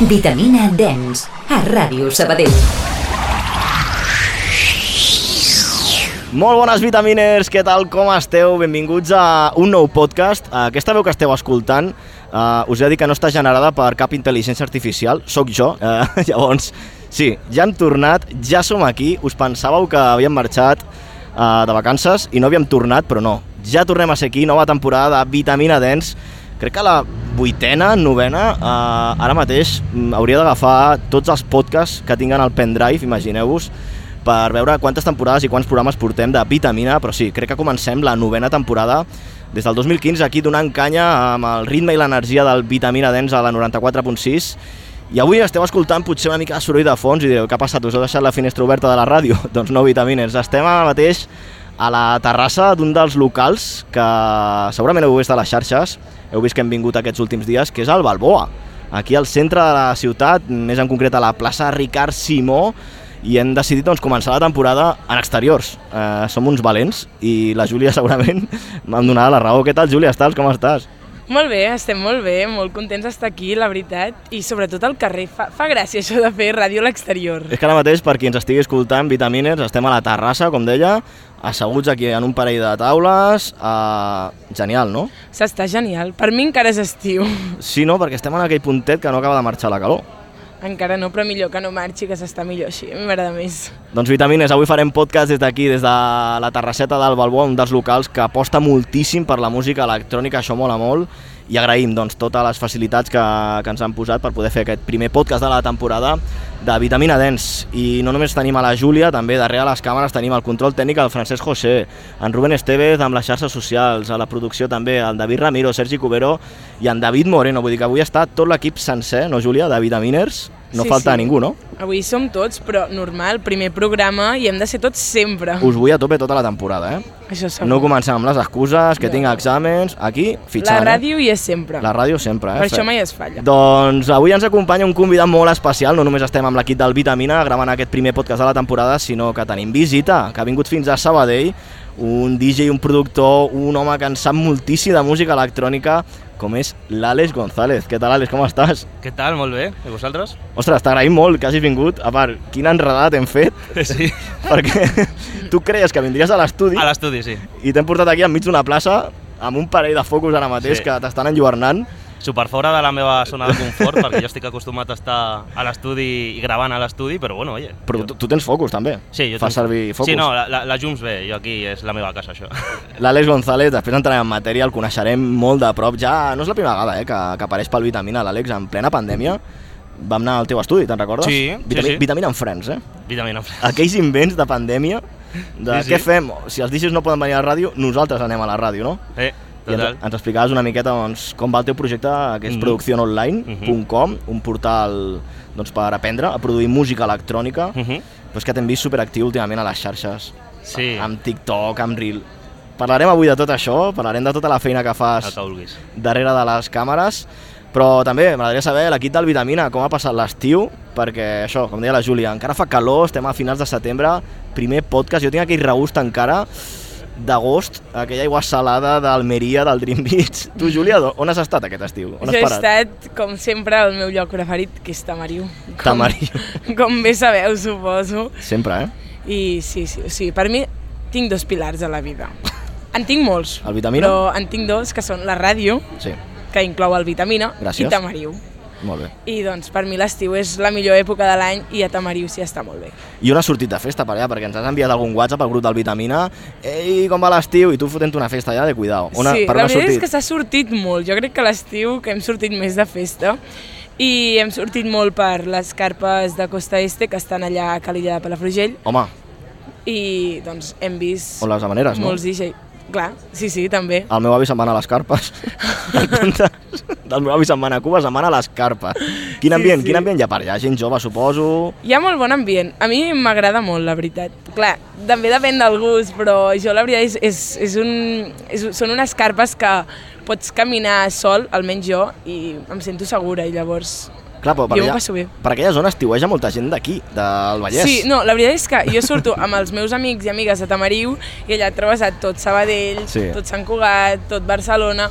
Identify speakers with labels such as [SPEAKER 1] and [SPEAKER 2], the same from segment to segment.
[SPEAKER 1] Vitamina Dens, a Ràdio Sabadell.
[SPEAKER 2] Molt bones vitamines, què tal, com esteu? Benvinguts a un nou podcast. Eh, Aquesta veu que esteu escoltant, eh, us he de dir que no està generada per cap intel·ligència artificial, sóc jo, eh, llavors, sí, ja hem tornat, ja som aquí, us pensàveu que havíem marxat eh, de vacances i no havíem tornat, però no, ja tornem a ser aquí, nova temporada de Vitamina Dens, crec que la vuitena, novena, eh, ara mateix mm, hauria d'agafar tots els podcasts que tinguen al pendrive, imagineu-vos, per veure quantes temporades i quants programes portem de vitamina, però sí, crec que comencem la novena temporada des del 2015 aquí donant canya amb el ritme i l'energia del Vitamina Dens a la 94.6 i avui esteu escoltant potser una mica de soroll de fons i direu, què ha passat? Us heu deixat la finestra oberta de la ràdio? doncs no, Vitamines, estem ara mateix a la terrassa d'un dels locals que segurament heu vist a les xarxes, heu vist que hem vingut aquests últims dies, que és el Balboa, aquí al centre de la ciutat, més en concret a la plaça Ricard Simó, i hem decidit doncs, començar la temporada en exteriors. Eh, som uns valents i la Júlia segurament m'ha donat la raó. Què tal, Júlia? Estàs? Com estàs?
[SPEAKER 3] Molt bé, estem molt bé, molt contents d'estar aquí, la veritat, i sobretot al carrer. Fa, fa gràcia això de fer ràdio a l'exterior.
[SPEAKER 2] És que ara mateix, per qui ens estigui escoltant, Vitamines, estem a la terrassa, com deia, asseguts aquí en un parell de taules. Eh, genial, no?
[SPEAKER 3] S'està genial. Per mi encara és estiu.
[SPEAKER 2] Sí, no? Perquè estem en aquell puntet que no acaba de marxar la calor.
[SPEAKER 3] Encara no, però millor que no marxi, que s'està millor així. A mi m'agrada més.
[SPEAKER 2] Doncs Vitamines, avui farem podcast des d'aquí, des de la terrasseta del Balboa, un dels locals que aposta moltíssim per la música electrònica, això mola molt, i agraïm doncs, totes les facilitats que, que ens han posat per poder fer aquest primer podcast de la temporada de Vitamina Dens. I no només tenim a la Júlia, també darrere les càmeres tenim el control tècnic el Francesc José, en Rubén Estevez amb les xarxes socials, a la producció també el David Ramiro, Sergi Cubero i en David Moreno. Vull dir que avui està tot l'equip sencer, no Júlia, de Vitaminers? No
[SPEAKER 3] Sí,
[SPEAKER 2] falta
[SPEAKER 3] sí.
[SPEAKER 2] ningú, no?
[SPEAKER 3] Avui som tots, però normal, primer programa i hem de ser tots sempre.
[SPEAKER 2] Us vull a tope tota la temporada, eh?
[SPEAKER 3] Això segur.
[SPEAKER 2] No comencem amb les excuses, que
[SPEAKER 3] No.
[SPEAKER 2] tinc exàmens, aquí
[SPEAKER 3] la
[SPEAKER 2] fitxant.
[SPEAKER 3] ràdio hi és sempre.
[SPEAKER 2] Eh? La ràdio sempre, eh?
[SPEAKER 3] Per això
[SPEAKER 2] Fe-
[SPEAKER 3] mai es falla.
[SPEAKER 2] Doncs avui ens acompanya un convidat molt especial, no només estem amb l'equip del Vitamina gravant aquest primer podcast de la temporada, sinó que tenim visita, que ha vingut fins a Sabadell, un DJ, un productor, un home que en sap moltíssim de música electrònica, com és l'Àlex González. Què tal, Àlex, com estàs?
[SPEAKER 4] Què tal? Molt bé. I vosaltres?
[SPEAKER 2] Ostres, t'agraïm molt que hagis vingut. A part, quina enredada t'hem fet,
[SPEAKER 4] Sí.
[SPEAKER 2] perquè tu creies que vindries a l'estudi
[SPEAKER 4] A l'estudi, sí.
[SPEAKER 2] i t'hem portat aquí enmig d'una plaça amb un parell de focus ara mateix
[SPEAKER 4] Sí.
[SPEAKER 2] que t'estan enlluernant.
[SPEAKER 4] Super fora de la meva zona de confort, perquè jo estic acostumat a estar a l'estudi i gravant a l'estudi, però bueno, oye...
[SPEAKER 2] Però tu, tu tens focus, també.
[SPEAKER 4] Sí, jo
[SPEAKER 2] Fas
[SPEAKER 4] tinc-
[SPEAKER 2] servir focus.
[SPEAKER 4] Sí, no, la, la, la Jums bé, jo aquí és la meva casa, això.
[SPEAKER 2] L'Àlex González, després entrarem en matèria, el coneixerem molt de prop. Ja no és la primera vegada eh, que, que apareix pel Vitamina l'Àlex en plena pandèmia. Vam anar al teu estudi, te'n recordes?
[SPEAKER 4] Sí, sí,
[SPEAKER 2] Vitami
[SPEAKER 4] sí.
[SPEAKER 2] Vitamina en Friends, eh?
[SPEAKER 4] Vitamina
[SPEAKER 2] Aquells invents de pandèmia, de
[SPEAKER 4] Sí, sí.
[SPEAKER 2] què fem? Si els DJs no poden venir a la ràdio, nosaltres anem a la ràdio, no?
[SPEAKER 4] Eh,
[SPEAKER 2] I
[SPEAKER 4] total.
[SPEAKER 2] ens, ens explicaves una miqueta doncs, com va el teu projecte, que és mm.
[SPEAKER 4] Mhm.
[SPEAKER 2] producciononline.com, un portal doncs, per aprendre a produir música electrònica, mm
[SPEAKER 4] Mhm.
[SPEAKER 2] però és que t'hem vist superactiu últimament a les xarxes
[SPEAKER 4] Sí,
[SPEAKER 2] amb TikTok, amb Reel. Parlarem avui de tot això, parlarem de tota la feina que
[SPEAKER 4] el
[SPEAKER 2] fas
[SPEAKER 4] que vulguis.
[SPEAKER 2] darrere de les càmeres, però també m'agradaria saber l'equip del Vitamina, com ha passat l'estiu, perquè això, com deia la Júlia, encara fa calor, estem a finals de setembre, primer podcast, jo tinc aquell regust encara d'agost, aquella aigua salada d'Almeria, del Dream Beach. Tu, Júlia, do- on has estat aquest estiu? On
[SPEAKER 3] jo he
[SPEAKER 2] has parat?
[SPEAKER 3] estat, com sempre, al meu lloc preferit, que és Tamariu. Com,
[SPEAKER 2] Tamariu.
[SPEAKER 3] Com bé sabeu, suposo.
[SPEAKER 2] Sempre, eh?
[SPEAKER 3] I sí, sí, o sigui, per mi tinc dos pilars a la vida. En tinc molts.
[SPEAKER 2] El Vitamina?
[SPEAKER 3] Però en tinc dos, que són la ràdio,
[SPEAKER 2] Sí,
[SPEAKER 3] que inclou el Vitamina,
[SPEAKER 2] Gràcies.
[SPEAKER 3] i Tamariu.
[SPEAKER 2] molt bé.
[SPEAKER 3] I doncs per mi l'estiu és la millor època de l'any i a Tamariu sí està molt bé.
[SPEAKER 2] I on has sortit de festa per allà? Perquè ens has enviat algun WhatsApp al grup del Vitamina. Ei, com va l'estiu? I tu fotent una festa allà de cuidao. On, ha-
[SPEAKER 3] sí,
[SPEAKER 2] per on
[SPEAKER 3] la
[SPEAKER 2] has
[SPEAKER 3] veritat
[SPEAKER 2] sortit?
[SPEAKER 3] és que s'ha sortit molt. Jo crec que l'estiu que hem sortit més de festa i hem sortit molt per les carpes de Costa Este que estan allà a Calilla de Palafrugell
[SPEAKER 2] Home,
[SPEAKER 3] i doncs hem vist
[SPEAKER 2] o les amaneres, no?
[SPEAKER 3] molts DJ. Clar, sí, sí, també.
[SPEAKER 2] El meu avi se'n va anar a les carpes. En comptes del meu avi se'n va anar a Cuba, se'n va anar a les carpes. Quin
[SPEAKER 3] Sí,
[SPEAKER 2] ambient,
[SPEAKER 3] sí.
[SPEAKER 2] quin ambient hi ha per allà? Gent jove, suposo.
[SPEAKER 3] Hi ha molt bon ambient. A mi m'agrada molt, la veritat. Clar, també depèn del gust, però jo la veritat és, és, és un, és, són unes carpes que pots caminar sol, almenys jo, i em sento segura, i llavors...
[SPEAKER 2] Clar, però per
[SPEAKER 3] Jo m'ho
[SPEAKER 2] allà,
[SPEAKER 3] passo bé.
[SPEAKER 2] per aquella zona estiueja molta gent d'aquí, del Vallès.
[SPEAKER 3] Sí, no, la veritat és que jo surto amb els meus amics i amigues de Tamariu i allà et trobes a tot Sabadell,
[SPEAKER 2] Sí.
[SPEAKER 3] tot Sant Cugat, tot Barcelona,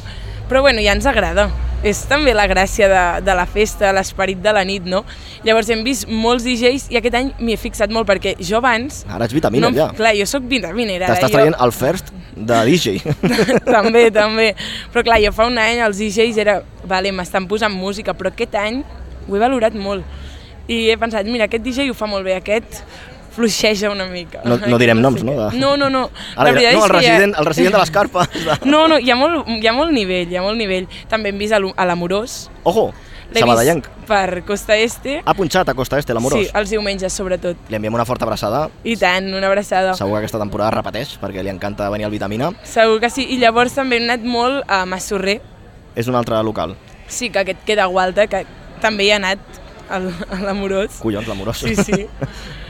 [SPEAKER 3] però bueno, ja ens agrada. és també la gràcia de, de la festa, l'esperit de la nit, no? Llavors hem vist molts DJs i aquest any m'hi he fixat molt perquè jo abans...
[SPEAKER 2] Ara ets vitamina,
[SPEAKER 3] em-
[SPEAKER 2] ja.
[SPEAKER 3] Clar, jo sóc vitaminera. ara,
[SPEAKER 2] T'estàs
[SPEAKER 3] jo-
[SPEAKER 2] traient el first de DJ.
[SPEAKER 3] també, també. Però clar, jo fa un any els DJs era, vale, m'estan posant música, però aquest any ho he valorat molt. I he pensat, mira, aquest DJ ho fa molt bé, aquest fluixeja una mica.
[SPEAKER 2] No- no direm noms, no? De-
[SPEAKER 3] No, no, no.
[SPEAKER 2] Ara, dirà, no, el
[SPEAKER 3] que hi ha-
[SPEAKER 2] resident, el resident de les carpes. De...
[SPEAKER 3] No, no, hi ha, molt, hi ha molt nivell, hi ha molt nivell. També hem vist a l'U- a l'Amorós.
[SPEAKER 2] Ojo,
[SPEAKER 3] L'he
[SPEAKER 2] Sabadellanc.
[SPEAKER 3] vist per Costa Este.
[SPEAKER 2] Ha punxat a Costa Este, l'amorós.
[SPEAKER 3] Sí, els diumenges, sobretot.
[SPEAKER 2] Li enviem una forta abraçada.
[SPEAKER 3] I tant, una abraçada.
[SPEAKER 2] Segur que aquesta temporada repeteix, perquè li encanta venir al Vitamina.
[SPEAKER 3] Segur que sí. I llavors també hem anat molt a Massorrer,
[SPEAKER 2] És un altre local.
[SPEAKER 3] Sí, que aquest queda a Gualta, que també hi ha anat al- a l'Amorós.
[SPEAKER 2] Collons, l'amorós.
[SPEAKER 3] Sí, sí.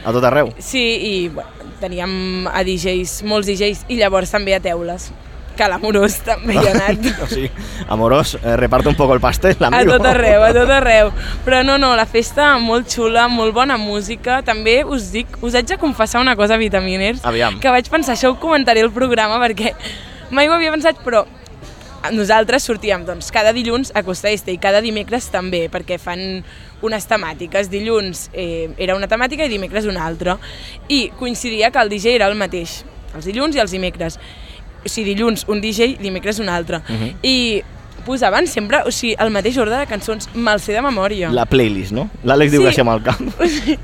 [SPEAKER 2] A tot arreu.
[SPEAKER 3] Sí, i bueno, teníem a DJs, molts DJs, i llavors també a teules, que a l'Amorós també hi
[SPEAKER 2] O
[SPEAKER 3] ha anat.
[SPEAKER 2] sigui, amorós, eh, reparte un poco el pastel,
[SPEAKER 3] A
[SPEAKER 2] amigo.
[SPEAKER 3] tot arreu, a tot arreu. Però no, no, la festa molt xula, molt bona música. També us dic, us haig de confessar una cosa, Vitaminers,
[SPEAKER 2] Aviam.
[SPEAKER 3] que vaig pensar, això ho comentaré al programa perquè mai ho havia pensat, però nosaltres sortíem doncs, cada dilluns a Costa Este i cada dimecres també, perquè fan unes temàtiques. Dilluns eh, era una temàtica i dimecres una altra. I coincidia que el DJ era el mateix, els dilluns i els dimecres. O sigui, dilluns un DJ, dimecres un altre.
[SPEAKER 2] Mhm.
[SPEAKER 3] I posaven sempre o sigui, el mateix ordre de cançons, me'l sé de memòria.
[SPEAKER 2] La playlist, no? L'Àlex diu
[SPEAKER 3] Sí.
[SPEAKER 2] que sí amb el camp.
[SPEAKER 3] O sigui,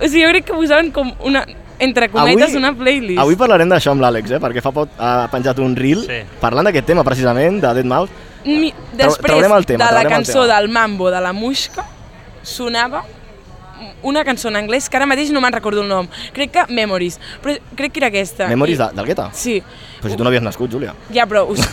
[SPEAKER 3] o sigui, jo crec que posaven com una, entre cometes, una playlist.
[SPEAKER 2] Avui parlarem d'això amb l'Àlex, eh? perquè fa poc ha penjat un reel
[SPEAKER 4] Sí.
[SPEAKER 2] parlant d'aquest tema, precisament, de Dead Mouth.
[SPEAKER 3] Mi,
[SPEAKER 2] Trau-
[SPEAKER 3] després
[SPEAKER 2] traurem el tema,
[SPEAKER 3] de la
[SPEAKER 2] traurem el
[SPEAKER 3] cançó
[SPEAKER 2] tema.
[SPEAKER 3] del Mambo de la Muixca, sonava una cançó en anglès que ara mateix no me'n recordo el nom. Crec que Memories, però crec que era aquesta.
[SPEAKER 2] Memories
[SPEAKER 3] I-
[SPEAKER 2] de, del gueta.
[SPEAKER 3] Sí,
[SPEAKER 2] Però si tu no havies nascut, Júlia.
[SPEAKER 3] ja, però us-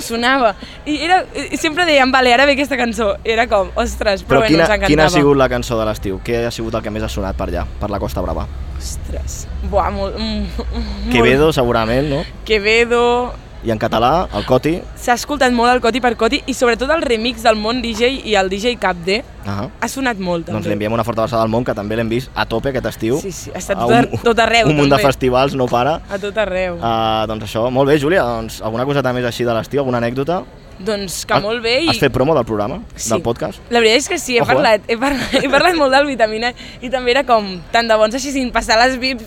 [SPEAKER 3] sonava. I era, i sempre dèiem, vale, ara ve aquesta cançó. I era com, ostres, però,
[SPEAKER 2] Però,
[SPEAKER 3] bé,
[SPEAKER 2] quina,
[SPEAKER 3] ens encantava.
[SPEAKER 2] quina ha sigut la cançó de l'estiu? Què ha sigut el que més ha sonat per allà, per la Costa Brava?
[SPEAKER 3] Ostres, buah, molt... mm, molt.
[SPEAKER 2] Quevedo, segurament, no?
[SPEAKER 3] Quevedo,
[SPEAKER 2] I en català, el Coti.
[SPEAKER 3] s'ha escoltat molt el Coti per Coti i sobretot el remix del món DJ i el DJ Capde
[SPEAKER 2] Ah
[SPEAKER 3] ha sonat molt també.
[SPEAKER 2] Doncs li enviem una forta abraçada al món, que també l'hem vist a tope aquest estiu.
[SPEAKER 3] Sí, sí, ha estat
[SPEAKER 2] A
[SPEAKER 3] tot ar- tot arreu,
[SPEAKER 2] Un munt de
[SPEAKER 3] també.
[SPEAKER 2] festivals, no para.
[SPEAKER 3] A tot arreu. Ah.
[SPEAKER 2] Uh, doncs això, molt bé, Júlia, doncs alguna coseta més així de l'estiu, alguna anècdota?
[SPEAKER 3] Doncs que molt bé i...
[SPEAKER 2] Has fet promo del programa,
[SPEAKER 3] Sí.
[SPEAKER 2] del podcast?
[SPEAKER 3] La veritat és que sí, he
[SPEAKER 2] Ojo, eh?
[SPEAKER 3] parlat, he parlat, he parlat molt del vitamina i també era com tant de bons així sin passar les vips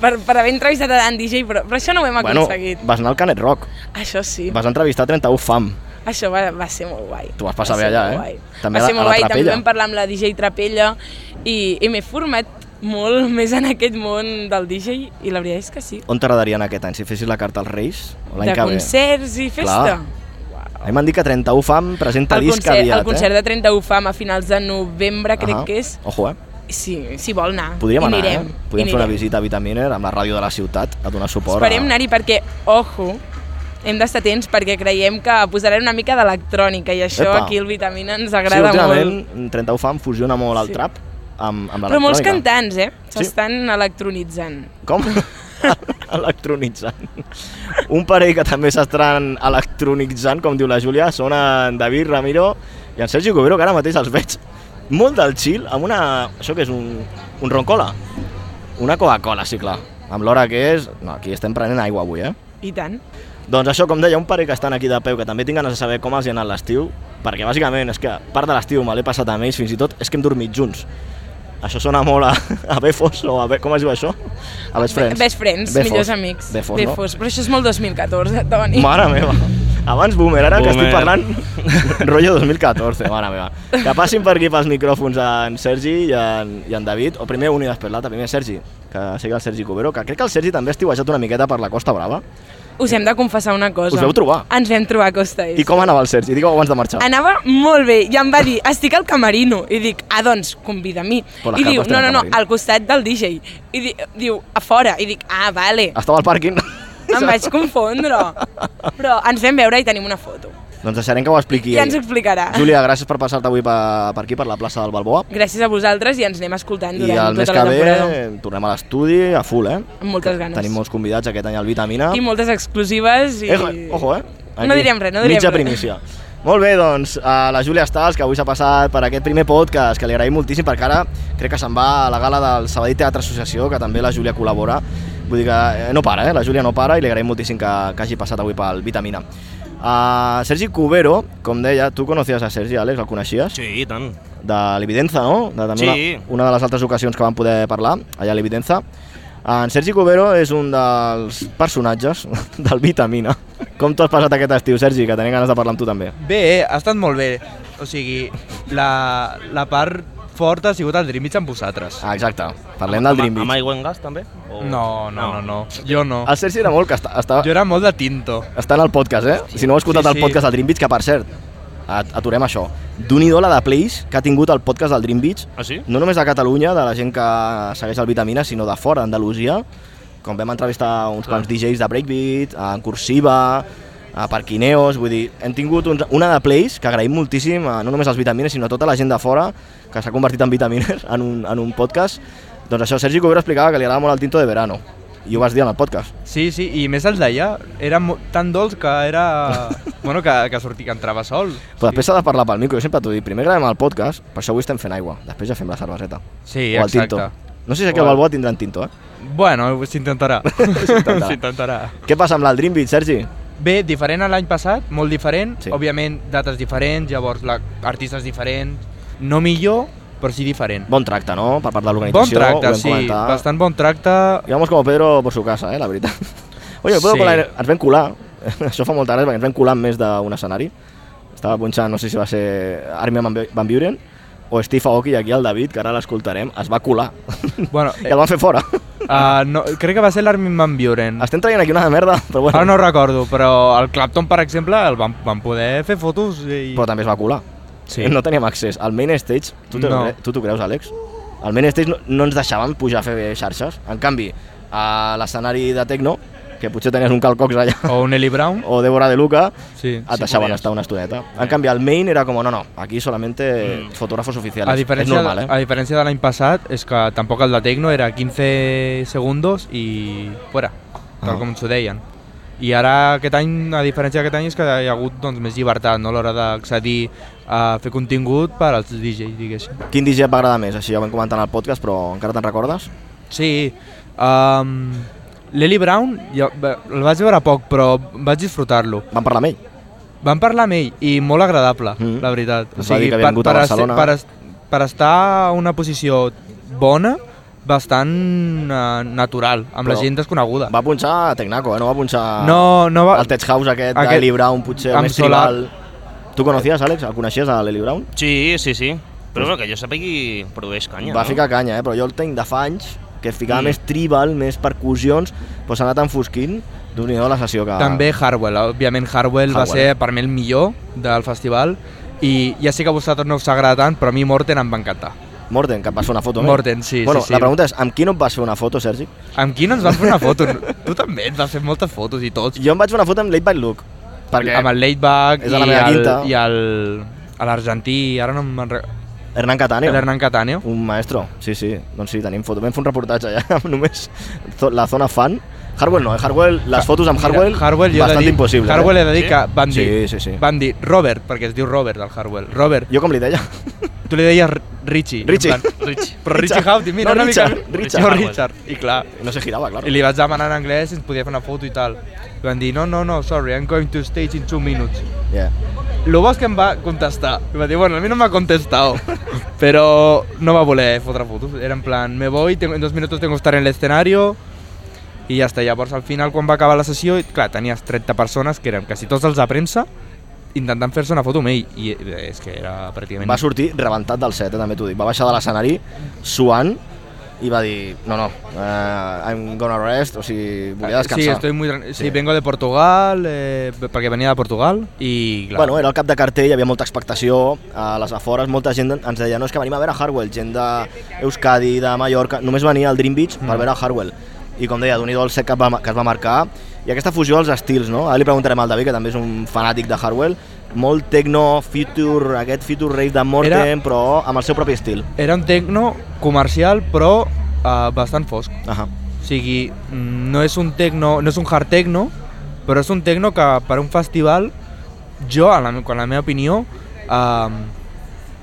[SPEAKER 3] per, per haver entrevistat a Dan DJ, però, però això no ho hem
[SPEAKER 2] Bueno,
[SPEAKER 3] aconseguit.
[SPEAKER 2] vas anar al Canet Rock,
[SPEAKER 3] Això sí,
[SPEAKER 2] vas entrevistar 31 fam.
[SPEAKER 3] això va, va ser molt guai.
[SPEAKER 2] Tu vas passar
[SPEAKER 3] Va
[SPEAKER 2] bé
[SPEAKER 3] ser
[SPEAKER 2] allà,
[SPEAKER 3] molt
[SPEAKER 2] eh?
[SPEAKER 3] Guai.
[SPEAKER 2] També
[SPEAKER 3] va
[SPEAKER 2] a
[SPEAKER 3] ser
[SPEAKER 2] la-
[SPEAKER 3] molt
[SPEAKER 2] a la
[SPEAKER 3] guai, també
[SPEAKER 2] Trapella.
[SPEAKER 3] vam parlar amb la DJ Trapella i, i m'he format molt més en aquest món del DJ i la veritat és que sí.
[SPEAKER 2] On t'agradaria anar aquest any, si fessis la carta als Reis? o L'any
[SPEAKER 3] De
[SPEAKER 2] que ve?
[SPEAKER 3] concerts i festa.
[SPEAKER 2] Clar. A mi m'han dit que 31 fam presenta
[SPEAKER 3] El
[SPEAKER 2] disc
[SPEAKER 3] concert,
[SPEAKER 2] aviat,
[SPEAKER 3] el concert
[SPEAKER 2] eh?
[SPEAKER 3] de 31 fam a finals de novembre crec
[SPEAKER 2] Ahà.
[SPEAKER 3] que és.
[SPEAKER 2] Ojo, eh?
[SPEAKER 3] Sí, si vol anar.
[SPEAKER 2] Podríem
[SPEAKER 3] hi
[SPEAKER 2] anar,
[SPEAKER 3] anirem,
[SPEAKER 2] eh?
[SPEAKER 3] hi
[SPEAKER 2] Podríem fer una
[SPEAKER 3] anirem.
[SPEAKER 2] visita a Vitaminer amb la ràdio de la ciutat a donar suport
[SPEAKER 3] Esperem
[SPEAKER 2] a...
[SPEAKER 3] anar-hi perquè, ojo, hem d'estar atents perquè creiem que posaran una mica d'electrònica i això
[SPEAKER 2] Epa.
[SPEAKER 3] aquí el Vitamina ens
[SPEAKER 2] Sí,
[SPEAKER 3] agrada
[SPEAKER 2] últimament
[SPEAKER 3] molt.
[SPEAKER 2] 31 fam fusiona molt el
[SPEAKER 3] Sí.
[SPEAKER 2] trap amb, amb l'electrònica.
[SPEAKER 3] Però molts cantants, eh?
[SPEAKER 2] Sí.
[SPEAKER 3] S'estan electronitzant.
[SPEAKER 2] Com? electronitzant. Un parell que també s'estaran electronitzant, com diu la Júlia, són en David Ramiro i en Sergi Covero, que ara mateix els veig molt del xil, amb una... Això que és un, un roncola? Una Coca-Cola, sí, clar. Amb l'hora que és... No, aquí estem prenent aigua avui, eh?
[SPEAKER 3] I tant.
[SPEAKER 2] Doncs això, com deia, un parell que estan aquí de peu, que també tinc ganes de saber com els hi ha anat l'estiu, perquè bàsicament és que part de l'estiu me l'he passat amb ells, fins i tot és que hem dormit junts. Això sona molt a, a Befos, o a Be, com es diu això? A Best Friends.
[SPEAKER 3] Best friends,
[SPEAKER 2] Befos.
[SPEAKER 3] millors amics.
[SPEAKER 2] Befos, no?
[SPEAKER 3] Befos. Però això és molt 2014, Toni.
[SPEAKER 2] Mare meva. Abans Boomer, ara que estic
[SPEAKER 4] Boomer.
[SPEAKER 2] parlant rotllo 2014, mare meva. Que passin per aquí pels micròfons en Sergi i en, i en David, o primer un i després l'altre, primer Sergi, que sigui el Sergi Cubero, que crec que el Sergi també ha estiuejat una miqueta per la Costa Brava.
[SPEAKER 3] Us hem de confessar una cosa.
[SPEAKER 2] Us vau trobar?
[SPEAKER 3] Ens vam trobar a Costa Est.
[SPEAKER 2] I com anava el Sergi? Digueu abans de marxar.
[SPEAKER 3] Anava molt bé i em va dir, estic al camerino. I dic, ah, doncs, convida a mi.
[SPEAKER 2] Però les
[SPEAKER 3] I diu,
[SPEAKER 2] carpes
[SPEAKER 3] no,
[SPEAKER 2] tenen
[SPEAKER 3] no, no,
[SPEAKER 2] camerino.
[SPEAKER 3] al costat del DJ. I di diu, a fora. I dic, ah, vale.
[SPEAKER 2] Estava al pàrquing.
[SPEAKER 3] Em vaig confondre. Però ens vam veure i tenim una foto.
[SPEAKER 2] Doncs deixarem que ho expliqui
[SPEAKER 3] I
[SPEAKER 2] ell.
[SPEAKER 3] ens ho explicarà.
[SPEAKER 2] Júlia, gràcies per passar-te avui per, per aquí, per la plaça del Balboa.
[SPEAKER 3] Gràcies a vosaltres i ens anem escoltant
[SPEAKER 2] I
[SPEAKER 3] durant
[SPEAKER 2] el mes
[SPEAKER 3] tota la
[SPEAKER 2] que ve
[SPEAKER 3] temporada.
[SPEAKER 2] eh, tornem a l'estudi a full, eh?
[SPEAKER 3] Amb moltes ganes.
[SPEAKER 2] Tenim molts convidats aquest any al Vitamina.
[SPEAKER 3] I moltes exclusives i...
[SPEAKER 2] Eh, ojo, eh?
[SPEAKER 3] No direm res, no direm
[SPEAKER 2] Mitja
[SPEAKER 3] res.
[SPEAKER 2] primícia. Molt bé, doncs, a la Júlia Stals, que avui s'ha passat per aquest primer podcast, que li agraïm moltíssim, perquè ara crec que se'n va a la gala del Sabadell Teatre Associació, que també la Júlia col·labora. Vull dir que eh, no para, eh? La Júlia no para i li agraïm moltíssim que, que hagi passat avui pel Vitamina. Uh, Sergi Cubero, com deia, tu coneixies a Sergi, Àlex, el coneixies?
[SPEAKER 4] Sí, i tant.
[SPEAKER 2] De l'Evidenza, no? De, també
[SPEAKER 4] Sí.
[SPEAKER 2] una, una de les altres ocasions que vam poder parlar, allà a l'Evidenza. En Sergi Cubero és un dels personatges del Vitamina. Com t'ho has passat aquest estiu, Sergi, que tenia ganes de parlar amb tu també?
[SPEAKER 5] Bé, eh, ha estat molt bé. O sigui, la, la part forta ha sigut el Dream Beach amb vosaltres.
[SPEAKER 2] Ah, exacte, parlem del Dream
[SPEAKER 4] Amb
[SPEAKER 2] Beach.
[SPEAKER 4] aigua en gas, també? O...
[SPEAKER 5] No, no, no, no. Jo no.
[SPEAKER 2] El Sergi era molt que està, està,
[SPEAKER 5] Jo era molt de tinto.
[SPEAKER 2] Està en el podcast, eh? Si no heu escoltat
[SPEAKER 5] Sí,
[SPEAKER 2] el
[SPEAKER 5] sí.
[SPEAKER 2] podcast del Dream Beach, que per cert, at- aturem això. d'un i la de plays que ha tingut el podcast del Dream Beach,
[SPEAKER 4] Ah, sí?
[SPEAKER 2] no només de Catalunya, de la gent que segueix el Vitamina, sinó de fora, d'Andalusia, com vam entrevistar uns quants DJs de Breakbeat, en Cursiva, a Parquineos, vull dir, hem tingut uns, una de plays que agraïm moltíssim, a, no només als Vitamines, sinó a tota la gent de fora, que s'ha convertit en Vitamines en un, en un podcast. Doncs això, Sergi Covero explicava que li agrada molt el tinto de verano, i ho vas dir en el podcast.
[SPEAKER 5] Sí, sí, i més el d'allà. Era mo- tan dolç que era... bueno, que, que sortia, que entrava sol.
[SPEAKER 2] Però després s'ha de parlar pel micro, jo sempre t'ho dic. Primer gravem el podcast, per això avui estem fent aigua. Després ja fem la cerveseta.
[SPEAKER 5] Sí,
[SPEAKER 2] o el tinto.
[SPEAKER 5] exacte.
[SPEAKER 2] No sé si aquí
[SPEAKER 5] O
[SPEAKER 2] al
[SPEAKER 5] el-
[SPEAKER 2] Balboa tindran tinto, eh?
[SPEAKER 5] Bueno, s'intentarà.
[SPEAKER 2] S'intentarà.
[SPEAKER 5] S'intentarà.
[SPEAKER 2] Què passa amb l'Aldrin Beat, Sergi?
[SPEAKER 5] Bé, diferent a l'any passat, molt diferent.
[SPEAKER 2] Sí.
[SPEAKER 5] Sí. Òbviament, dates diferents, llavors la, artistes diferents. No millor, però sí diferent.
[SPEAKER 2] Bon tracte, no? Per part de
[SPEAKER 5] Bon
[SPEAKER 2] l'organització.
[SPEAKER 5] tracte,
[SPEAKER 2] ho vam
[SPEAKER 5] sí.
[SPEAKER 2] comentar.
[SPEAKER 5] Bastant bon tracte.
[SPEAKER 2] I vamos como Pedro por su casa, eh? La veritat. Oye, Pedro
[SPEAKER 5] Sí.
[SPEAKER 2] colar, ens vam colar. això fa molta gràcia, perquè ens vam colar en més d'un escenari. Estava punxant, no sé si va ser Armin Van Bu- Van Buren o Steve Aoki, i aquí el David, que ara l'escoltarem, es va colar.
[SPEAKER 5] Bueno,
[SPEAKER 2] I el van fer fora.
[SPEAKER 5] Uh, no, crec que va ser l'Armin Van Buren.
[SPEAKER 2] Estem traient aquí una merda, però bueno.
[SPEAKER 5] Ara Mm. Ah, no ho recordo, però el Clapton, per exemple, el van, van poder fer fotos i...
[SPEAKER 2] però també es va colar. Sí.
[SPEAKER 5] Sí.
[SPEAKER 2] No teníem accés. Al main stage, tu t'ho
[SPEAKER 5] No.
[SPEAKER 2] no. tu t'ho creus, Àlex? Al main stage no, no ens deixaven pujar a fer xarxes. En canvi, a l'escenari de Tecno, que potser tenies un calcox allà,
[SPEAKER 5] O un Eli Brown.
[SPEAKER 2] o Débora de Luca,
[SPEAKER 5] Sí,
[SPEAKER 2] et deixaven estar una estoneta. En canvi, al main era com, no, no, aquí solamente fotògrafos oficials.
[SPEAKER 5] Mm. A
[SPEAKER 2] És
[SPEAKER 5] diferència,
[SPEAKER 2] normal,
[SPEAKER 5] a
[SPEAKER 2] eh?
[SPEAKER 5] diferència de l'any passat, és que tampoc el de Tecno era 15 segons i fora, tal
[SPEAKER 2] Ah.
[SPEAKER 5] com ens ho deien. I ara aquest any, a diferència d'aquest any, és que hi ha hagut doncs, més llibertat no? a l'hora d'accedir a fer contingut per als DJs, diguéssim.
[SPEAKER 2] Quin DJ et va agradar més? Així ja ho vam comentar en el podcast, però encara te'n recordes?
[SPEAKER 5] Sí, um, l'Eli Brown jo, bé, el vaig veure poc, però vaig disfrutar-lo.
[SPEAKER 2] Van parlar amb ell.
[SPEAKER 5] Vam parlar amb ell i molt agradable,
[SPEAKER 2] Mhm.
[SPEAKER 5] mm. la veritat.
[SPEAKER 2] Ens va dir que havia vingut a
[SPEAKER 5] per, esti-
[SPEAKER 2] Barcelona.
[SPEAKER 5] per, es- per estar a una posició bona, bastant eh, natural, amb
[SPEAKER 2] Però
[SPEAKER 5] la gent desconeguda.
[SPEAKER 2] Va punxar a Tecnaco, eh? No va punxar...
[SPEAKER 5] no, no va...
[SPEAKER 2] El Tech House aquest, aquest
[SPEAKER 5] Aquest-
[SPEAKER 2] d'Eli Brown, potser, el
[SPEAKER 5] amb
[SPEAKER 2] més
[SPEAKER 5] Solar.
[SPEAKER 2] tribal. Tu coneixies, Àlex? El coneixies, a l'Eli Brown?
[SPEAKER 4] Sí, sí, sí. Però bueno, que jo sàpigui produeix canya,
[SPEAKER 2] Va
[SPEAKER 4] no?
[SPEAKER 2] ficar canya, eh? Però jo el tenc de fa anys, que ficava
[SPEAKER 4] Mm.
[SPEAKER 2] més tribal, més percussions, però s'ha anat enfosquint d'un i la sessió que...
[SPEAKER 5] També Harwell, òbviament Harwell, va
[SPEAKER 2] Harwell.
[SPEAKER 5] ser per mi el millor del festival i ja sé que a vosaltres no us agrada tant, però a mi Morten em va encantar.
[SPEAKER 2] Morten, que et vas fer una foto amb ell.
[SPEAKER 5] Morten, sí,
[SPEAKER 2] bueno,
[SPEAKER 5] sí, sí.
[SPEAKER 2] la pregunta és, amb qui no et vas fer una foto, Sergi?
[SPEAKER 5] Amb qui no ens van fer una foto? tu també et vas fer moltes fotos i tots.
[SPEAKER 2] Jo em vaig fer una foto amb Late by Luke. Perquè
[SPEAKER 5] Amb el late back
[SPEAKER 2] És
[SPEAKER 5] i,
[SPEAKER 2] a la meva
[SPEAKER 5] el,
[SPEAKER 2] quinta.
[SPEAKER 5] i el, a l'argentí, ara no em me'n recordo.
[SPEAKER 2] Hernán Catania.
[SPEAKER 5] L'Hernan Cataneo.
[SPEAKER 2] Un maestro, sí, sí. Doncs sí, tenim foto. Vam fer un reportatge allà amb només zo- la zona fan. Hardwell no, eh? Hardwell, les fotos amb Hardwell,
[SPEAKER 5] Mira, Hardwell jo he de
[SPEAKER 2] Mm, bastant
[SPEAKER 5] dir-
[SPEAKER 2] impossible.
[SPEAKER 5] Hardwell
[SPEAKER 2] eh?
[SPEAKER 5] he de dir
[SPEAKER 4] Sí?
[SPEAKER 5] que van dir,
[SPEAKER 2] Sí, sí, sí.
[SPEAKER 5] van dir Robert, perquè es diu Robert el Hardwell. Robert,
[SPEAKER 2] Jo com li deia?
[SPEAKER 5] tu li deies R- Richie. en
[SPEAKER 2] Richie.
[SPEAKER 5] plan,
[SPEAKER 4] Rich.
[SPEAKER 5] però Richie
[SPEAKER 2] Richard.
[SPEAKER 5] Houghton, mira,
[SPEAKER 2] No,
[SPEAKER 5] una
[SPEAKER 2] Richard,
[SPEAKER 5] mica...
[SPEAKER 2] Richard
[SPEAKER 5] No,
[SPEAKER 4] Hardwell.
[SPEAKER 5] Richard. I clar,
[SPEAKER 2] No se girava, claro.
[SPEAKER 5] i li vaig demanar en anglès si ens podia fer una foto i tal. I van dir, no, no, no, sorry, I'm going to stage in two minutes.
[SPEAKER 2] Yeah.
[SPEAKER 5] Lo bo és que em va contestar. I va dir, bueno, a mi no m'ha contestado. Però no va voler fotre fotos. Era en plan, me voy, tengo, en dos minutos tengo que estar en l'escenario. I ja està. Llavors, al final, quan va acabar la sessió, i, clar, tenies 30 persones, que eren quasi tots els de premsa, intentant fer-se una foto amb ell. I eh, és que era pràcticament...
[SPEAKER 2] Va sortir rebentat del set, eh, també t'ho dic. Va baixar de l'escenari suant i va dir, no, no, eh, I'm gonna rest, o sigui, volia descansar.
[SPEAKER 5] Eh, Sí, estoy muy... tran- Sí,
[SPEAKER 2] Sí.
[SPEAKER 5] sí, vengo de Portugal, eh, perquè venia de Portugal, i clar...
[SPEAKER 2] Bueno, eh. era el cap de cartell, hi havia molta expectació a les afores, molta gent ens deia no, és que venim a veure Harwell, gent de Euskadi, de Mallorca, només venia al Dream Beach per
[SPEAKER 5] Mm.
[SPEAKER 2] veure Harwell. I com deia, d'un idol set que, va, que es va marcar, i aquesta fusió als estils, no? Ara li preguntarem al David, que també és un fanàtic de Harwell, molt techno, future, aquest future rave de Morten,
[SPEAKER 5] Era-
[SPEAKER 2] però amb el seu propi estil.
[SPEAKER 5] Era un tecno comercial, però eh, bastant fosc.
[SPEAKER 2] Ahà.
[SPEAKER 5] O sigui, mm, no és un tecno, no és un hard techno, però és un tecno que per un festival, jo, a la, me- en la meva opinió, eh,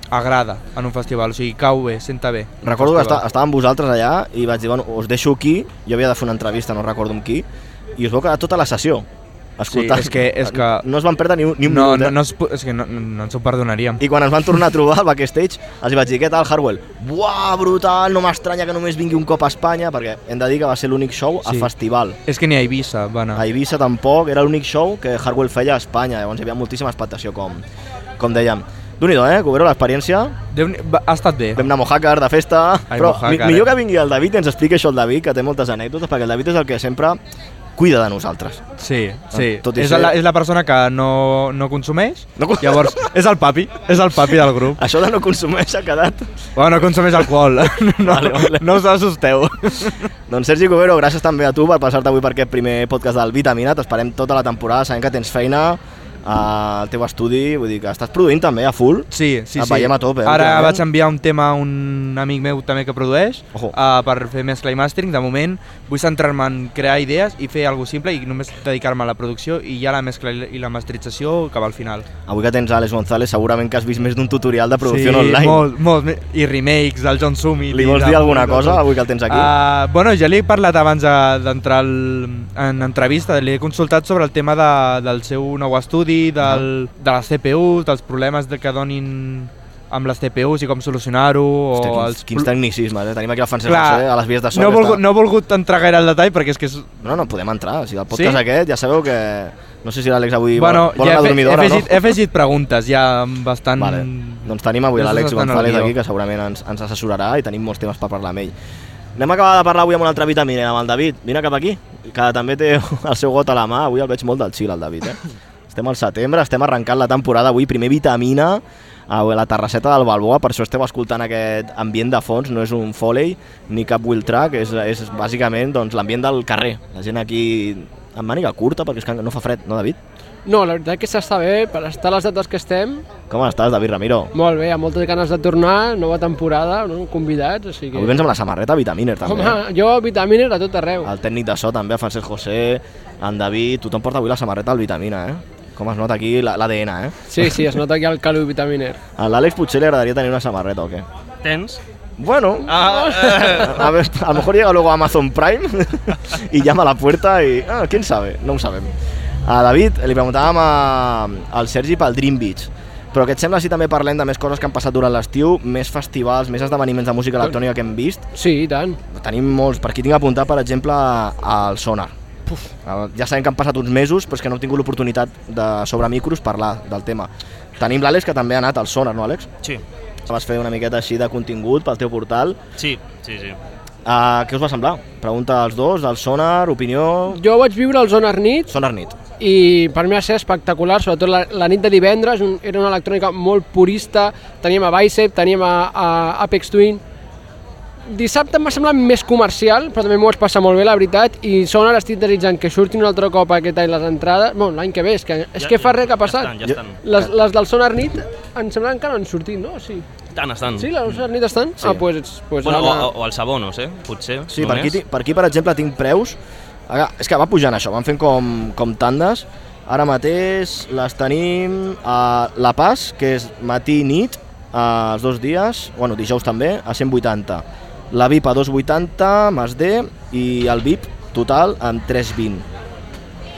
[SPEAKER 5] agrada en un festival, o sigui, cau bé, senta bé. en un
[SPEAKER 2] Recordo que esta,
[SPEAKER 5] festival.
[SPEAKER 2] estàvem vosaltres allà i vaig dir, bueno, us deixo aquí, jo havia de fer una entrevista, no recordo amb qui, i us vau quedar tota la sessió. escoltar.
[SPEAKER 5] és que- és que-
[SPEAKER 2] No es van perdre ni un, ni un
[SPEAKER 5] No,
[SPEAKER 2] minut.
[SPEAKER 5] no,
[SPEAKER 2] eh?
[SPEAKER 5] no, es, po- és que no, no, no ens ho perdonaríem.
[SPEAKER 2] I quan ens van tornar a trobar al backstage, els vaig dir, què tal, Harwell? Buah, brutal, no m'estranya que només vingui un cop a Espanya, perquè hem de dir que va ser l'únic show a
[SPEAKER 5] Sí. Ah.
[SPEAKER 2] festival.
[SPEAKER 5] És que ni a Eivissa va anar.
[SPEAKER 2] A Eivissa tampoc, era l'únic show que Harwell feia a Espanya, llavors hi havia moltíssima expectació, com, com dèiem. déu nhi eh, Cubero, l'experiència.
[SPEAKER 5] Déu ni- va, ha estat bé.
[SPEAKER 2] Vam anar a Mojácar de festa,
[SPEAKER 5] Ai,
[SPEAKER 2] però
[SPEAKER 5] Mojácar,
[SPEAKER 2] mi- millor
[SPEAKER 5] eh?
[SPEAKER 2] que vingui el David i ens expliqui això el David, que té moltes anècdotes, perquè el David és el que sempre cuida de nosaltres.
[SPEAKER 5] Sí, sí.
[SPEAKER 2] Ah, Tot i
[SPEAKER 5] és,
[SPEAKER 2] ser-
[SPEAKER 5] la, és la persona que no, no consumeix,
[SPEAKER 2] No Ah. con-
[SPEAKER 5] llavors és el papi, és el papi del grup.
[SPEAKER 2] Això de no consumir s'ha quedat
[SPEAKER 5] Bueno, no consumeix alcohol, no,
[SPEAKER 2] Vale, vale.
[SPEAKER 5] no us assusteu.
[SPEAKER 2] Doncs Sergi Cubero, gràcies també a tu per passar-te avui per aquest primer podcast del Vitamina. T'esperem tota la temporada, sabem que tens feina al teu estudi, vull dir que estàs produint també a full.
[SPEAKER 5] Sí, sí,
[SPEAKER 2] Et
[SPEAKER 5] sí.
[SPEAKER 2] veiem a tope, eh,
[SPEAKER 5] Ara
[SPEAKER 2] últimament.
[SPEAKER 5] vaig enviar un tema a un amic meu també que produeix
[SPEAKER 2] Ojo.
[SPEAKER 5] uh, per fer mescla i mastering. De moment vull centrar-me en crear idees i fer alguna simple i només dedicar-me a la producció i ja la mescla i la- i la masterització que va al final.
[SPEAKER 2] Avui que tens a Alex González segurament que has vist més d'un tutorial de producció
[SPEAKER 5] sí,
[SPEAKER 2] online.
[SPEAKER 5] Molt, molt, me- I remakes, el John Summit.
[SPEAKER 2] Li vols dir alguna cosa avui que el tens aquí?
[SPEAKER 5] Uh, bueno, ja li he parlat abans eh, d'entrar al- en entrevista, li he consultat sobre el tema de, del seu nou estudi, del, de les CPUs, dels problemes de que donin amb les CPUs i com solucionar-ho. o
[SPEAKER 2] Hòstia, quins,
[SPEAKER 5] els
[SPEAKER 2] quins
[SPEAKER 5] pro-
[SPEAKER 2] tecnicismes, eh? Tenim aquí el Francesc
[SPEAKER 5] Clar,
[SPEAKER 2] Roser, a les vies de so.
[SPEAKER 5] no,
[SPEAKER 2] que
[SPEAKER 5] he volgut,
[SPEAKER 2] està-
[SPEAKER 5] no he volgut entrar gaire al detall perquè és que és...
[SPEAKER 2] no, no, podem entrar. O sigui, el podcast
[SPEAKER 5] Sí?
[SPEAKER 2] aquest, ja sabeu que... No sé si l'Àlex avui
[SPEAKER 5] bueno,
[SPEAKER 2] vol, vol
[SPEAKER 5] ja
[SPEAKER 2] anar a
[SPEAKER 5] he,
[SPEAKER 2] dormir
[SPEAKER 5] fe- he,
[SPEAKER 2] d'hora, no?
[SPEAKER 5] afegit, he afegit preguntes ja bastant...
[SPEAKER 2] Vale. Doncs tenim avui
[SPEAKER 5] Ja
[SPEAKER 2] l'Àlex
[SPEAKER 5] s'està anant
[SPEAKER 2] González
[SPEAKER 5] el guió.
[SPEAKER 2] aquí, que segurament ens, ens assessorarà i tenim molts temes per parlar amb ell. Anem a acabar de parlar avui amb un altre vitaminer, amb el David. Vine cap aquí, que també té el seu got a la mà. Avui el veig molt del xil, el David. Eh? Estem al setembre, estem arrencant la temporada avui. Primer vitamina a la terrasseta del Balboa, per això esteu escoltant aquest ambient de fons, no és un foley ni cap wheel track, és, és bàsicament doncs, l'ambient del carrer. La gent aquí amb màniga curta, perquè és que no fa fred, no, David?
[SPEAKER 6] No, la veritat que s'està bé, per estar a les dates que estem,
[SPEAKER 2] Com estàs, David Ramiro?
[SPEAKER 6] molt bé, amb moltes ganes de tornar, nova temporada, no? convidats, així que...
[SPEAKER 2] Avui vens amb la samarreta vitaminer, també. eh?
[SPEAKER 6] Home, jo vitamines a tot arreu.
[SPEAKER 2] El tècnic de so també, el Francesc José, en David, tothom porta avui la samarreta al Vitamina, eh? Com es nota aquí la- l'ADN, eh?
[SPEAKER 6] Sí, sí, es nota que hi ha el calo vitaminer.
[SPEAKER 2] A l'Àlex potser li agradaria tenir una samarreta o què?
[SPEAKER 4] Tens?
[SPEAKER 2] Bueno,
[SPEAKER 4] Ah, eh,
[SPEAKER 2] a, ver, a lo mejor llega luego a Amazon Prime y llama a la puerta y... Ah, ¿Quién sabe? No ho sabem. A David li preguntàvem a, al Sergi pel Dream Beach. Però què et sembla si també parlem de més coses que han passat durant l'estiu, més festivals, més esdeveniments de música electrònica que hem vist?
[SPEAKER 6] Sí, i tant.
[SPEAKER 2] Tenim molts. Per aquí tinc apuntat, per exemple, al Sonar. Puf. Ja sabem que han passat uns mesos, però és que no hem tingut l'oportunitat de sobre micros parlar del tema. Tenim l'Àlex, que també ha anat al Sonar, no, Àlex?
[SPEAKER 4] sí,
[SPEAKER 2] Vas fer una miqueta així de contingut pel teu portal.
[SPEAKER 4] sí, sí, sí.
[SPEAKER 2] Uh, què us va semblar? Pregunta als dos, del Sonar, opinió...
[SPEAKER 6] Jo vaig viure al Zona Arnit
[SPEAKER 2] Sonar Nit.
[SPEAKER 6] i per mi va ser espectacular, sobretot la, la nit de divendres, un, era una electrònica molt purista, teníem a Bicep, teníem a, a Apex Twin, dissabte em va semblar més comercial, però també m'ho vaig passar molt bé, la veritat, i Sonar estic desitjant que surtin un altre cop aquest any les entrades, bueno, l'any que ve, és que, és
[SPEAKER 4] Ja-
[SPEAKER 6] que fa res que ha passat.
[SPEAKER 4] Ja estan, ja estan.
[SPEAKER 6] Les, les del Sonar Nit em sembla que no han sortit, no? Sí,
[SPEAKER 4] Tant estan.
[SPEAKER 6] sí les del Sonar Nit estan?
[SPEAKER 2] Sí.
[SPEAKER 6] Ah, doncs... Pues,
[SPEAKER 4] Bueno,
[SPEAKER 6] ara-
[SPEAKER 4] o, o els abonos, eh? Potser.
[SPEAKER 2] Sí, per aquí,
[SPEAKER 4] només.
[SPEAKER 2] ti- per aquí, per exemple, tinc preus. Ara, És que va pujant això, van fent com, com tandes. Ara mateix les tenim a La Paz, que és matí i nit, eh, els dos dies, bueno, dijous també, a 180. La VIP a 280, Mas D, i el VIP total amb 320.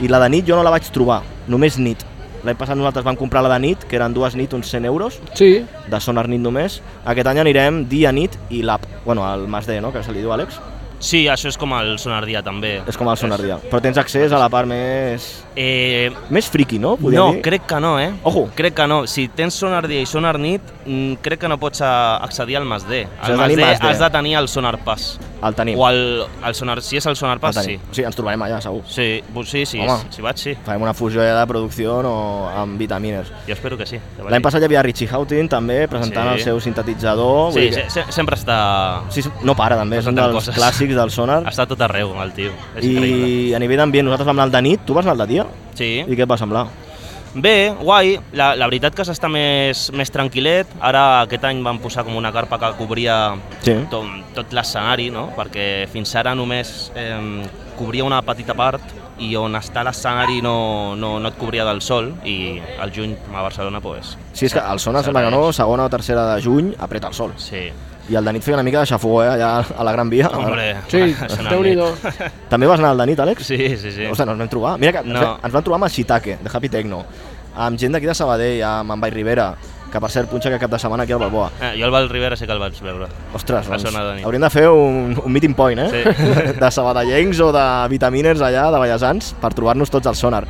[SPEAKER 2] I la de nit jo no la vaig trobar, només nit. L'any passat nosaltres vam comprar la de nit, que eren dues nit, uns 100 euros,
[SPEAKER 6] Sí,
[SPEAKER 2] de Sonar Nit només. Aquest any anirem dia, nit i l'app. Bueno, al Mas D, no?, que se li diu Àlex.
[SPEAKER 4] Sí, això és com el sonardia, també.
[SPEAKER 2] És com el Sonar Dia. Però tens accés a la part més...
[SPEAKER 4] Eh,
[SPEAKER 2] Més friki, no? Podríem
[SPEAKER 4] no,
[SPEAKER 2] dir.
[SPEAKER 4] crec que no, eh?
[SPEAKER 2] Ojo.
[SPEAKER 4] Crec que no. Si tens sonar dia i sonar nit, mm, crec que no pots a- accedir al Mas D.
[SPEAKER 2] Has de
[SPEAKER 4] Al Mas
[SPEAKER 2] tenir
[SPEAKER 4] D
[SPEAKER 2] Mas D.
[SPEAKER 4] has de tenir el sonar pass.
[SPEAKER 2] El tenim.
[SPEAKER 4] O el, el sonar... Si és el sonar
[SPEAKER 2] el
[SPEAKER 4] pass, sí.
[SPEAKER 2] tenim. O sigui, ens trobarem allà, segur.
[SPEAKER 4] Sí, bu- sí, sí,
[SPEAKER 2] Home.
[SPEAKER 4] si vaig, sí.
[SPEAKER 2] Farem una fusió de producció no, amb vitamines.
[SPEAKER 4] Jo espero que sí. que vagi.
[SPEAKER 2] L'any passat hi havia Richie Houghton, també,
[SPEAKER 4] Sí.
[SPEAKER 2] presentant el seu sintetitzador.
[SPEAKER 4] Sí,
[SPEAKER 2] vull dir
[SPEAKER 4] se, se, sempre està...
[SPEAKER 2] que... sí, no para, també. És un
[SPEAKER 4] Presentant
[SPEAKER 2] dels
[SPEAKER 4] coses.
[SPEAKER 2] clàssics del Sonar.
[SPEAKER 4] Està a tot arreu, el tio. És increïble.
[SPEAKER 2] I a nivell d'ambient, nosaltres vam anar al de nit, tu vas anar al de dia?
[SPEAKER 4] Sí.
[SPEAKER 2] I què et va semblar?
[SPEAKER 4] Bé, guai, la, la veritat que s'està més, més tranquil·let. Ara aquest any van posar com una carpa que cobria
[SPEAKER 2] Sí.
[SPEAKER 4] tot, tot l'escenari, no? perquè fins ara només eh, cobria una petita part i on està l'escenari no, no, no et cobria del sol i al juny a Barcelona pues,
[SPEAKER 2] Sí, és que el Sonar sembla que no, segona o tercera de juny, apreta el sol.
[SPEAKER 4] sí.
[SPEAKER 2] I el Danit feia una mica de xafogó, eh, allà a la Gran Via.
[SPEAKER 4] Hombre,
[SPEAKER 6] Sí,
[SPEAKER 4] això no
[SPEAKER 6] Déu-n'hi-do.
[SPEAKER 4] admet.
[SPEAKER 2] També vas anar al Danit, Àlex?
[SPEAKER 4] Sí, sí, sí.
[SPEAKER 2] Ostres, no ens vam trobar. Mira que ens,
[SPEAKER 4] No.
[SPEAKER 2] vam- ens vam trobar amb el Shitake, de Happy Techno, amb gent d'aquí de Sabadell, amb en Vall Rivera, que per cert punxa que cap de setmana aquí al Balboa.
[SPEAKER 4] Ah, jo el Val Rivera sé que el vaig veure.
[SPEAKER 2] Ostres,
[SPEAKER 4] A
[SPEAKER 2] doncs,
[SPEAKER 4] zona de nit.
[SPEAKER 2] hauríem de fer un, un meeting point, eh?
[SPEAKER 4] Sí.
[SPEAKER 2] De sabadellencs o de vitaminers allà, de Vallesans, per trobar-nos tots al sonar.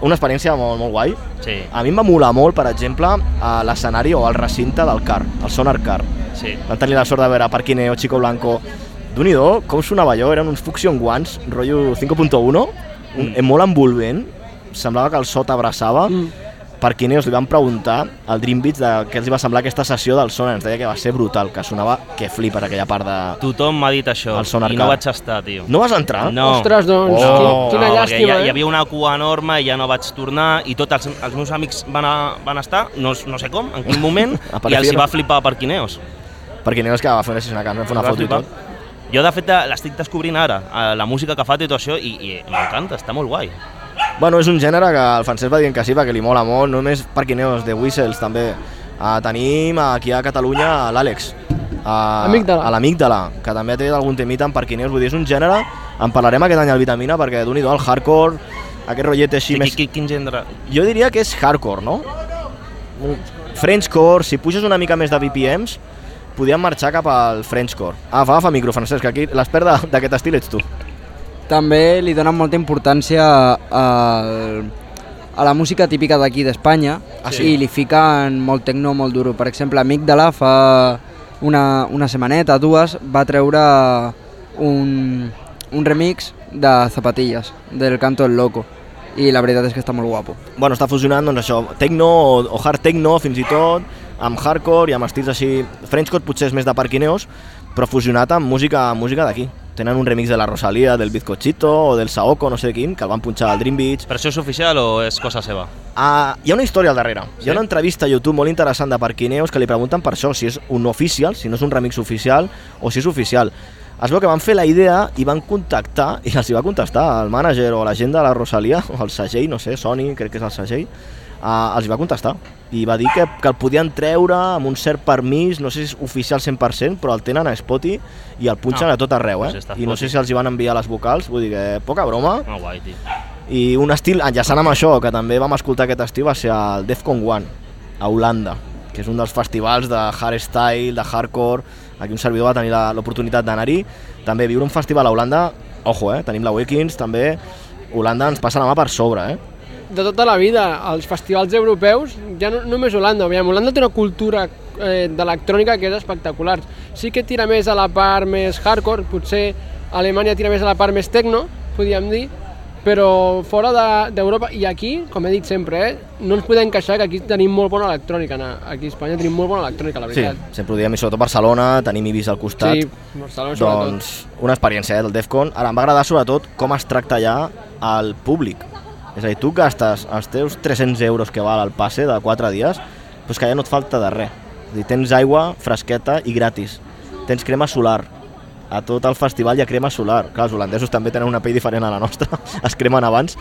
[SPEAKER 2] Una experiència molt, molt guai.
[SPEAKER 4] Sí,
[SPEAKER 2] A mi em va molar molt, per exemple, a l'escenari o al recinte del car, el sonar car.
[SPEAKER 4] sí.
[SPEAKER 2] Vam tenir la sort de veure Parquineo, Chico Blanco... d'un i do, com sonava allò, eren uns Fuxion Guants, rotllo 5.1, un,
[SPEAKER 4] Mm.
[SPEAKER 2] molt envolvent, semblava que el so t'abraçava. Mm. Parquineos li van preguntar al Dream Beats de què els hi va semblar aquesta sessió del Sonar, ens deia que va ser brutal, que sonava que flipes aquella part de...
[SPEAKER 4] Tothom m'ha dit això
[SPEAKER 2] El Sonar
[SPEAKER 4] i no
[SPEAKER 2] Car.
[SPEAKER 4] vaig estar, tio.
[SPEAKER 2] No vas entrar?
[SPEAKER 4] No.
[SPEAKER 6] Ostres, doncs,
[SPEAKER 2] Oh.
[SPEAKER 6] qui- quina
[SPEAKER 4] no, perquè
[SPEAKER 6] llàstima,
[SPEAKER 4] hi, hi
[SPEAKER 6] eh?
[SPEAKER 4] havia una cua enorme i ja no vaig tornar i tots els, els meus amics van, a, van estar, no, no sé com, en quin moment, i els hi
[SPEAKER 2] Aparecieron.
[SPEAKER 4] va flipar per Quineos.
[SPEAKER 2] Parquineos que va fer una sessió, una, una
[SPEAKER 4] Va
[SPEAKER 2] foto i
[SPEAKER 4] flipar.
[SPEAKER 2] tot.
[SPEAKER 4] Jo, de fet, l'estic descobrint ara, eh, la música que fa i tot això, i, i m'encanta, està molt guai.
[SPEAKER 2] Bueno, és un gènere que el Francesc va dient que sí, perquè li mola molt, no només Parquineos, de Whistles també. Uh, tenim aquí a Catalunya l'Àlex, eh, a,
[SPEAKER 6] Amígdala.
[SPEAKER 2] a l'Amígdala, que també té algun temita en Parquineos, vull dir, és un gènere, en parlarem aquest any al Vitamina, perquè d'un i do el hardcore, aquest rotllet així
[SPEAKER 4] Sí,
[SPEAKER 2] més...
[SPEAKER 4] qui, qui, quin gènere...
[SPEAKER 2] Jo diria que és hardcore, no? Frenchcore, si puges una mica més de BPMs, podíem marxar cap al Frenchcore. Ah, va, fa micro, Francesc, que aquí l'expert de- d'aquest estil ets tu.
[SPEAKER 7] També li donen molta importància al, a la música típica d'aquí d'Espanya
[SPEAKER 2] Ah, sí?
[SPEAKER 7] i li fiquen molt tecno, molt duro. Per exemple, Amígdala fa una, una setmaneta, dues, va treure un, un remix de Zapatillas, del Canto del Loco, i la veritat és que està molt guapo.
[SPEAKER 2] bueno, està fusionant doncs, això, techno o, o hard techno fins i tot, amb hardcore i amb estils així, Frenchcore potser és més de parquineos, però fusionat amb música amb música d'aquí. Tenen un remix de la Rosalía, del Bizcochito o del Saoko, no sé quin, que el van punxar al Dream Beach.
[SPEAKER 4] Però això és oficial o és cosa seva?
[SPEAKER 2] Ah, hi ha una història al darrere. Hi ha una entrevista a YouTube molt interessant de Parquineos que li pregunten per això, si és un oficial, si no és un remix oficial o si és oficial. Es veu que van fer la idea i van contactar, i els hi va contestar el mànager o la gent de la Rosalia, o el segell, no sé, Sony, crec que és el segell, uh, els hi va contestar i va dir que, que el podien treure amb un cert permís, no sé si és oficial 100%, però el tenen a Spotify i el punxen
[SPEAKER 4] Ah,
[SPEAKER 2] a tot arreu, eh?
[SPEAKER 4] doncs està
[SPEAKER 2] I no sé
[SPEAKER 4] Spotify.
[SPEAKER 2] si els hi van enviar les vocals, vull dir que poca broma,
[SPEAKER 4] Ah, guai, tio.
[SPEAKER 2] i un estil, enllaçant amb això, que també vam escoltar aquest estiu, va ser el Defcon 1, a Holanda, que és un dels festivals de hardstyle, de hardcore, aquí un servidor va tenir la- l'oportunitat d'anar-hi, també viure un festival a Holanda, ojo, eh? tenim la Weekends, també, Holanda ens passa la mà per sobre, eh?
[SPEAKER 6] De tota la vida, als festivals europeus, ja no, només Holanda, aviam, Holanda té una cultura eh, d'electrònica que és espectacular. Sí que tira més a la part més hardcore, potser Alemanya tira més a la part més techno, podríem dir, però fora de- d'Europa i aquí, com he dit sempre, eh, no ens podem queixar que aquí tenim molt bona electrònica, na- aquí a Espanya tenim molt bona electrònica, la
[SPEAKER 2] Sí,
[SPEAKER 6] veritat.
[SPEAKER 2] sempre ho diem, i sobretot Barcelona, tenim Ibis al costat,
[SPEAKER 6] sí Barcelona sobretot.
[SPEAKER 2] doncs una experiència eh, del Defcon. Ara, em va agradar sobretot com es tracta ja al públic. És a dir, tu gastes els teus 300 euros que val el passe de 4 dies, però és que ja no et falta de res. És a dir, tens aigua fresqueta i gratis. Tens crema solar. A tot el festival hi ha crema solar. Clar, els holandesos també tenen una pell diferent a la nostra, es cremen abans.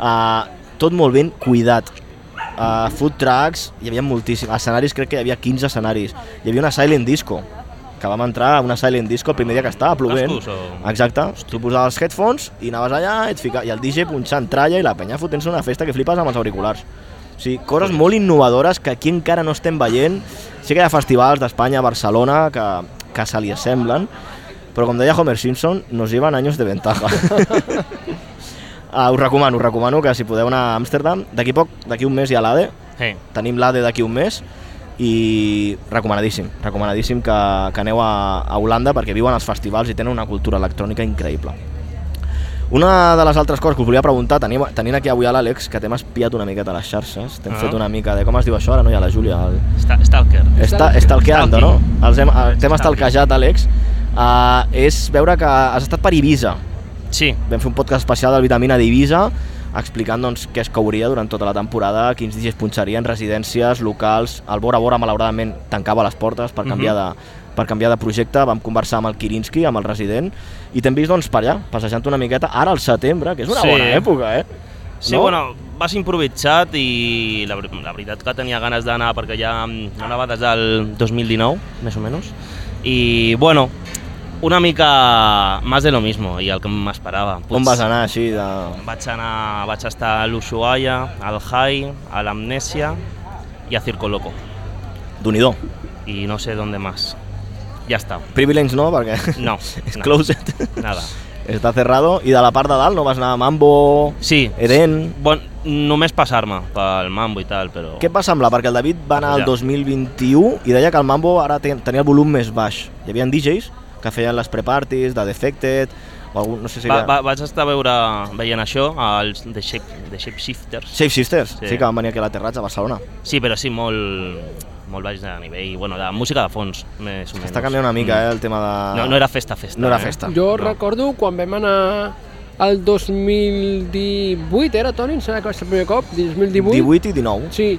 [SPEAKER 2] Uh, tot molt ben cuidat. Uh, food trucks, hi havia moltíssims. Escenaris, crec que hi havia 15 escenaris. Hi havia una silent disco, que vam entrar a una silent disco el primer dia que estava plovent.
[SPEAKER 4] Cascos o-
[SPEAKER 2] Exacte, tu posaves els headphones i anaves allà i, et fica... i el DJ punxant tralla i la penya fotent una festa que flipes amb els auriculars. O sigui, coses molt innovadores que aquí encara no estem veient. Sí que hi ha festivals d'Espanya, Barcelona, que, que se li assemblen, però com deia Homer Simpson, nos llevan anys de ventaja. uh, us recomano, us recomano que si podeu anar a Amsterdam, d'aquí poc, d'aquí un mes hi ha l'ADE,
[SPEAKER 4] Hey.
[SPEAKER 2] tenim l'ADE d'aquí un mes i recomanadíssim, recomanadíssim que, que aneu a, a Holanda perquè viuen els festivals i tenen una cultura electrònica increïble. Una de les altres coses que us volia preguntar, tenim, tenint aquí avui a l'Àlex, que t'hem espiat una miqueta a les xarxes, t'hem
[SPEAKER 4] Ah.
[SPEAKER 2] fet una mica de... Com es diu això ara, no? Hi ha la Júlia, el,
[SPEAKER 4] Sta- Stalker.
[SPEAKER 2] està, estalqueando, no?
[SPEAKER 4] Stalking.
[SPEAKER 2] Els hem, eh, t'hem
[SPEAKER 4] Stalking.
[SPEAKER 2] estalquejat, Àlex. Uh, és veure que has estat per Ibiza.
[SPEAKER 4] Sí,
[SPEAKER 2] Vam fer un podcast especial del Vitamina d'Ibiza explicant doncs, què es cauria durant tota la temporada, quins DJs punxarien, residències, locals... El Bora Bora, malauradament, tancava les portes per canviar, de, per canviar de projecte. Vam conversar amb el Kirinski, amb el resident, i t'hem vist doncs, per allà, passejant una miqueta, ara al setembre, que és una
[SPEAKER 4] Sí.
[SPEAKER 2] bona època, eh?
[SPEAKER 4] sí no? bueno, vas improvisat i la, ver- la veritat que tenia ganes d'anar perquè ja mm, no anava des del 2019, més o menys. I, bueno, una mica más de lo mismo i el que m'esperava.
[SPEAKER 2] On vas anar així de...
[SPEAKER 4] Vaig anar, vaig estar a l'Ushuaia, al Jai, a l'Amnèsia i a Circo Loco.
[SPEAKER 2] D'unidó.
[SPEAKER 4] Y no sé dónde más. Ya está.
[SPEAKER 2] Privilege no, perquè...
[SPEAKER 4] No.
[SPEAKER 2] És
[SPEAKER 4] nada,
[SPEAKER 2] closet.
[SPEAKER 4] Nada.
[SPEAKER 2] Està cerrado. I de la part de dalt no vas anar a Mambo,
[SPEAKER 4] Sí.
[SPEAKER 2] Eden...
[SPEAKER 4] Bon, només passar-me pel mambo i tal, però...
[SPEAKER 2] Què et va semblar? Perquè el David va anar al
[SPEAKER 4] Ja.
[SPEAKER 2] 2021 i deia que el Mambo ara ten- tenia el volum més baix. Hi havia DJs que feien les pre-parties, de Defected, o algun, no sé si
[SPEAKER 4] va,
[SPEAKER 2] era...
[SPEAKER 4] va, vaig estar veure, veient això, als The, Shape, the Shapeshifters.
[SPEAKER 2] Shape Sisters, sí.
[SPEAKER 4] Sí.
[SPEAKER 2] sí que van venir aquí a l'aterratge a Barcelona.
[SPEAKER 4] Sí, però sí, molt, molt baix de nivell, bueno, de música de fons, més o menys. Mm.
[SPEAKER 2] Està canviant una mica, eh, el tema de...
[SPEAKER 4] No, no era festa, festa.
[SPEAKER 2] No era
[SPEAKER 4] eh?
[SPEAKER 2] festa.
[SPEAKER 6] Jo
[SPEAKER 4] No.
[SPEAKER 6] recordo quan vam anar al 2018, era Toni? Em sembla que va ser el primer cop, 2018.
[SPEAKER 2] 18 i 19.
[SPEAKER 6] Sí.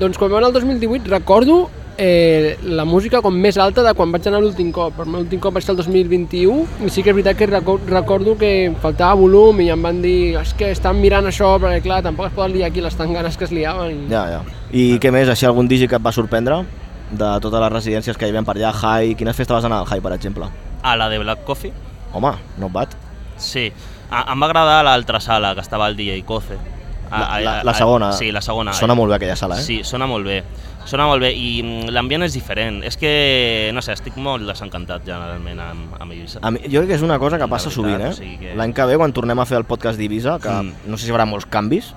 [SPEAKER 6] Doncs quan vam anar al 2018 recordo eh, la música com més alta de quan vaig anar l'últim cop. Per l'últim cop va ser el 2021 i sí que és veritat que reco- recordo que em faltava volum i em van dir és que estan mirant això perquè clar, tampoc es poden liar aquí les tanganes que es liaven. I...
[SPEAKER 2] Ja, ja. I què més? Així algun digi que et va sorprendre? De totes les residències que hi havia per allà, High... Quines festes vas anar al High, per exemple?
[SPEAKER 4] A la de Black Coffee?
[SPEAKER 2] Home, no et bat.
[SPEAKER 4] Sí. A, em va agradar l'altra sala, que estava el DJ Cofe.
[SPEAKER 2] La, la, la segona.
[SPEAKER 4] Ah, Sí, la segona.
[SPEAKER 2] Sona molt bé aquella sala, eh?
[SPEAKER 4] Sí, sona molt bé. Sona molt bé i mm, l'ambient és diferent. És que, no sé, estic molt desencantat generalment amb, amb Eivissa.
[SPEAKER 2] A mi, jo crec que és una cosa que
[SPEAKER 4] La
[SPEAKER 2] passa
[SPEAKER 4] veritat,
[SPEAKER 2] sovint, eh?
[SPEAKER 4] o sigui que-
[SPEAKER 2] L'any que ve, quan tornem a fer el podcast d'Ibiza, que
[SPEAKER 4] Mm.
[SPEAKER 2] no sé si hi haurà molts canvis,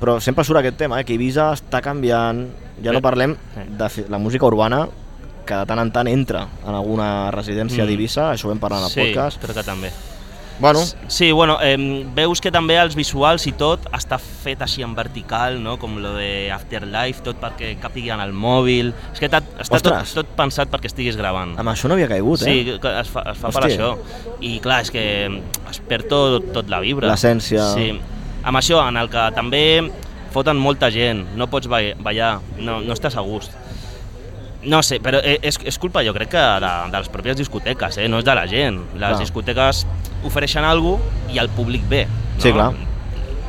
[SPEAKER 2] però sempre surt aquest tema, eh? que Ibiza està canviant... Ja no
[SPEAKER 4] Bé.
[SPEAKER 2] parlem
[SPEAKER 4] Sí.
[SPEAKER 2] de fi- la música urbana, que de tant en tant entra en alguna residència
[SPEAKER 4] Mm.
[SPEAKER 2] d'Ibiza, això ho vam parlar en el
[SPEAKER 4] sí,
[SPEAKER 2] podcast.
[SPEAKER 4] crec que també.
[SPEAKER 2] Bueno,
[SPEAKER 4] Sí, bueno, eh, veus que també els visuals i tot està fet així en vertical, no? com lo de Afterlife, tot perquè capigui en el mòbil. És que t'ha- està tot,
[SPEAKER 2] Ostres.
[SPEAKER 4] tot pensat perquè estiguis gravant.
[SPEAKER 2] amb això no havia caigut, eh?
[SPEAKER 4] Sí, que es fa, es fa per
[SPEAKER 2] Hòstia.
[SPEAKER 4] això. I clar, és que es perd tot, tot la vibra.
[SPEAKER 2] L'essència.
[SPEAKER 4] Sí. Amb això, en el que també foten molta gent, no pots ba- ballar, no, no estàs a gust. No sé, però e- és, és culpa jo crec que de, de les pròpies discoteques, eh? no és de la gent. Les
[SPEAKER 2] Clar.
[SPEAKER 4] discoteques ofereixen alguna cosa i el públic ve. No?
[SPEAKER 2] Sí, clar.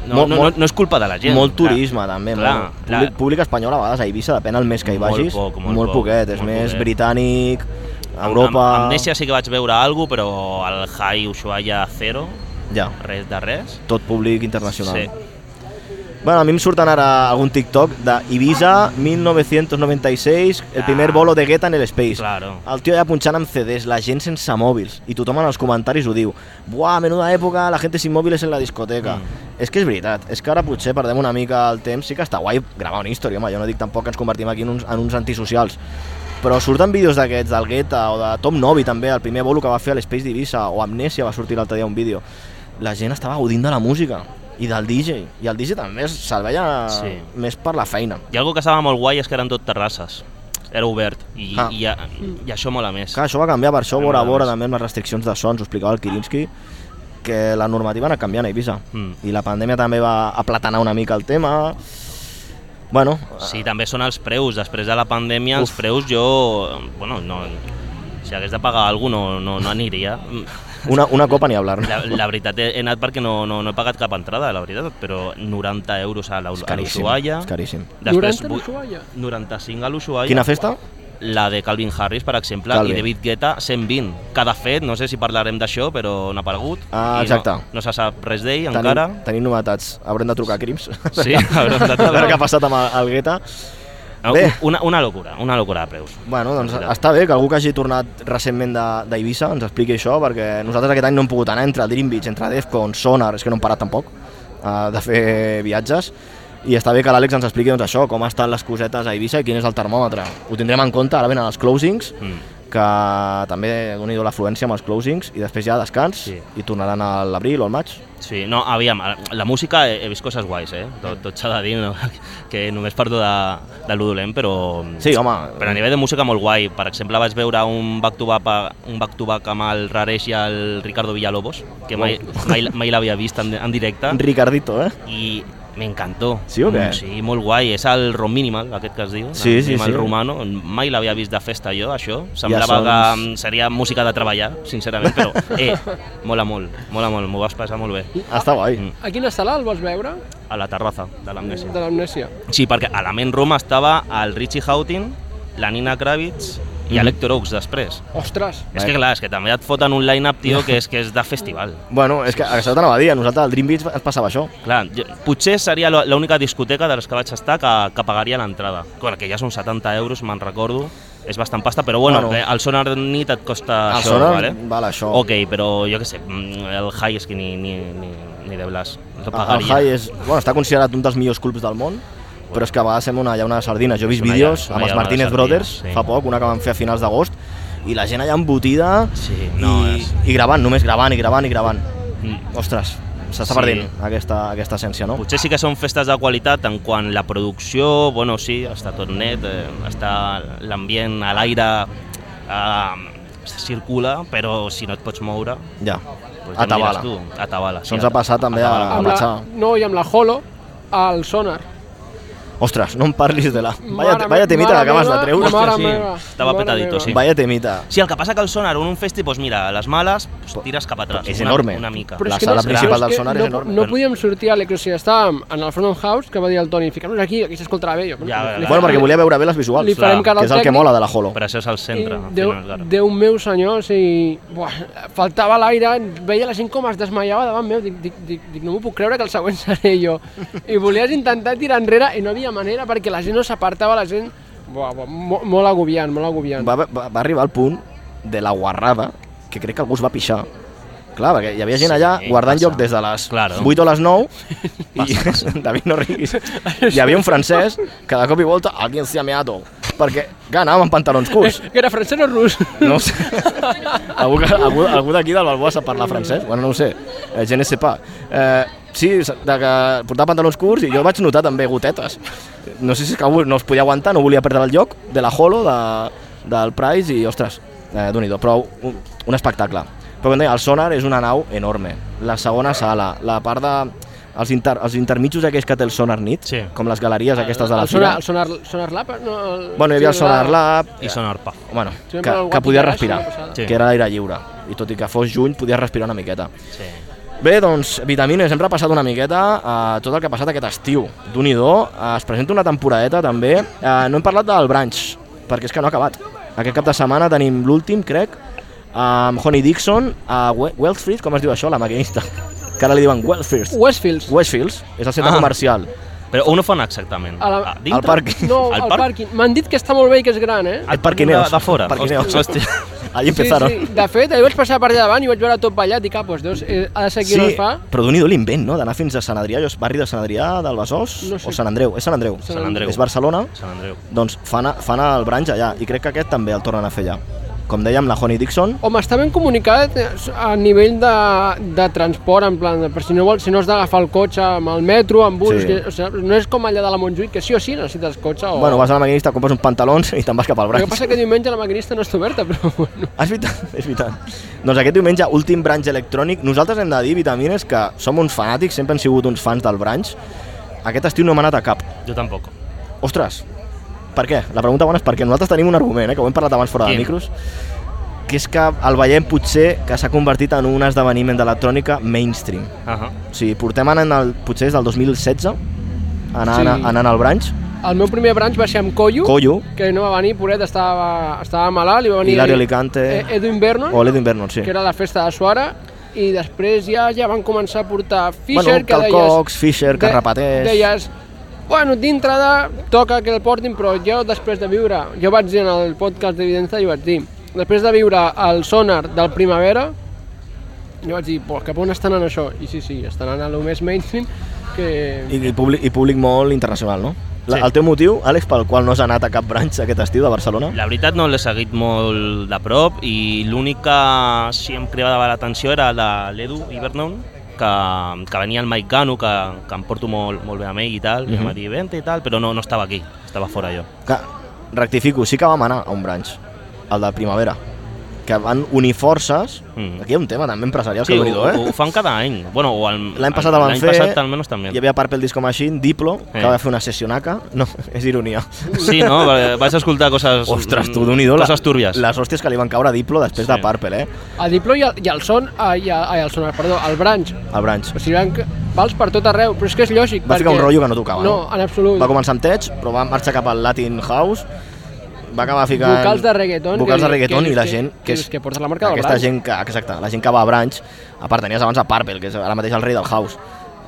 [SPEAKER 4] No,
[SPEAKER 2] Molt-
[SPEAKER 4] no, no,
[SPEAKER 2] molt-
[SPEAKER 4] no és culpa de la gent.
[SPEAKER 2] Molt
[SPEAKER 4] Clar.
[SPEAKER 2] turisme, també.
[SPEAKER 4] clar,
[SPEAKER 2] molt.
[SPEAKER 4] clar.
[SPEAKER 2] Públic, públic espanyol, a vegades, a Eivissa, depèn el mes que hi
[SPEAKER 4] Molt
[SPEAKER 2] vagis,
[SPEAKER 4] poc, molt poc,
[SPEAKER 2] poquet. És
[SPEAKER 4] molt
[SPEAKER 2] més
[SPEAKER 4] poquet.
[SPEAKER 2] britànic,
[SPEAKER 4] Amb-
[SPEAKER 2] Europa...
[SPEAKER 4] Amb, amb Amnèsia sí que vaig veure alguna però al High Ushuaia zero,
[SPEAKER 2] Ja,
[SPEAKER 4] res de res.
[SPEAKER 2] tot públic internacional.
[SPEAKER 4] Sí.
[SPEAKER 2] Bueno, a mí me surtan ahora algún TikTok de Ibiza 1996, el primer
[SPEAKER 4] Ah.
[SPEAKER 2] bolo de Guetta en el Space.
[SPEAKER 4] Claro.
[SPEAKER 2] El tio allà punxant amb CDs, la gent sense mòbils, i tothom en els comentaris ho diu. Buah, menuda època, la gent sin mòbils en la discoteca. Mm. És que és veritat, és que ara potser perdem una mica el temps, sí que està guai gravar un history, home, jo no dic tampoc que ens convertim aquí en uns, en uns antisocials, però surten vídeos d'aquests del Guetta o de Tom Novi també, el primer bolo que va fer a l'Space Divisa o Amnesia va sortir l'altre dia un vídeo. La gent estava gaudint de la música i del DJ, i el DJ també se'l veia sí.
[SPEAKER 4] Sí.
[SPEAKER 2] més per la feina.
[SPEAKER 4] I algo que estava molt guai és que eren tot terrasses. Era obert i,
[SPEAKER 2] Ah.
[SPEAKER 4] ah. i, a- i això mola més.
[SPEAKER 2] Clar, això va canviar per això,
[SPEAKER 4] Em
[SPEAKER 2] vora a
[SPEAKER 4] agrada
[SPEAKER 2] vora
[SPEAKER 4] més.
[SPEAKER 2] també amb les restriccions de sons, ho explicava el Kirinski, que la normativa ha anat canviant a Eivissa.
[SPEAKER 4] Mm.
[SPEAKER 2] I la pandèmia també va aplatanar una mica el tema. Bueno,
[SPEAKER 4] Sí, també són els preus. Després de la pandèmia, els
[SPEAKER 2] Uf.
[SPEAKER 4] preus jo... Bueno, no, si hagués de pagar alguna no, no, no aniria.
[SPEAKER 2] una, una copa ni hablar.
[SPEAKER 4] La, la veritat, he he anat perquè no, no, no he pagat cap entrada, la veritat, però 90 euros a la-
[SPEAKER 2] És
[SPEAKER 4] a
[SPEAKER 2] caríssim,
[SPEAKER 4] l'Ushuaia.
[SPEAKER 2] és caríssim.
[SPEAKER 6] 90 a l'Ushuaia?
[SPEAKER 4] 95 a l'Ushuaia.
[SPEAKER 2] Quina festa?
[SPEAKER 4] La de Calvin Harris, per exemple,
[SPEAKER 2] Calvin.
[SPEAKER 4] i David Guetta, 120. Que de fet, no sé si parlarem d'això, però n'ha aparegut.
[SPEAKER 2] Ah,
[SPEAKER 4] i
[SPEAKER 2] exacte.
[SPEAKER 4] No, no se sap res d'ell encara.
[SPEAKER 2] tenim novetats. Haurem de trucar a Crims.
[SPEAKER 4] Sí, haurem de
[SPEAKER 2] A veure
[SPEAKER 4] trucar.
[SPEAKER 2] què ha passat amb el- el Guetta.
[SPEAKER 4] Ah,
[SPEAKER 2] Bé.
[SPEAKER 4] Una, una locura, una locura de preus.
[SPEAKER 2] Bueno, doncs
[SPEAKER 4] Mira.
[SPEAKER 2] està bé que algú que hagi tornat recentment de- d'Eivissa ens expliqui això, perquè nosaltres aquest any no hem pogut anar entre el Dream Beach, entre Defcon, Sonar, és que no hem parat tampoc eh, de fer viatges, i està bé que l'Àlex ens expliqui doncs, això, com estan les cosetes a Eivissa i quin és el termòmetre. Ho tindrem en compte, ara venen els closings,
[SPEAKER 4] Mm.
[SPEAKER 2] que també doni l'afluència amb els closings, i després hi ha descans,
[SPEAKER 4] Sí.
[SPEAKER 2] i tornaran a l'abril o al maig.
[SPEAKER 4] Sí, no, aviam, la música he, he vist coses guais, eh? Tot, tot s'ha de dir, no? que només parlo de, de lo dolent, però...
[SPEAKER 2] Sí, home.
[SPEAKER 4] Però a nivell de música molt guai. Per exemple, vaig veure un back-to-back un back -back amb el Raresh i el Ricardo Villalobos, que mai, mai, mai l'havia vist en, en directe.
[SPEAKER 2] Ricardito, eh?
[SPEAKER 4] I Me encantó.
[SPEAKER 2] Sí o què?
[SPEAKER 4] Mm, Sí, molt guai. És el Rom Minimal, aquest que es diu.
[SPEAKER 2] Sí,
[SPEAKER 4] el
[SPEAKER 2] sí,
[SPEAKER 4] Minimal
[SPEAKER 2] sí.
[SPEAKER 4] Romano. Mai l'havia vist de festa jo, això. Semblava
[SPEAKER 2] sons.
[SPEAKER 4] que mm, seria música de treballar, sincerament, però eh, mola molt, mola molt, m'ho vas passar molt bé.
[SPEAKER 2] Està guai.
[SPEAKER 4] Mm.
[SPEAKER 6] A quina sala el vas veure?
[SPEAKER 4] A la terrassa de l'Amnesia.
[SPEAKER 2] Mm.
[SPEAKER 6] De l'amnèsia.
[SPEAKER 4] Sí, perquè a la Main Room estava el Richie Houghton, la Nina Kravitz i
[SPEAKER 2] Mm.
[SPEAKER 4] Electro Oaks després.
[SPEAKER 6] Ostres,
[SPEAKER 4] És que clar, és que també et foten un line-up, tio, que és, que és de festival.
[SPEAKER 2] Bueno, és que això t'anava a dir, a nosaltres al Dream Beach ens passava això.
[SPEAKER 4] Clar, jo, potser seria la- l'única discoteca de les que vaig estar que, que pagaria l'entrada. Bueno, que ja són 70 euros, me'n recordo, és bastant pasta, però bueno,
[SPEAKER 2] Bueno.
[SPEAKER 4] bueno. el Sonar Nit et costa
[SPEAKER 2] Al
[SPEAKER 4] això,
[SPEAKER 2] Sonar
[SPEAKER 4] vale?
[SPEAKER 2] val això.
[SPEAKER 4] Ok, però jo què sé, mm, el High és que ni, ni, ni, ni de Blas. No
[SPEAKER 2] Ah, El
[SPEAKER 4] pagaria.
[SPEAKER 2] High és, bueno, està considerat un dels millors clubs del món, però és que a vegades sembla una llauna de sardines. Jo he vist
[SPEAKER 4] una
[SPEAKER 2] vídeos
[SPEAKER 4] llauna-
[SPEAKER 2] amb
[SPEAKER 4] una llauna
[SPEAKER 2] els
[SPEAKER 4] de
[SPEAKER 2] Martínez
[SPEAKER 4] sardines,
[SPEAKER 2] Brothers
[SPEAKER 4] sí.
[SPEAKER 2] fa poc, una que van fer a finals d'agost, i la gent allà embotida
[SPEAKER 4] Sí, no,
[SPEAKER 2] i,
[SPEAKER 4] és-
[SPEAKER 2] i gravant, només gravant i gravant i gravant.
[SPEAKER 4] Mm.
[SPEAKER 2] Ostres, s'està
[SPEAKER 4] Sí.
[SPEAKER 2] perdent aquesta, aquesta essència, no?
[SPEAKER 4] Potser sí que són festes de qualitat en quant la producció, bueno, sí, està tot net, eh, està l'ambient a l'aire, eh, circula, però si no et pots moure,
[SPEAKER 2] Ja,
[SPEAKER 4] doncs ja em diràs
[SPEAKER 2] atabala.
[SPEAKER 4] tu, atabala.
[SPEAKER 2] Això ens ha passat també a, a
[SPEAKER 6] amb la,
[SPEAKER 2] Matxà.
[SPEAKER 6] no, i amb la Holo, al Sonar.
[SPEAKER 2] Ostres, no em parlis de la...
[SPEAKER 6] Mare
[SPEAKER 2] Vaya,
[SPEAKER 6] me-
[SPEAKER 2] vaya temita que
[SPEAKER 6] mare
[SPEAKER 2] acabes de
[SPEAKER 6] meva,
[SPEAKER 2] treure.
[SPEAKER 6] mare
[SPEAKER 4] sí,
[SPEAKER 6] meva,
[SPEAKER 4] estava
[SPEAKER 6] mare
[SPEAKER 4] petadito,
[SPEAKER 6] meva.
[SPEAKER 4] sí.
[SPEAKER 2] Vaya temita.
[SPEAKER 4] Sí, el que passa que el sonar en un festi, doncs mira, a les males pues, tires cap atrás.
[SPEAKER 2] És
[SPEAKER 4] una,
[SPEAKER 2] enorme.
[SPEAKER 4] Una mica.
[SPEAKER 2] Però La
[SPEAKER 6] és que
[SPEAKER 2] sala
[SPEAKER 6] és-
[SPEAKER 2] principal
[SPEAKER 6] és
[SPEAKER 2] del
[SPEAKER 6] que
[SPEAKER 2] Sonar
[SPEAKER 6] no,
[SPEAKER 2] és enorme. eh?
[SPEAKER 6] No podíem sortir a l'Ecrosia, estàvem en el Front of House, que va dir el Toni, fiquem-nos aquí, aquí s'escoltarà bé. Jo,
[SPEAKER 4] Ja,
[SPEAKER 6] li-
[SPEAKER 4] ja,
[SPEAKER 2] Bueno, perquè volia veure bé les visuals,
[SPEAKER 6] Li farem cara
[SPEAKER 2] que
[SPEAKER 6] al
[SPEAKER 2] és el que
[SPEAKER 6] tècnic.
[SPEAKER 2] mola de la Holo.
[SPEAKER 4] Però això és el centre,
[SPEAKER 6] I
[SPEAKER 4] al
[SPEAKER 6] Déu,
[SPEAKER 4] final, clar.
[SPEAKER 6] Déu meu senyor, o sigui, buah, faltava l'aire, veia la gent com es desmaiava davant meu, dic, dic, dic, dic no m'ho puc creure que el següent seré jo. I volies intentar tirar enrere i no hi havia manera perquè la gent no s'apartava, la gent... Buah, buah, mo, molt agobiant, molt agobiant.
[SPEAKER 2] va, va, va arribar al punt de la guarrada, que crec que algú es va pixar. Clar, perquè hi havia gent
[SPEAKER 4] Sí,
[SPEAKER 2] allà guardant
[SPEAKER 4] passa.
[SPEAKER 2] lloc des de les
[SPEAKER 4] Claro.
[SPEAKER 2] 8 o les 9 i David no riguis. Hi havia un francès que de cop i volta alguien se ha meado perquè que anàvem amb pantalons curts.
[SPEAKER 6] Que era francès o rus?
[SPEAKER 2] No ho sé. algú que- algú, algú d'aquí del Balboa sap parlar francès? Bueno, no ho sé. Eh, Je ne sais pas. Eh, sí, s- de que portava pantalons curts i jo vaig notar també gotetes. No sé si és que algú no els podia aguantar, no volia perdre el lloc de la Holo, de, del Price i, ostres, eh, d'un do però un, un espectacle. Però com deia, el Sonar és una nau enorme. La segona sala, la part de... Els, inter, els intermitjos aquells que té el Sonar Nit,
[SPEAKER 4] Sí.
[SPEAKER 2] com les galeries aquestes de la
[SPEAKER 6] Ah, El sonar,
[SPEAKER 2] fira.
[SPEAKER 6] el sonar, sonar lab? No, el,
[SPEAKER 2] Bueno, hi havia el
[SPEAKER 6] sí,
[SPEAKER 2] Sonar Lab,
[SPEAKER 4] I sonar pa.
[SPEAKER 2] bueno, que,
[SPEAKER 6] Sempre el
[SPEAKER 2] que
[SPEAKER 6] guapi
[SPEAKER 2] podia
[SPEAKER 6] que era,
[SPEAKER 2] respirar,
[SPEAKER 6] això
[SPEAKER 4] sí.
[SPEAKER 2] que era l'aire lliure. I tot i que fos juny, podia respirar una miqueta.
[SPEAKER 4] Sí.
[SPEAKER 2] Bé, doncs, vitamines, hem repassat una miqueta eh, tot el que ha passat aquest estiu. d'un i do, eh, es presenta una temporadeta també. Eh, no hem parlat del brunch, perquè és que no ha acabat. Aquest cap de setmana tenim l'últim, crec, amb Honey Dixon, a We- Wellsfield, com es diu això, la maquinista? Que ara li diuen Wellsfield.
[SPEAKER 6] Westfields.
[SPEAKER 2] Westfields, és el centre
[SPEAKER 4] Ah.
[SPEAKER 2] comercial,
[SPEAKER 4] Però on ho fan exactament?
[SPEAKER 6] A la-
[SPEAKER 4] A dintre?
[SPEAKER 2] al parc.
[SPEAKER 6] No,
[SPEAKER 4] Al
[SPEAKER 6] el,
[SPEAKER 4] parc?
[SPEAKER 6] pàrquing. M'han dit que està molt bé i que és gran, eh?
[SPEAKER 2] Al parquineo.
[SPEAKER 4] De, de fora.
[SPEAKER 2] Parquineo.
[SPEAKER 4] Hòstia, hòstia.
[SPEAKER 2] Allí empezaron.
[SPEAKER 6] Sí, sí. De fet, ahir vaig passar per allà davant i vaig veure tot ballat i cap, doncs, doncs, eh, ha de ser aquí on es fa.
[SPEAKER 2] però d'un i do l'invent, no? D'anar fins a Sant Adrià, jo és barri de Sant Adrià, del Besòs,
[SPEAKER 6] No sé.
[SPEAKER 2] o Sant Andreu, és Sant Andreu.
[SPEAKER 4] Sant Andreu.
[SPEAKER 2] És Barcelona,
[SPEAKER 4] Sant Andreu.
[SPEAKER 2] doncs fan, a- fan el branch allà, i crec que aquest també el tornen a fer allà. Com dèiem, la Honey Dixon,
[SPEAKER 6] Home, està ben comunicat eh, a nivell de, de transport, en plan, per si no vols, si no has d'agafar el cotxe amb el metro, amb bus,
[SPEAKER 2] Sí.
[SPEAKER 6] sí. que, o sigui, no és com allà de la Montjuïc, que sí o sí necessites cotxe o...
[SPEAKER 2] bueno, vas a la maquinista, compres uns pantalons i te'n vas cap al
[SPEAKER 6] el que
[SPEAKER 2] branch.
[SPEAKER 6] Oh. passa que diumenge la maquinista no està oberta, però bueno.
[SPEAKER 2] Ah, És veritat, és veritat. Doncs aquest diumenge, últim branch electrònic. Nosaltres hem de dir, Vitamines, que som uns fanàtics, sempre hem sigut uns fans del branch. Aquest estiu no hem anat a cap.
[SPEAKER 4] Jo tampoc.
[SPEAKER 2] Ostres, per què? La pregunta bona és per què. Nosaltres tenim un argument, eh, que ho hem parlat abans fora de
[SPEAKER 4] Quin?
[SPEAKER 2] micros, que és que el veiem potser que s'ha convertit en un esdeveniment d'electrònica mainstream.
[SPEAKER 4] Uh -huh.
[SPEAKER 2] O sigui, portem anant, el, potser és del 2016, anant, sí.
[SPEAKER 6] Sí.
[SPEAKER 2] anant al branch,
[SPEAKER 6] El meu primer branch va ser amb Collo,
[SPEAKER 2] Collo,
[SPEAKER 6] que no va venir, Poret estava, estava malalt, i va venir
[SPEAKER 2] Hilario Alicante,
[SPEAKER 6] eh, Edwin Vernon,
[SPEAKER 2] o l'Edu Inverno, sí.
[SPEAKER 6] que era la festa de Suara, i després ja ja van començar a portar Fisher,
[SPEAKER 2] bueno,
[SPEAKER 6] que deies...
[SPEAKER 2] Calcox, Fisher,
[SPEAKER 6] De-
[SPEAKER 2] Carrapaters...
[SPEAKER 6] Deies, bueno, dintre de... Toca que el portin, però jo després de viure... Jo vaig dir en el podcast d'Evidència, jo vaig dir... Després de viure el sonar del Primavera, jo vaig dir, "Buah, cap on estan anant això? I sí, sí, estan anant a lo més mainstream que...
[SPEAKER 2] I, i, públic, I públic molt internacional, no? La,
[SPEAKER 4] Sí.
[SPEAKER 2] El teu motiu, Àlex, pel qual no has anat a cap branch aquest estiu de Barcelona?
[SPEAKER 4] La veritat no l'he seguit molt de prop i l'únic que sí em cridava l'atenció era la l'Edu Ibernon, que, que venia el Mike Gano, que, que em porto molt, molt bé amb ell i tal, i em
[SPEAKER 2] Mhm.
[SPEAKER 4] va dir, vente i tal, però no, no estava aquí, estava fora jo.
[SPEAKER 2] Que, rectifico, sí que vam anar a un branch, el de primavera. que van unir forces.
[SPEAKER 4] Mm.
[SPEAKER 2] Aquí hi ha un tema també empresarial
[SPEAKER 4] Sí,
[SPEAKER 2] que
[SPEAKER 4] ho,
[SPEAKER 2] bonito, eh?
[SPEAKER 4] ho fan cada any. Bueno, o el-
[SPEAKER 2] L'any passat
[SPEAKER 4] el
[SPEAKER 2] el van
[SPEAKER 4] l'any
[SPEAKER 2] fer,
[SPEAKER 4] passat almenys també.
[SPEAKER 2] Hi havia Purple Disco Machine, Diplo, que
[SPEAKER 4] Eh.
[SPEAKER 2] va fer una sessionaca. No, és ironia.
[SPEAKER 4] Sí, no? Perquè Vaig escoltar coses... mm,
[SPEAKER 2] Ostres, tu, d'un idó,
[SPEAKER 4] Coses túrbies.
[SPEAKER 2] les hòsties que li van caure a Diplo després
[SPEAKER 4] Sí.
[SPEAKER 2] de Purple, eh?
[SPEAKER 6] El Diplo i el, i el son, ai, i el, ai, el sonar, perdó, el branch.
[SPEAKER 2] El Branch.
[SPEAKER 6] O sigui, van, vals per tot arreu, però és que és lògic.
[SPEAKER 2] Va ficar un
[SPEAKER 6] perquè-
[SPEAKER 2] rotllo que no tocava,
[SPEAKER 6] No,
[SPEAKER 2] no?
[SPEAKER 6] en absolut.
[SPEAKER 2] Va començar amb Tech, però va marxar cap al Latin House, va acabar ficant...
[SPEAKER 6] Vocals de reggaeton,
[SPEAKER 2] Vocals de
[SPEAKER 6] que-
[SPEAKER 2] reggaeton
[SPEAKER 6] que-
[SPEAKER 2] i la
[SPEAKER 6] que-
[SPEAKER 2] gent...
[SPEAKER 6] que- que porta la marca del
[SPEAKER 2] Aquesta
[SPEAKER 6] Branch.
[SPEAKER 2] gent que, exacte, la gent que va a Branch, a part tenies abans a Purple, que és ara mateix el rei del House,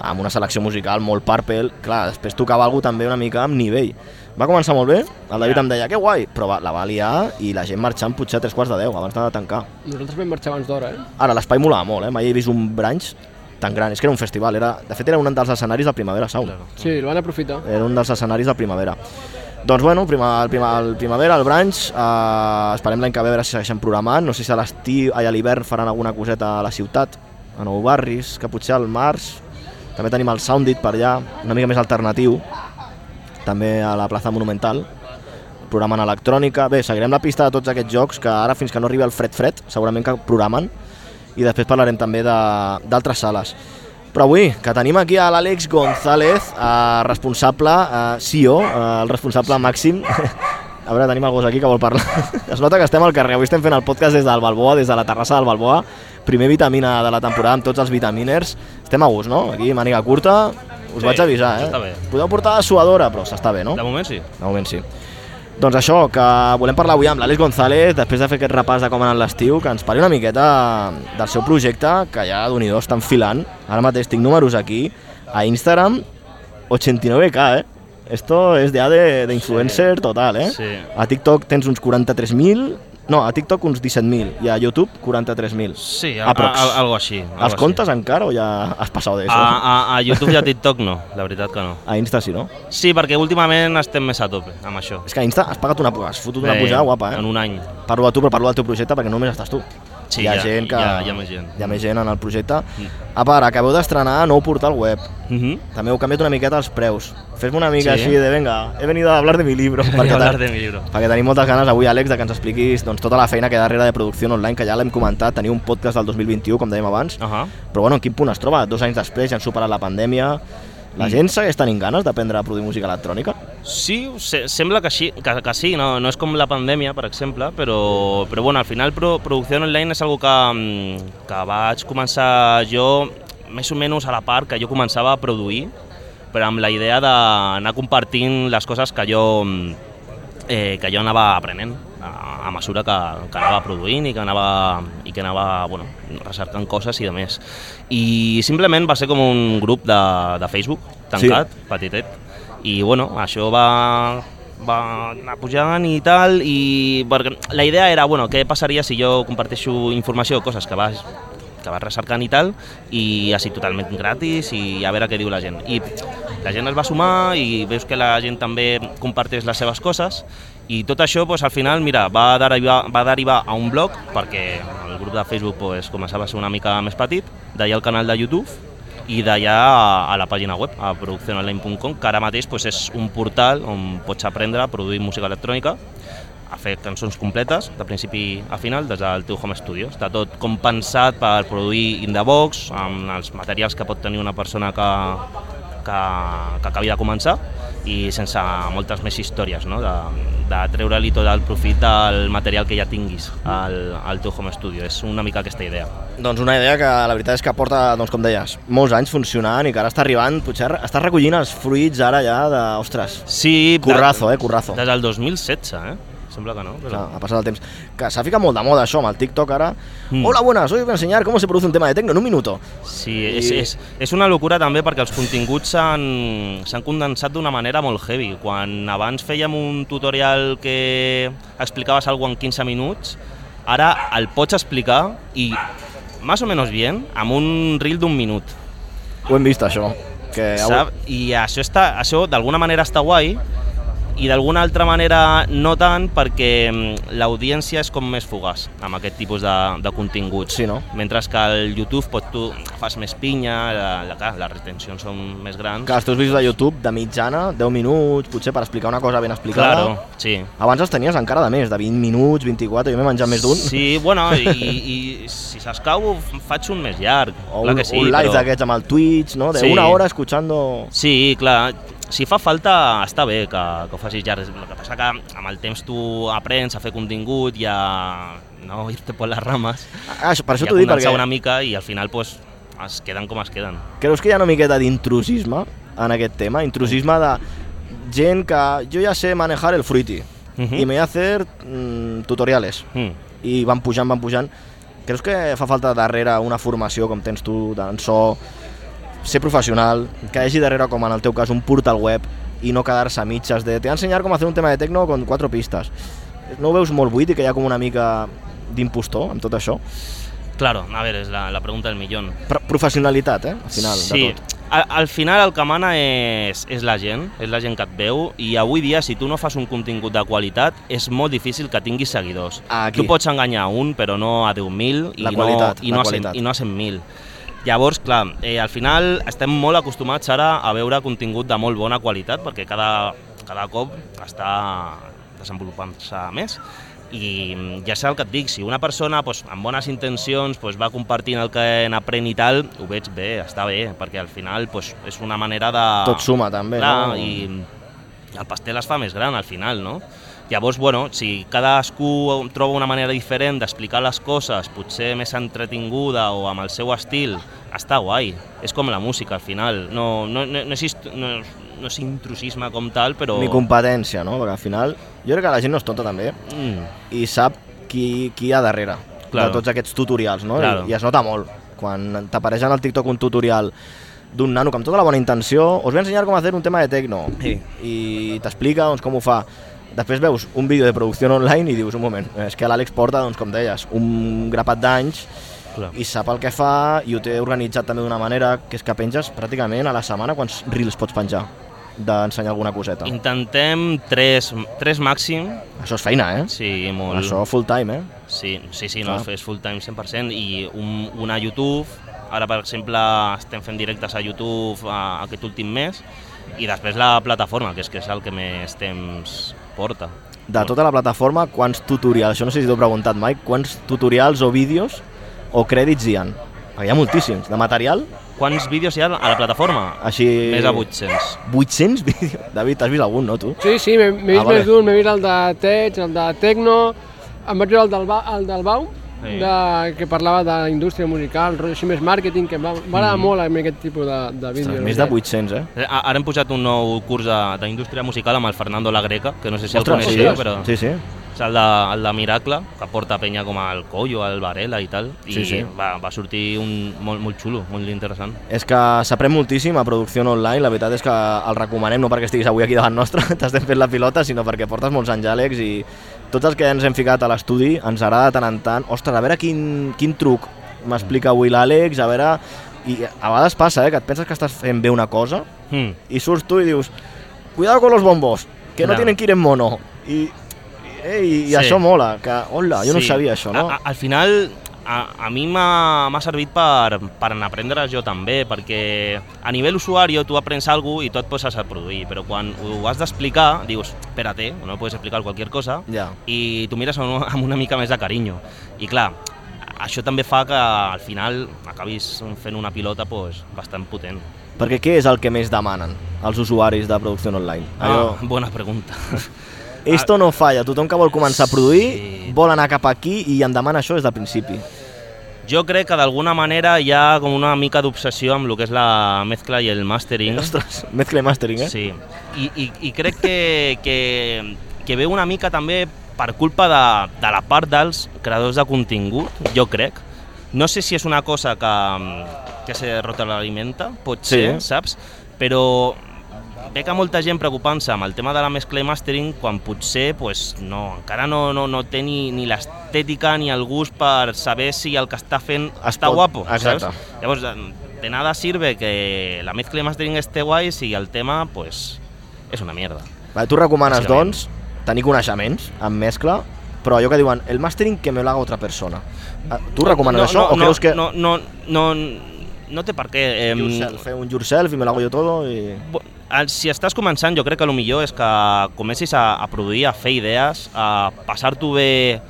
[SPEAKER 2] amb una selecció musical molt Purple, clar, després tocava algú també una mica amb nivell. Va començar molt bé, el David em deia que guai, però va, la va liar i la gent marxant potser a tres quarts de deu abans de tancar.
[SPEAKER 6] Nosaltres vam marxar abans d'hora, eh?
[SPEAKER 2] Ara, l'espai molava molt, eh? mai he vist un branch tan gran. És que era un festival, era, de fet era un dels escenaris del Primavera Sound.
[SPEAKER 6] Sí, el van aprofitar.
[SPEAKER 2] Era un dels escenaris del Primavera. Doncs bueno, prima, el, prima, el Primavera, el branch, eh, esperem l'any que ve a veure si segueixen programant. No sé si a l'estiu i a l'hivern faran alguna coseta a la ciutat, a Nou Barris, que potser al març. També tenim el Soundit per allà, una mica més alternatiu, també a la plaça Monumental programen electrònica, bé, seguirem la pista de tots aquests jocs que ara fins que no arribi el fred fred segurament que programen i després parlarem també de- d'altres sales. Però avui, que tenim aquí a l'Àlex González, eh, responsable, eh, CEO, eh, el responsable màxim. A veure, tenim el gos aquí que vol parlar. Es nota que estem al carrer, avui estem fent el podcast des del Balboa, des de la terrassa del Balboa. Primer vitamina de la temporada amb tots els vitaminers. Estem a gust, no? Aquí, màniga curta, us
[SPEAKER 4] Sí,
[SPEAKER 2] vaig avisar, eh?
[SPEAKER 4] està bé.
[SPEAKER 2] Podeu portar la suadora, però s'està bé, no?
[SPEAKER 4] De moment sí.
[SPEAKER 2] De moment sí. Doncs això, que volem parlar avui amb l'Àlex González, després de fer aquest repàs de com ha anat l'estiu, que ens parli una miqueta del seu projecte, que ja, d'un i dos, està enfilant. Ara mateix tinc números aquí, a Instagram, 89k, eh? Esto es ja de, de influencer total, eh?
[SPEAKER 4] Sí.
[SPEAKER 2] A TikTok tens uns 43.000, no, a TikTok uns 17.000, i a YouTube 43.000.
[SPEAKER 4] Sí, a, a,
[SPEAKER 2] Aprox.
[SPEAKER 4] a, algo així. Algo
[SPEAKER 2] Ah,
[SPEAKER 4] Ah.
[SPEAKER 2] Els comptes encara o ja has passat
[SPEAKER 4] Així.
[SPEAKER 2] d'això?
[SPEAKER 4] A, a, a YouTube i a TikTok no, la veritat que no.
[SPEAKER 2] a Insta sí, no?
[SPEAKER 4] Sí, perquè últimament estem més a tope amb això.
[SPEAKER 2] És que a Insta has pagat una, has fotut una
[SPEAKER 4] Eh,
[SPEAKER 2] pujada guapa, eh?
[SPEAKER 4] En un any.
[SPEAKER 2] Parlo de tu, però parlo del teu projecte perquè no només estàs tu.
[SPEAKER 4] Sí,
[SPEAKER 2] hi ha
[SPEAKER 4] hi ha-
[SPEAKER 2] gent que...
[SPEAKER 4] hi ha- hi ha més gent. Mm.
[SPEAKER 2] Hi ha més gent en el projecte. A part, acabeu d'estrenar nou portal web.
[SPEAKER 4] Mhm.
[SPEAKER 2] També heu canviat una miqueta els preus. Fes-me una mica
[SPEAKER 4] Sí.
[SPEAKER 2] així de, venga, he venido a hablar de mi libro.
[SPEAKER 4] Perquè
[SPEAKER 2] te-
[SPEAKER 4] hablar de mi libro.
[SPEAKER 2] perquè tenim moltes ganes avui, Àlex, de que ens expliquis doncs, tota la feina que hi ha darrere de producció online, que ja l'hem comentat, teniu un podcast del 2021, com dèiem abans,
[SPEAKER 4] Ahà.
[SPEAKER 2] però bueno, en quin punt es troba? Dos anys després, ja han superat la pandèmia,
[SPEAKER 4] Mm.
[SPEAKER 2] la gent segueix tenint ganes d'aprendre a produir música electrònica?
[SPEAKER 4] Sí, se, sembla que sí, que, que sí no, no és com la pandèmia, per exemple, però, però bueno, al final pro, producció online és algo que, mm, que vaig començar jo més o menys a la part que jo començava a produir, però amb la idea d'anar compartint les coses que jo, mm, eh, que jo anava aprenent a, a mesura que, que anava produint i que anava, i que anava bueno, recercant coses i de més. I simplement va ser com un grup de, de Facebook tancat, sí. petitet, i bueno, això va, va anar pujant i tal, i perquè la idea era, bueno, què passaria si jo comparteixo informació, coses que vas que vas recercant i tal, i així totalment gratis, i a veure què diu la gent. I la gent es va sumar, i veus que la gent també comparteix les seves coses, i tot això, pues, al final, mira, va derivar, va derivar a un blog, perquè el grup de Facebook pues, començava a ser una mica més petit, d'allà al canal de YouTube, i d'allà a, a la pàgina web, a producciononline.com, que ara mateix pues, és un portal on pots aprendre a produir música electrònica, a fer cançons completes, de principi a final, des del teu home studio. Està tot com pensat per produir in the box, amb els materials que pot tenir una persona que, que, que acabi de començar i sense moltes més històries, no? de, de treure-li tot el profit del material que ja tinguis al, al teu home studio. És una mica aquesta idea.
[SPEAKER 2] Doncs una idea que la veritat és que porta, doncs com deies, molts anys funcionant i que ara està arribant, potser està recollint els fruits ara ja de, ostres,
[SPEAKER 4] Sí,
[SPEAKER 2] Currazo, eh, currazo.
[SPEAKER 4] Des del 2016, eh? Sembla que no,
[SPEAKER 2] Clar,
[SPEAKER 4] però...
[SPEAKER 2] ha passat el temps. Que s'ha ficat molt de moda això amb el TikTok ara.
[SPEAKER 4] Mm.
[SPEAKER 2] Hola, buenas, hoy os voy a enseñar cómo se produce un tema de techno en un minuto.
[SPEAKER 4] Sí,
[SPEAKER 2] I-
[SPEAKER 4] és, és, és una locura també perquè els continguts s'han s'han condensat d'una manera molt heavy. Quan abans fèiem un tutorial que explicaves alguna en 15 minuts, ara el pots explicar i més o menys bé, amb un reel d'un minut.
[SPEAKER 2] Ho hem vist, això. Que Eh, avui...
[SPEAKER 4] Sap? I això, està, això d'alguna manera està guai i d'alguna altra manera no tant perquè mm, l'audiència és com més fugaç amb aquest tipus de, de continguts.
[SPEAKER 2] Sí, no?
[SPEAKER 4] Mentre que el YouTube pot, tu fas més pinya, la, la, clar, les retencions són més grans.
[SPEAKER 2] Que els teus vídeos de YouTube de mitjana, 10 minuts, potser per explicar una cosa ben explicada.
[SPEAKER 4] Claro, sí.
[SPEAKER 2] Abans els tenies encara de més, de 20 minuts, 24, jo m'he menjat més d'un.
[SPEAKER 4] Sí, bueno, i, i si s'escau faig un més llarg.
[SPEAKER 2] O
[SPEAKER 4] clar
[SPEAKER 2] un,
[SPEAKER 4] que sí,
[SPEAKER 2] un live
[SPEAKER 4] però-
[SPEAKER 2] d'aquests amb el Twitch, no? De
[SPEAKER 4] Sí.
[SPEAKER 2] una hora escuchando...
[SPEAKER 4] Sí, clar, si fa falta està bé que, que ho facis llarg. El que passa que amb el temps tu aprens a fer contingut i a no irte por las ramas.
[SPEAKER 2] Ah, això, per això
[SPEAKER 4] i a
[SPEAKER 2] t'ho dic,
[SPEAKER 4] condensar
[SPEAKER 2] perquè
[SPEAKER 4] una mica i al final pues, es queden com es queden.
[SPEAKER 2] creus que hi ha una miqueta d'intrusisme en aquest tema? Intrusisme de gent que jo ja sé manejar el fruity
[SPEAKER 4] Mhm.
[SPEAKER 2] i me voy a hacer mm, tutoriales
[SPEAKER 4] Mm.
[SPEAKER 2] i van pujant, van pujant. Creus que fa falta darrere una formació com tens tu d'en so, ser professional, que hi hagi darrere, com en el teu cas, un portal web i no quedar-se a mitges de te voy a ensenyar com fer un tema de tecno con quatre pistes. No ho veus molt buit i que hi ha com una mica d'impostor amb tot això?
[SPEAKER 4] Claro, a veure, és la, la pregunta del millón.
[SPEAKER 2] Pro professionalitat, eh? Al final,
[SPEAKER 4] sí.
[SPEAKER 2] de tot.
[SPEAKER 4] Al, al final el que mana és, és la gent, és la gent que et veu i avui dia si tu no fas un contingut de qualitat és molt difícil que tinguis seguidors.
[SPEAKER 2] Aquí.
[SPEAKER 4] Tu pots enganyar a un però no a 10.000 i,
[SPEAKER 2] La qualitat,
[SPEAKER 4] no, i,
[SPEAKER 2] la
[SPEAKER 4] no a
[SPEAKER 2] qualitat.
[SPEAKER 4] 100, i no a 100.000. Llavors, clar, eh, al final estem molt acostumats ara a veure contingut de molt bona qualitat perquè cada, cada cop està desenvolupant-se més i mm, ja sé el que et dic, si una persona doncs, amb bones intencions doncs, va compartint el que n'aprèn i tal, ho veig bé, està bé, perquè al final doncs, és una manera de...
[SPEAKER 2] Tot suma, també,
[SPEAKER 4] Clar,
[SPEAKER 2] no?
[SPEAKER 4] i el pastel es fa més gran al final, no? Llavors, bueno, si cadascú troba una manera diferent d'explicar les coses, potser més entretinguda o amb el seu estil, està guai. És com la música, al final. No, no, no, no, és, hist- no, no és intrusisme com tal, però...
[SPEAKER 2] Ni competència, no? Perquè al final jo crec que la gent no és tonta també
[SPEAKER 4] Mm,
[SPEAKER 2] i sap qui, qui hi ha darrere
[SPEAKER 4] Claro.
[SPEAKER 2] de tots aquests tutorials, no?
[SPEAKER 4] Claro.
[SPEAKER 2] I, I es nota molt. Quan t'apareix en el TikTok un tutorial d'un nano que amb tota la bona intenció us ve a ensenyar com fer un tema de tecno
[SPEAKER 4] Sí.
[SPEAKER 2] i t'explica doncs, com ho fa. Després veus un vídeo de producció online i dius, un moment, és que l'Àlex porta, doncs, com deies, un grapat d'anys
[SPEAKER 4] clar.
[SPEAKER 2] i sap el que fa i ho té organitzat també d'una manera que és que penges pràcticament a la setmana quants reels pots penjar d'ensenyar alguna coseta.
[SPEAKER 4] Intentem tres, tres màxim,
[SPEAKER 2] Això és feina, eh?
[SPEAKER 4] sí, molt.
[SPEAKER 2] Això full time, eh?
[SPEAKER 4] Sí, sí, sí no,
[SPEAKER 2] Clar.
[SPEAKER 4] és full time 100% i un, una YouTube, ara per exemple estem fent directes a YouTube a, aquest últim mes i després la plataforma, que és, que és el que més temps porta.
[SPEAKER 2] De tota la plataforma, quants tutorials, això no sé si t'ho he preguntat mai, quants tutorials o vídeos o crèdits hi ha? Perquè hi ha moltíssims. De material,
[SPEAKER 4] Quants vídeos hi ha a la plataforma?
[SPEAKER 2] així...
[SPEAKER 4] Més a 800.
[SPEAKER 2] 800 vídeos? David, t'has vist algun, no, tu?
[SPEAKER 6] Sí, sí, m'he m'he vist
[SPEAKER 2] Ah,
[SPEAKER 6] ah,
[SPEAKER 2] vale.
[SPEAKER 6] més d'un, m'he vist el de Tech, el de Tecno, em vaig veure el del, ba el del Bau,
[SPEAKER 4] Sí.
[SPEAKER 6] sí. de, que parlava de la indústria musical, rotllo així més màrqueting, que em va- m'agrada mm. molt a mi aquest tipus de, de vídeos.
[SPEAKER 2] Més de 800, eh?
[SPEAKER 4] Eh, a- Ara hem pujat un nou curs de- d'indústria musical amb el Fernando La Greca, que no sé si el
[SPEAKER 2] sí,
[SPEAKER 4] coneixeu, però...
[SPEAKER 2] sí, sí.
[SPEAKER 4] És el de, el de Miracle, que porta penya com al Collo, al Varela i tal. I
[SPEAKER 2] Sí, sí.
[SPEAKER 4] Va, va sortir un, molt, molt xulo, molt interessant.
[SPEAKER 2] És que s'aprèn moltíssim a producció online, la veritat és que el recomanem, no perquè estiguis avui aquí davant nostre, t'estem fent la pilota, sinó perquè portes molts anys, Àlex, i tots els que ens hem ficat a l'estudi ens agrada de tant en tant, ostres, a veure quin, quin truc m'explica avui l'Àlex, a veure... I a vegades passa, eh, que et penses que estàs fent bé una cosa
[SPEAKER 4] Mm.
[SPEAKER 2] i surts tu i dius cuidado con los bombos, que no,
[SPEAKER 4] No.
[SPEAKER 2] tienen que ir en mono. I, i, eh, i, i
[SPEAKER 4] Sí.
[SPEAKER 2] això mola, que, hola, Ah, jo no ho sabia això, no?
[SPEAKER 4] A, a, al final, a, a mi m'ha m'ha servit per, per en aprendre jo també, perquè a nivell usuari tu aprens alguna i tu et poses a produir, però quan ho has d'explicar, dius, espérate, no puedes explicar qualquer cosa,
[SPEAKER 2] Ja.
[SPEAKER 4] i tu mires amb, una- amb una mica més de carinyo. I clar, això també fa que al final acabis fent una pilota pues, bastant potent.
[SPEAKER 2] Perquè què és el que més demanen els usuaris de producció online? Allò-
[SPEAKER 4] Ah, bona pregunta.
[SPEAKER 2] Esto no falla, tothom que vol començar a produir
[SPEAKER 4] Ah. Sí.
[SPEAKER 2] vol anar cap aquí i em demana això des del principi.
[SPEAKER 4] Jo crec que d'alguna manera hi ha com una mica d'obsessió amb el que és la mescla i el mastering.
[SPEAKER 2] Ostres, mezcla i mastering, eh?
[SPEAKER 4] Sí, I, i, i crec que, que, que ve una mica també per culpa de, de la part dels creadors de contingut, jo crec. No sé si és una cosa que, que se retroalimenta, pot
[SPEAKER 2] Sí.
[SPEAKER 4] ser, saps? Però veig que molta gent preocupant-se amb el tema de la mescla i mastering quan potser pues, no, encara no, no, no té ni, ni l'estètica ni el gust per saber si el que està fent
[SPEAKER 2] Es
[SPEAKER 4] està
[SPEAKER 2] pot-
[SPEAKER 4] guapo,
[SPEAKER 2] exacte.
[SPEAKER 4] saps? Llavors, de- de nada sirve que la mezcla y mastering esté guay si el tema, pues, es una mierda.
[SPEAKER 2] Vale, tu recomanes,
[SPEAKER 4] Bàsicament.
[SPEAKER 2] doncs, tenir coneixements en mescla, però allò que diuen, el mastering que me lo haga otra persona. Ah, Tu recomanes
[SPEAKER 4] no,
[SPEAKER 2] això
[SPEAKER 4] no,
[SPEAKER 2] o creus que
[SPEAKER 4] No, no, no, no té per què. em,
[SPEAKER 2] yourself, fer un yourself y me lo hago yo todo y...
[SPEAKER 4] Bu- el- Si estàs començant, jo crec que el millor és que comencis a, a produir, a fer idees, a passar-t'ho bé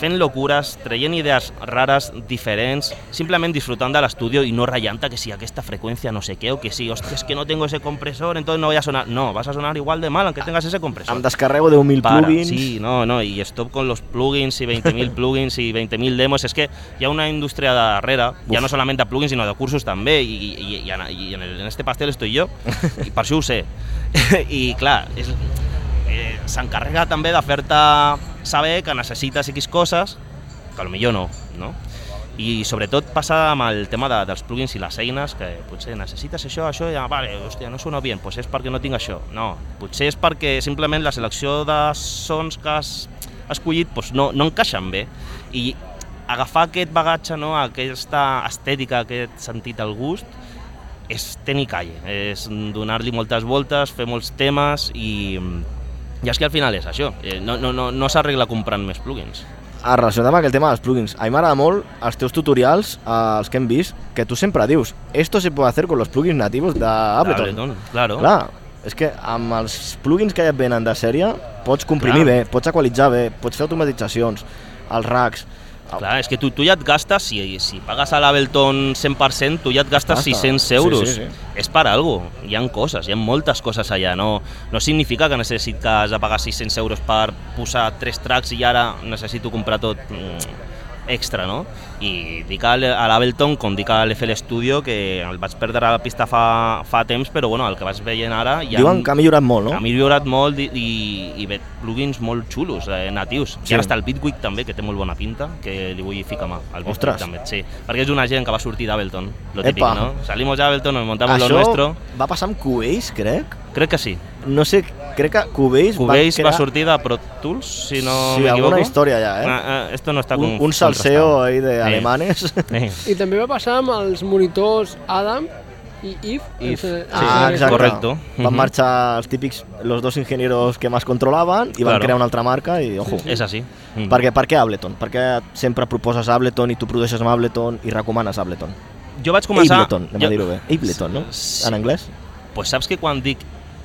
[SPEAKER 4] fent locures, traient idees rares, diferents, simplement disfrutant de l'estudio i no ratllant que si aquesta freqüència no sé què, o que si, hòstia, és que no tengo ese compresor, entonces no voy a sonar. No, vas a sonar igual de mal aunque tengas ese compresor.
[SPEAKER 2] Em descarrego de 10.000
[SPEAKER 4] Para,
[SPEAKER 2] plugins...
[SPEAKER 4] Sí, no, no, y stop con los plugins y 20.000 plugins y 20.000 demos. Es que ya una industria darrera, ya
[SPEAKER 2] Uf.
[SPEAKER 4] no solamente a plugins, sino de cursos también. Y, y- y en, y en el- en este pastel estoy yo, y para això ho sé. I clar, és- eh, s'encarrega també de fer-te saber que necessites X coses, que potser no, no? I sobretot passa amb el tema de, dels plugins i les eines, que potser necessites això, això, i ah, vale, hòstia, no sona bien, doncs és perquè no tinc això. No, potser és perquè simplement la selecció de sons que has escollit doncs no, no encaixen bé. I agafar aquest bagatge, no, aquesta estètica, aquest sentit al gust, és tenir calle, és donar-li moltes voltes, fer molts temes i... I és que al final és això, eh, no, no, no, no s'arregla comprant més plugins.
[SPEAKER 2] Ah, relacionat amb aquell tema dels plugins, a mi m'agrada molt els teus tutorials, eh, els que hem vist, que tu sempre dius, esto se puede hacer con los plugins nativos de Ableton.
[SPEAKER 4] Ableton, claro.
[SPEAKER 2] Ah, Clar, és que amb els plugins que ja et venen de sèrie, pots comprimir
[SPEAKER 4] Clar.
[SPEAKER 2] bé, pots equalitzar bé, pots fer automatitzacions, els racks...
[SPEAKER 4] Clar, és que tu, tu ja et gastes, si, si pagues a l'Ableton 100%, tu ja et gastes
[SPEAKER 2] Basta.
[SPEAKER 4] 600
[SPEAKER 2] Sí,
[SPEAKER 4] euros.
[SPEAKER 2] sí, sí.
[SPEAKER 4] És per algo, hi han coses, hi ha moltes coses allà. No, no significa que necessites de pagar 600 euros per posar tres tracks i ara necessito comprar tot mm, extra, no? I dic a l'E- a l'Ableton, com dic a l'FL Studio, que el vaig perdre a la pista fa, fa temps, però bueno, el que vaig veient ara... hi
[SPEAKER 2] Ja Diuen que ha millorat molt,
[SPEAKER 4] ha
[SPEAKER 2] no?
[SPEAKER 4] millorat molt i, i, i ve plugins molt xulos, eh, natius.
[SPEAKER 2] Sí.
[SPEAKER 4] Sí. I ara està el Bitwig també, que té molt bona pinta, que li vull ficar mà al Bitwig
[SPEAKER 2] Ostres.
[SPEAKER 4] també. Sí, perquè és una gent que va sortir d'Ableton, lo
[SPEAKER 2] Epa.
[SPEAKER 4] típic, no? Salimos d'Ableton, nos montamos
[SPEAKER 2] Això
[SPEAKER 4] lo nuestro.
[SPEAKER 2] va passar amb Cubase, crec.
[SPEAKER 4] Crec que sí.
[SPEAKER 2] No sé, crec que Cubase,
[SPEAKER 4] Cubase va
[SPEAKER 2] crear
[SPEAKER 4] sortir de Pro Tools, si no
[SPEAKER 2] Sí,
[SPEAKER 4] m'equivoco.
[SPEAKER 2] alguna història ja, eh?
[SPEAKER 4] Ah, ah, esto no està
[SPEAKER 2] un,
[SPEAKER 4] con-
[SPEAKER 2] un salseo
[SPEAKER 4] contrastat.
[SPEAKER 2] ahí de
[SPEAKER 4] Sí.
[SPEAKER 2] alemanes.
[SPEAKER 4] Eh.
[SPEAKER 6] I també va passar amb els monitors Adam i If.
[SPEAKER 4] If, sí.
[SPEAKER 2] Ah, exacte.
[SPEAKER 4] correcto.
[SPEAKER 2] Van
[SPEAKER 4] Mhm.
[SPEAKER 2] marxar els típics, los dos ingenieros que más controlaven i van
[SPEAKER 4] Claro.
[SPEAKER 2] crear una altra marca i, ojo,
[SPEAKER 4] És així. Mm.
[SPEAKER 2] Per què, per què Ableton? Per què sempre proposes Ableton i tu produeixes amb Ableton i recomanes Ableton?
[SPEAKER 4] Jo vaig començar...
[SPEAKER 2] Ableton, anem
[SPEAKER 4] jo-
[SPEAKER 2] a dir-ho bé. Ableton, no?
[SPEAKER 4] Sí.
[SPEAKER 2] En anglès?
[SPEAKER 4] Pues saps que quan dic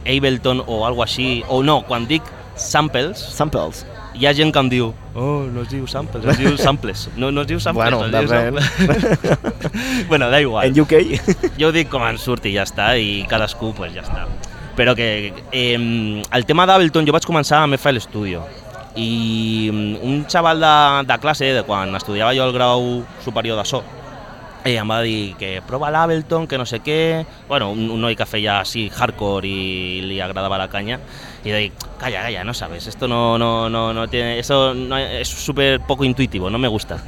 [SPEAKER 4] Ableton o algo així, o no, quan dic samples,
[SPEAKER 2] Samples.
[SPEAKER 4] hi ha gent que em diu oh, no es diu samples, es diu samples. No, no es diu samples,
[SPEAKER 2] Bueno,
[SPEAKER 4] es diu
[SPEAKER 2] depèn.
[SPEAKER 4] samples. bueno, da igual.
[SPEAKER 2] En UK?
[SPEAKER 4] Jo ho dic com en surti i ja està, i cadascú, pues, ja està. Però que eh, el tema d'Ableton jo vaig començar amb FL Studio i mm, un xaval de, de classe, de quan estudiava jo el grau superior de so, i em va dir que prova l'Ableton, que no sé què... Bueno, un, un noi que feia així hardcore i li agradava la canya. I dic, calla, calla, no sabes, esto no, no, no, no tiene, eso no, es súper poco intuitivo, no me gusta.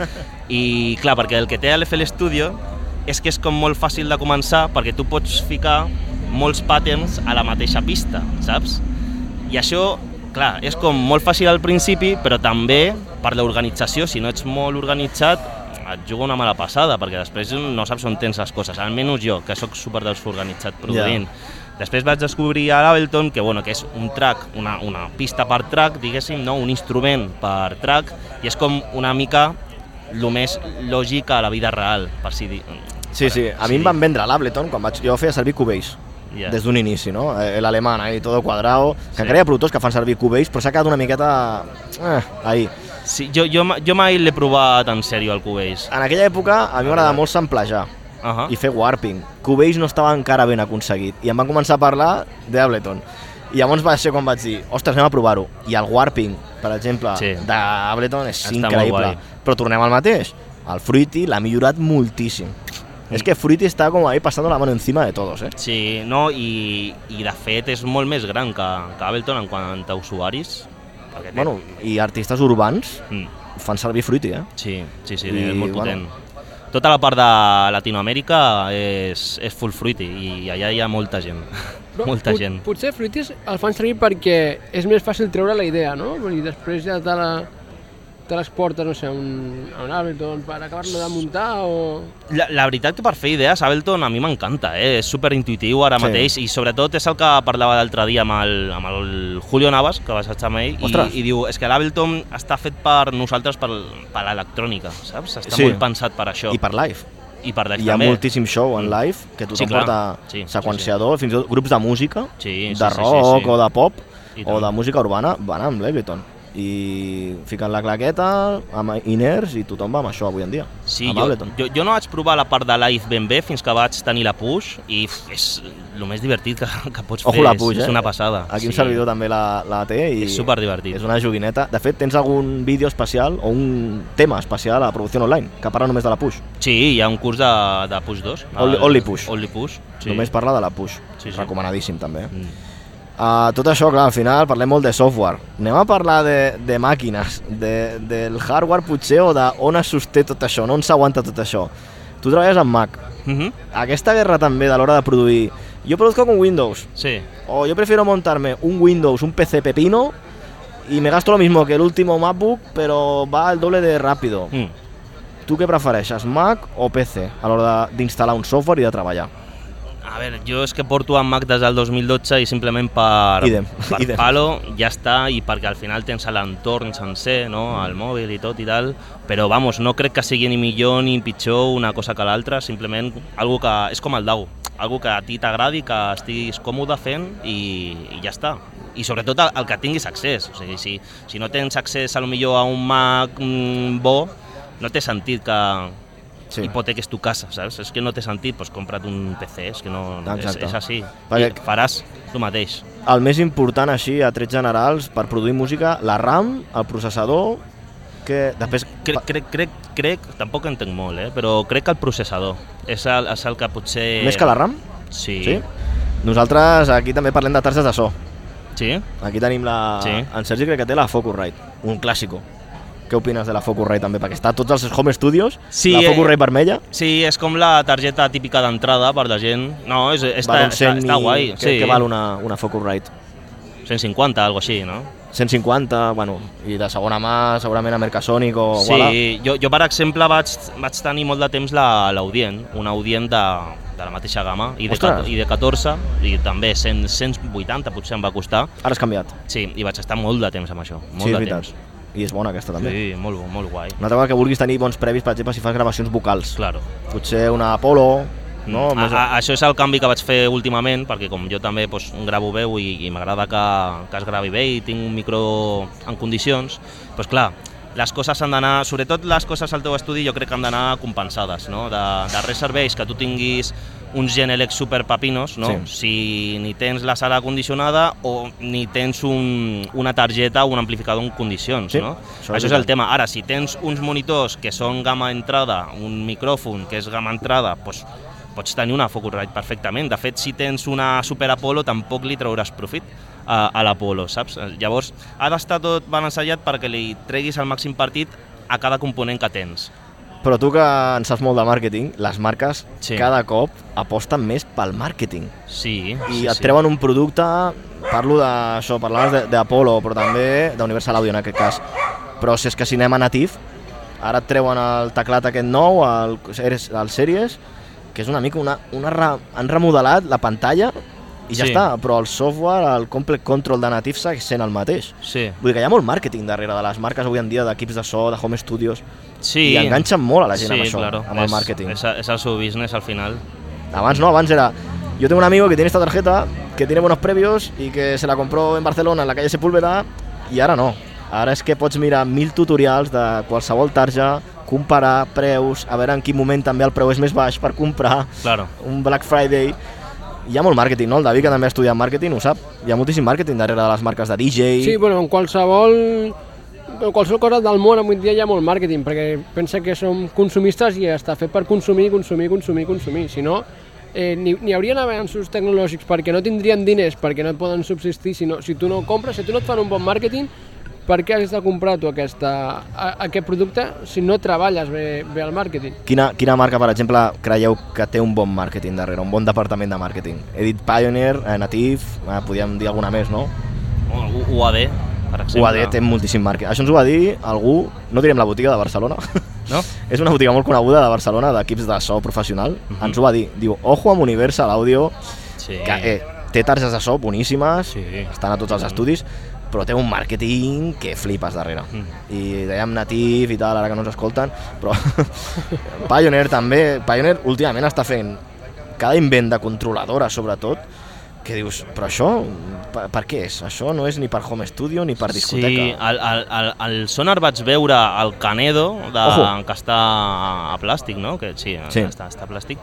[SPEAKER 4] I clar, perquè el que té l'FL Studio és que és com molt fàcil de començar perquè tu pots ficar molts patterns a la mateixa pista, saps? I això, clar, és com molt fàcil al principi, però també per l'organització, si no ets molt organitzat, et juga una mala passada, perquè després no saps on tens les coses, almenys jo, que sóc super desorganitzat produint. Després vaig descobrir a l'Ableton que, bueno, que és un track, una, una pista per track, diguéssim, no? un instrument per track, i és com una mica el més lògic a la vida real, per si dir...
[SPEAKER 2] Sí, sí. A mi em van vendre l'Ableton quan vaig... Jo feia servir Cubase.
[SPEAKER 4] Ja.
[SPEAKER 2] Des d'un inici, no? Eh, L'alemán, ahí, todo cuadrado... Que
[SPEAKER 4] Sí.
[SPEAKER 2] encara hi ha productors que fan servir Cubase, però s'ha quedat una miqueta... Eh, ahí.
[SPEAKER 4] Sí, jo, jo, ma- jo mai l'he provat en sèrio, el Cubase.
[SPEAKER 2] En aquella època a mi m'agradava molt samplejar
[SPEAKER 4] Uh -huh.
[SPEAKER 2] i fer warping. Cubase no estava encara ben aconseguit i em van començar a parlar d'Ableton. I llavors va ser quan vaig dir, ostres, anem a provar-ho. I el warping, per exemple, sí.
[SPEAKER 4] Sí.
[SPEAKER 2] d'Ableton és
[SPEAKER 4] Està molt
[SPEAKER 2] increïble.
[SPEAKER 4] guai.
[SPEAKER 2] Però tornem al mateix. El Fruity l'ha millorat moltíssim. És que Fruity està com ahí passant la mano encima de todos, eh?
[SPEAKER 4] Sí, no, i, i de fet és molt més gran que, que Ableton en quant a usuaris. perquè té-
[SPEAKER 2] Bueno, i artistes urbans
[SPEAKER 4] Mm,
[SPEAKER 2] fan servir Fruity, eh?
[SPEAKER 4] sí, sí, sí,
[SPEAKER 2] I,
[SPEAKER 4] és molt
[SPEAKER 2] bueno.
[SPEAKER 4] potent. Tota la part de Latinoamèrica és, és full fruity i allà hi ha molta gent. molta
[SPEAKER 6] pot-
[SPEAKER 4] gent.
[SPEAKER 6] Potser Fruities el fan servir perquè és més fàcil treure la idea, no? I després ja te la... te les portes, no sé, a un, a un Ableton per acabar-lo de muntar o...
[SPEAKER 4] La, la veritat que per fer idees, Ableton a mi m'encanta, eh? és superintuitiu ara
[SPEAKER 2] Sí.
[SPEAKER 4] sí. mateix i sobretot és el que parlava l'altre dia amb el, amb el Julio Navas, que vas estar amb ell, i,
[SPEAKER 2] Ostres.
[SPEAKER 4] i diu, és que l'Ableton està fet per nosaltres per, per l'electrònica, saps? Està
[SPEAKER 2] Sí.
[SPEAKER 4] sí. molt pensat per això.
[SPEAKER 2] I per live.
[SPEAKER 4] I per
[SPEAKER 2] Hi ha
[SPEAKER 4] també. Mm.
[SPEAKER 2] moltíssim show en live que tothom
[SPEAKER 4] Sí, clar.
[SPEAKER 2] porta
[SPEAKER 4] Sí, sí,
[SPEAKER 2] seqüenciador, fins i tot grups de música,
[SPEAKER 4] Sí, sí,
[SPEAKER 2] de
[SPEAKER 4] sí, sí,
[SPEAKER 2] rock
[SPEAKER 4] sí.
[SPEAKER 2] o de pop
[SPEAKER 4] I
[SPEAKER 2] o
[SPEAKER 4] tant.
[SPEAKER 2] de música urbana, van amb l'Eviton. I fiquen la claqueta amb Iners i tothom va amb això avui en dia.
[SPEAKER 4] Sí,
[SPEAKER 2] amb
[SPEAKER 4] jo,
[SPEAKER 2] Ableton.
[SPEAKER 4] jo, jo no vaig provar la part de live ben bé fins que vaig tenir la push i uf, és el més divertit que, que pots
[SPEAKER 2] Ojo
[SPEAKER 4] fer,
[SPEAKER 2] la
[SPEAKER 4] és-
[SPEAKER 2] puja,
[SPEAKER 4] és una passada.
[SPEAKER 2] Aquí un servidor també la, la té i...
[SPEAKER 4] És superdivertit.
[SPEAKER 2] És una joguineta. De fet, tens algun vídeo especial o un tema especial a producció online que parla només de la push.
[SPEAKER 4] Sí, hi ha un curs de, de push 2.
[SPEAKER 2] Only-
[SPEAKER 4] el-
[SPEAKER 2] Only Push.
[SPEAKER 4] Only push, sí.
[SPEAKER 2] Només parla de la push.
[SPEAKER 4] Sí, sí.
[SPEAKER 2] Recomanadíssim també. Mm.
[SPEAKER 4] Mm.
[SPEAKER 2] Uh, tot això, clar, al final parlem molt de software. Anem a parlar de, de màquines, de, del hardware potser o de on es sosté tot això, no on s'aguanta tot això. Tu treballes amb Mac.
[SPEAKER 4] Mhm,
[SPEAKER 2] Aquesta guerra també de l'hora de produir. Jo produzco con Windows,
[SPEAKER 4] Sí.
[SPEAKER 2] O yo prefiero montarme un Windows, un PC pepino y me gasto lo mismo que el último MacBook, pero va al doble de rápido.
[SPEAKER 4] Mm.
[SPEAKER 2] Tu què prefereixes, Mac o PC, a l'hora de- d'instal·lar un software i de treballar?
[SPEAKER 4] A veure, jo és que porto amb Mac des del 2012 i simplement per,
[SPEAKER 2] Idem,
[SPEAKER 4] per
[SPEAKER 2] idem.
[SPEAKER 4] palo ja està i perquè al final tens l'entorn sencer, no? el mòbil i tot i tal, però vamos, no crec que sigui ni millor ni pitjor una cosa que l'altra, simplement algo que és com el DAO, algo que a ti t'agradi, que estiguis còmode fent i, i ja està. I sobretot el, el que tinguis accés, o sigui, si, si no tens accés a lo millor a un Mac mm, bo, no té sentit que, sí. hipoteques tu casa, saps? És que no té sentit, doncs compra't un PC, és que no... És,
[SPEAKER 2] Exacte.
[SPEAKER 4] és així.
[SPEAKER 2] Perquè-
[SPEAKER 4] I faràs tu mateix.
[SPEAKER 2] El més important així, a trets generals, per produir música, la RAM, el processador, que després...
[SPEAKER 4] Crec, crec, crec, crec, tampoc entenc molt, eh? però crec que el processador és el, és el que potser...
[SPEAKER 2] Més que la RAM?
[SPEAKER 4] Sí.
[SPEAKER 2] Sí. Nosaltres aquí també parlem de targes de so.
[SPEAKER 4] Sí?
[SPEAKER 2] Aquí tenim la...
[SPEAKER 4] Sí.
[SPEAKER 2] En Sergi crec que té la Focusrite, un clàssico. Què opines de la Focusrite també? Perquè està a tots els home studios,
[SPEAKER 4] Sí,
[SPEAKER 2] la
[SPEAKER 4] eh,
[SPEAKER 2] Focusrite vermella.
[SPEAKER 4] Sí, és com la targeta típica d'entrada per la gent. No, és, està,
[SPEAKER 2] val un
[SPEAKER 4] està,
[SPEAKER 2] 100
[SPEAKER 4] està
[SPEAKER 2] i-
[SPEAKER 4] guai.
[SPEAKER 2] Crec que val una, una Focusrite.
[SPEAKER 4] 150, algo així, no?
[SPEAKER 2] 150, bueno, i de segona mà, segurament a Mercasonic o
[SPEAKER 4] Sí,
[SPEAKER 2] Walla.
[SPEAKER 4] jo, jo per exemple vaig, vaig tenir molt de temps la- l'Audient, una Audient de, de la mateixa gamma, i de,
[SPEAKER 2] Ostres.
[SPEAKER 4] cat- i de 14, i també 100, 180 potser em va costar,
[SPEAKER 2] Ara has canviat.
[SPEAKER 4] sí, i vaig estar molt de temps amb això, molt
[SPEAKER 2] sí, és
[SPEAKER 4] de
[SPEAKER 2] veritat.
[SPEAKER 4] temps.
[SPEAKER 2] I és bona aquesta també.
[SPEAKER 4] Sí, molt, bo, molt guai,
[SPEAKER 2] Una altra cosa que vulguis tenir bons previs, per exemple, si fas gravacions vocals.
[SPEAKER 4] claro.
[SPEAKER 2] Potser una Apollo, no?
[SPEAKER 4] a,
[SPEAKER 2] Més-
[SPEAKER 4] a, això és el canvi que vaig fer últimament, perquè com jo també doncs, gravo veu i, i m'agrada que, que es gravi bé i tinc un micro en condicions, doncs clar, les coses han d'anar, sobretot les coses al teu estudi jo crec que han d'anar compensades, no? De, de res serveix que tu tinguis uns Genelec super papinos, no? Si ni tens la sala condicionada o ni tens un, una targeta o un amplificador en condicions,
[SPEAKER 2] Sí,
[SPEAKER 4] no?
[SPEAKER 2] això és
[SPEAKER 4] Això és el
[SPEAKER 2] veritat.
[SPEAKER 4] tema. Ara, si tens uns monitors que són gamma entrada, un micròfon que és gamma entrada, doncs pots tenir una Focusrite perfectament. De fet, si tens una Super Apollo, tampoc li trauràs profit a, a l'Apollo, saps? Eh, Llavors, ha d'estar tot balancellat perquè li treguis el màxim partit a cada component que tens.
[SPEAKER 2] Però tu que en saps molt de màrqueting, les marques
[SPEAKER 4] Sí.
[SPEAKER 2] cada cop aposten més pel màrqueting.
[SPEAKER 4] Sí,
[SPEAKER 2] I
[SPEAKER 4] Ah, sí,
[SPEAKER 2] et
[SPEAKER 4] sí.
[SPEAKER 2] treuen un producte, parlo d'això, parlaves de- d'Apollo, però també d'Universal Audio en aquest cas. Però si és que cinema natif, ara et treuen el teclat aquest nou, el, Series- el Series, que és una mica una... una re, han remodelat la pantalla i ja
[SPEAKER 4] Sí.
[SPEAKER 2] està, però el software, el complex control de natif segueix sent el mateix.
[SPEAKER 4] Sí,
[SPEAKER 2] Vull dir que hi ha molt màrqueting darrere de les marques avui en dia, d'equips de so, de home studios,
[SPEAKER 4] sí.
[SPEAKER 2] i enganxen molt a la gent
[SPEAKER 4] sí,
[SPEAKER 2] amb això,
[SPEAKER 4] claro.
[SPEAKER 2] amb el
[SPEAKER 4] És-
[SPEAKER 2] màrqueting.
[SPEAKER 4] És, és el seu business al final.
[SPEAKER 2] Abans no, abans era... Yo tengo un amigo que tiene esta tarjeta, que tiene buenos previos y que se la compró en Barcelona, en la calle Sepúlveda, y ahora no. Ara és que pots mirar mil tutorials de qualsevol tarja, comparar preus, a veure en quin moment també el preu és més baix per comprar,
[SPEAKER 4] Claro.
[SPEAKER 2] un Black Friday... Hi ha molt màrqueting, no? El David, que també ha estudiat màrqueting, ho sap. Hi ha moltíssim màrqueting darrere de les marques de DJ...
[SPEAKER 6] Sí, bueno, en qualsevol en qualsevol cosa del món avui en dia hi ha molt màrqueting, perquè pensa que som consumistes i està fet per consumir, consumir, consumir, consumir. Si no, eh, ni, ni hi haurien avanços tecnològics perquè no tindrien diners, perquè no et poden subsistir si, no, si tu no compres, si tu no et fan un bon màrqueting, per què has de comprar tu aquesta, a, aquest producte si no treballes bé, bé el màrqueting?
[SPEAKER 2] Quina, quina marca, per exemple, creieu que té un bon màrqueting darrere, un bon departament de màrqueting? He dit Pioneer, eh, Native, eh, podíem dir alguna més, no?
[SPEAKER 4] O- UAD, per exemple.
[SPEAKER 2] Ho ha dit, té moltíssim màrqueting. Això ens ho va dir algú, no direm la botiga de Barcelona,
[SPEAKER 5] No?
[SPEAKER 2] és una botiga molt coneguda de Barcelona d'equips de so professional,
[SPEAKER 4] Mhm.
[SPEAKER 2] ens ho va dir, diu, ojo amb Universal Audio,
[SPEAKER 4] Sí.
[SPEAKER 2] que eh, té targes de so boníssimes,
[SPEAKER 4] Sí. Mhm.
[SPEAKER 2] estan a tots els estudis, però té un màrqueting que flipes darrere.
[SPEAKER 4] Mm.
[SPEAKER 2] I dèiem natif i tal, ara que no ens escolten, però Pioneer també, Pioneer últimament està fent cada invent de controladora, sobretot, que dius, però això, per, per què és? Això no és ni per home studio ni per discoteca.
[SPEAKER 4] Sí, al, al, al, al Sonar vaig veure el Canedo, de,
[SPEAKER 2] Ojo.
[SPEAKER 4] que està a plàstic, no? Que, sí,
[SPEAKER 2] Sí.
[SPEAKER 4] Està, està a plàstic,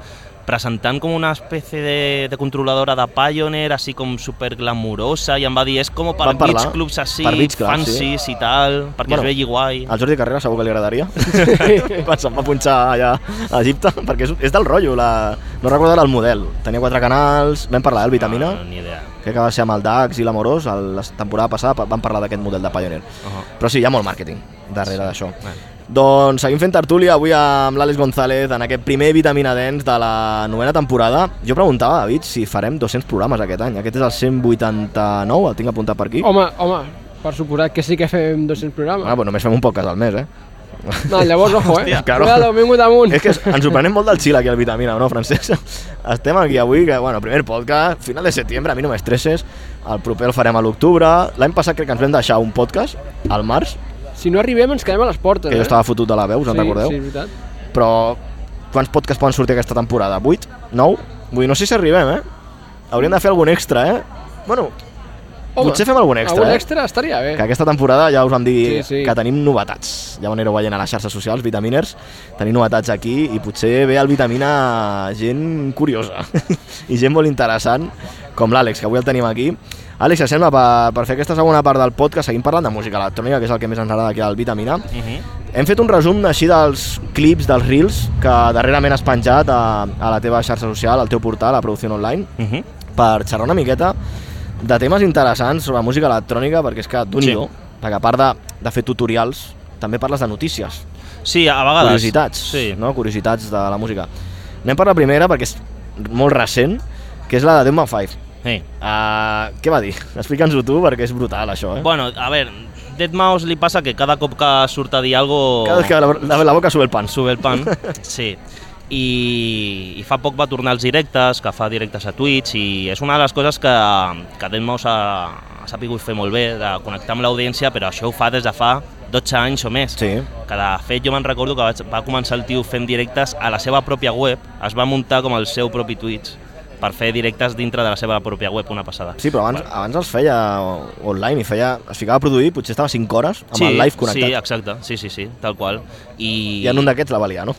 [SPEAKER 4] presentant com una espècie de, de controladora de Pioneer, així com super glamurosa, i em va dir, és com per
[SPEAKER 2] Vam
[SPEAKER 4] beach
[SPEAKER 2] parlar.
[SPEAKER 4] clubs així,
[SPEAKER 2] Per beach clubs, sí.
[SPEAKER 4] fancies i tal, perquè
[SPEAKER 2] Bueno.
[SPEAKER 4] es vegi guai.
[SPEAKER 2] Al Jordi Carrera segur que li agradaria. Se'n va punxar allà a Egipte, perquè és, és del rotllo. La... No recordo ara el model. Tenia quatre canals, vam parlar del Vitamina,
[SPEAKER 4] No, ni idea.
[SPEAKER 2] crec que va ser amb el Dax i l'Amorós, el- la temporada passada pa- vam parlar d'aquest model de Pioneer.
[SPEAKER 4] Ahà.
[SPEAKER 2] Però sí, hi ha molt màrqueting darrere d'això.
[SPEAKER 4] Bueno.
[SPEAKER 2] Doncs seguim fent tertúlia avui amb l'Àlex González en aquest primer Vitamina Dens de la novena temporada. Jo preguntava, David, si farem 200 programes aquest any. Aquest és el 189, el tinc apuntat per aquí.
[SPEAKER 6] Home, home, per suposat que sí que fem 200
[SPEAKER 2] Ah,
[SPEAKER 6] programes.
[SPEAKER 2] però només fem un podcast al mes, eh?
[SPEAKER 6] No, llavors, ojo, eh?
[SPEAKER 2] Hòstia, claro.
[SPEAKER 6] Cuidado, m'he vingut amunt.
[SPEAKER 2] És que ens ho prenem molt del xil aquí al Vitamina, no, Francesc? Estem aquí avui, que, bueno, primer podcast, final de setembre, a mi no m'estresses, el proper el farem a l'octubre, l'any passat crec que ens vam deixar un podcast, al març,
[SPEAKER 6] Si no arribem, ens quedem a les portes,
[SPEAKER 2] que jo
[SPEAKER 6] eh?
[SPEAKER 2] estava fotut de la veu, us en
[SPEAKER 6] sí,
[SPEAKER 2] recordeu?
[SPEAKER 6] Sí, és veritat.
[SPEAKER 2] Però quants podcasts poden sortir aquesta temporada? 8? 9? Vull dir, no sé si arribem, eh? Hauríem de fer algun extra, eh? Bueno, Potser fem algun extra,
[SPEAKER 6] Algun
[SPEAKER 2] eh?
[SPEAKER 6] extra estaria bé.
[SPEAKER 2] que aquesta temporada ja us vam dir
[SPEAKER 6] Sí, sí.
[SPEAKER 2] que tenim novetats. Ja ho anireu veient a les xarxes socials, Vitaminers, tenim novetats aquí i potser ve al Vitamina gent curiosa i gent molt interessant, com l'Àlex, que avui el tenim aquí. Àlex, et sembla, per, per fer aquesta segona part del podcast, seguim parlant de música electrònica, que és el que més ens agrada aquí al Vitamina.
[SPEAKER 4] Uh -huh.
[SPEAKER 2] Hem fet un resum així dels clips, dels reels, que darrerament has penjat a, a la teva xarxa social, al teu portal, a Producció Online,
[SPEAKER 4] Uh -huh.
[SPEAKER 2] per xerrar una miqueta de temes interessants sobre música electrònica, perquè és que, d'un sí.
[SPEAKER 4] Sí.
[SPEAKER 2] do, perquè a part de, de fer tutorials, també parles de notícies,
[SPEAKER 4] Sí, a vegades.
[SPEAKER 2] curiositats,
[SPEAKER 4] Sí.
[SPEAKER 2] no? curiositats de la música. Anem per la primera, perquè és molt recent, que és la de Deadman 5.
[SPEAKER 4] Sí.
[SPEAKER 2] Uh, què va dir? Explica'ns-ho tu, perquè és brutal, això, eh?
[SPEAKER 4] Bueno, a veure, Dead Mouse li passa que cada cop que surt a dir algo...
[SPEAKER 2] Cada vegada que la, la, la boca sube el pan.
[SPEAKER 4] sube el pan, sí. I, I fa poc va tornar als directes, que fa directes a Twitch, i és una de les coses que, que Deadmau5 ha, ha sapigut fer molt bé, de connectar amb l'audiència, però això ho fa des de fa 12 anys o més.
[SPEAKER 2] Sí.
[SPEAKER 4] Que de fet jo me'n recordo que vaig, va començar el tio fent directes a la seva pròpia web, es va muntar com el seu propi Twitch per fer directes dintre de la seva pròpia web, una passada.
[SPEAKER 2] Sí, però abans, abans els feia online i feia, es ficava a produir, potser estava 5 hores amb el live
[SPEAKER 4] Sí,
[SPEAKER 2] connectat.
[SPEAKER 4] exacte, sí, sí, sí, tal qual. I,
[SPEAKER 2] I en un d'aquests la va liar, no?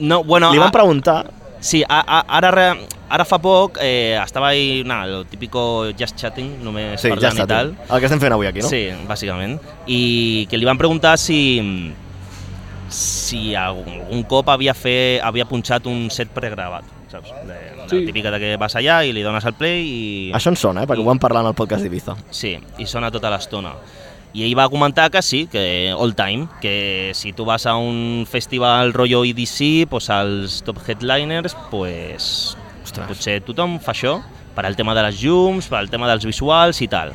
[SPEAKER 4] no, ah, bueno,
[SPEAKER 2] Li
[SPEAKER 4] a-
[SPEAKER 2] van preguntar
[SPEAKER 4] Sí, a, a, ara, re- ara fa poc eh, estava ahí, nada, el típico just chatting, només
[SPEAKER 2] Sí, ja
[SPEAKER 4] parlant
[SPEAKER 2] està.
[SPEAKER 4] i tal.
[SPEAKER 2] tio. El que estem fent avui aquí, no?
[SPEAKER 4] Sí, bàsicament. I que li van preguntar si si algun algun cop havia, fer, havia punxat un set pregravat, saps? De, la
[SPEAKER 6] Sí.
[SPEAKER 4] típica de que vas allà i li dones al play i...
[SPEAKER 2] Això ens sona, eh? Perquè ho vam parlar en el podcast d'Ibiza.
[SPEAKER 4] Sí, i sona tota l'estona. I ell va comentar que sí, que all time, que si tu vas a un festival rotllo EDC, pues els top headliners, pues,
[SPEAKER 2] Ostres.
[SPEAKER 4] potser tothom fa això per al tema de les llums, per al tema dels visuals i tal.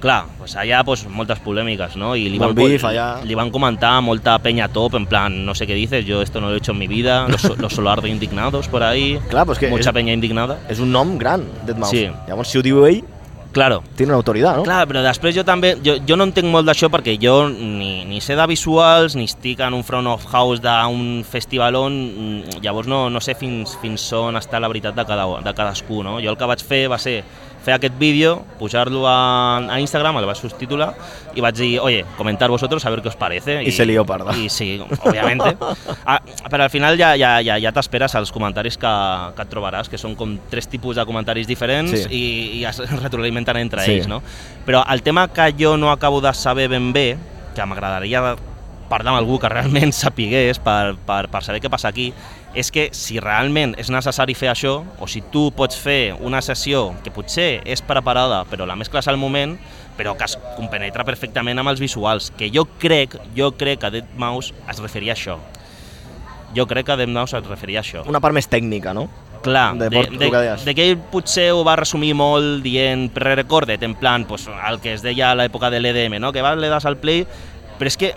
[SPEAKER 4] Clar, pues allà pues, moltes polèmiques, no? I li
[SPEAKER 2] Molt
[SPEAKER 4] van, co-
[SPEAKER 2] bif allà.
[SPEAKER 4] li van comentar a molta penya top, en plan, no sé qué dices, yo esto no lo he hecho en mi vida, los, so- los solar de indignados por ahí,
[SPEAKER 2] Clar, però és que
[SPEAKER 4] mucha
[SPEAKER 2] és-
[SPEAKER 4] peña indignada.
[SPEAKER 2] És un nom gran, Deadmau5.
[SPEAKER 4] Sí.
[SPEAKER 2] Llavors, si ho diu ell,
[SPEAKER 4] Claro,
[SPEAKER 2] té una autoritat, no?
[SPEAKER 4] Clar, però després jo també... Jo, jo no entenc molt d'això perquè jo ni, ni sé de visuals, ni estic en un front of house d'un festival on... mm, Llavors no, no sé fins, fins on està la veritat de, cada, de cadascú, no? Jo el que vaig fer va ser fer aquest vídeo, pujar-lo a, a Instagram, el vaig subtitular, i vaig dir, oye, comentar vosotros a ver qué os parece.
[SPEAKER 2] I se lió parda.
[SPEAKER 4] I sí, obviamente. ah, però al final ja, ja, ja, ja t'esperes als comentaris que, que et trobaràs, que són com tres tipus de comentaris diferents
[SPEAKER 2] Sí.
[SPEAKER 4] i, i es retroalimenten entre entre
[SPEAKER 2] Sí.
[SPEAKER 4] sí. ells, no? Però el tema que jo no acabo de saber ben bé, que m'agradaria parlar amb algú que realment sapigués per, per, per saber què passa aquí, és que si realment és necessari fer això, o si tu pots fer una sessió que potser és preparada, però la mescles al moment, però que es compenetra perfectament amb els visuals, que jo crec, jo crec que Dead Mouse es referia a això. Jo crec que Dead Mouse es referia a això.
[SPEAKER 2] Una part més tècnica, no?
[SPEAKER 4] Clar,
[SPEAKER 2] de,
[SPEAKER 4] de,
[SPEAKER 2] Bort-
[SPEAKER 4] de,
[SPEAKER 2] el que deies.
[SPEAKER 4] de que ell potser ho va resumir molt dient pre-recordet, en plan, pues, el que es deia a l'època de l'EDM, no? que vas, le das al play, però és que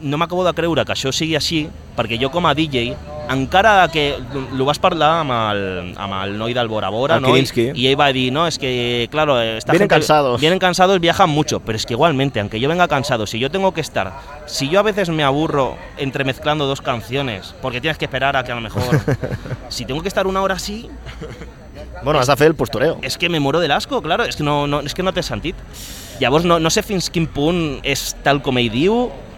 [SPEAKER 4] no m'acabo de creure que això sigui així, perquè jo com a DJ, encara que ho vas parlar amb el, amb el noi del Bora Bora,
[SPEAKER 2] El
[SPEAKER 4] no? I,
[SPEAKER 2] Kirinsky.
[SPEAKER 4] i ell va dir, no, es que, claro, eh, esta
[SPEAKER 2] Vienen
[SPEAKER 4] gente-
[SPEAKER 2] cansados.
[SPEAKER 4] Vienen cansados, viajan mucho, pero es que igualmente, aunque yo venga cansado, si yo tengo que estar, si yo a veces me aburro entremezclando dos canciones, porque tienes que esperar a que a lo mejor, si tengo que estar una hora así,
[SPEAKER 2] Bueno, has de fer el postureo.
[SPEAKER 4] és que me muero del asco, claro, és que no, no, és que no té sentit. Llavors no, no sé fins quin punt és tal com ell diu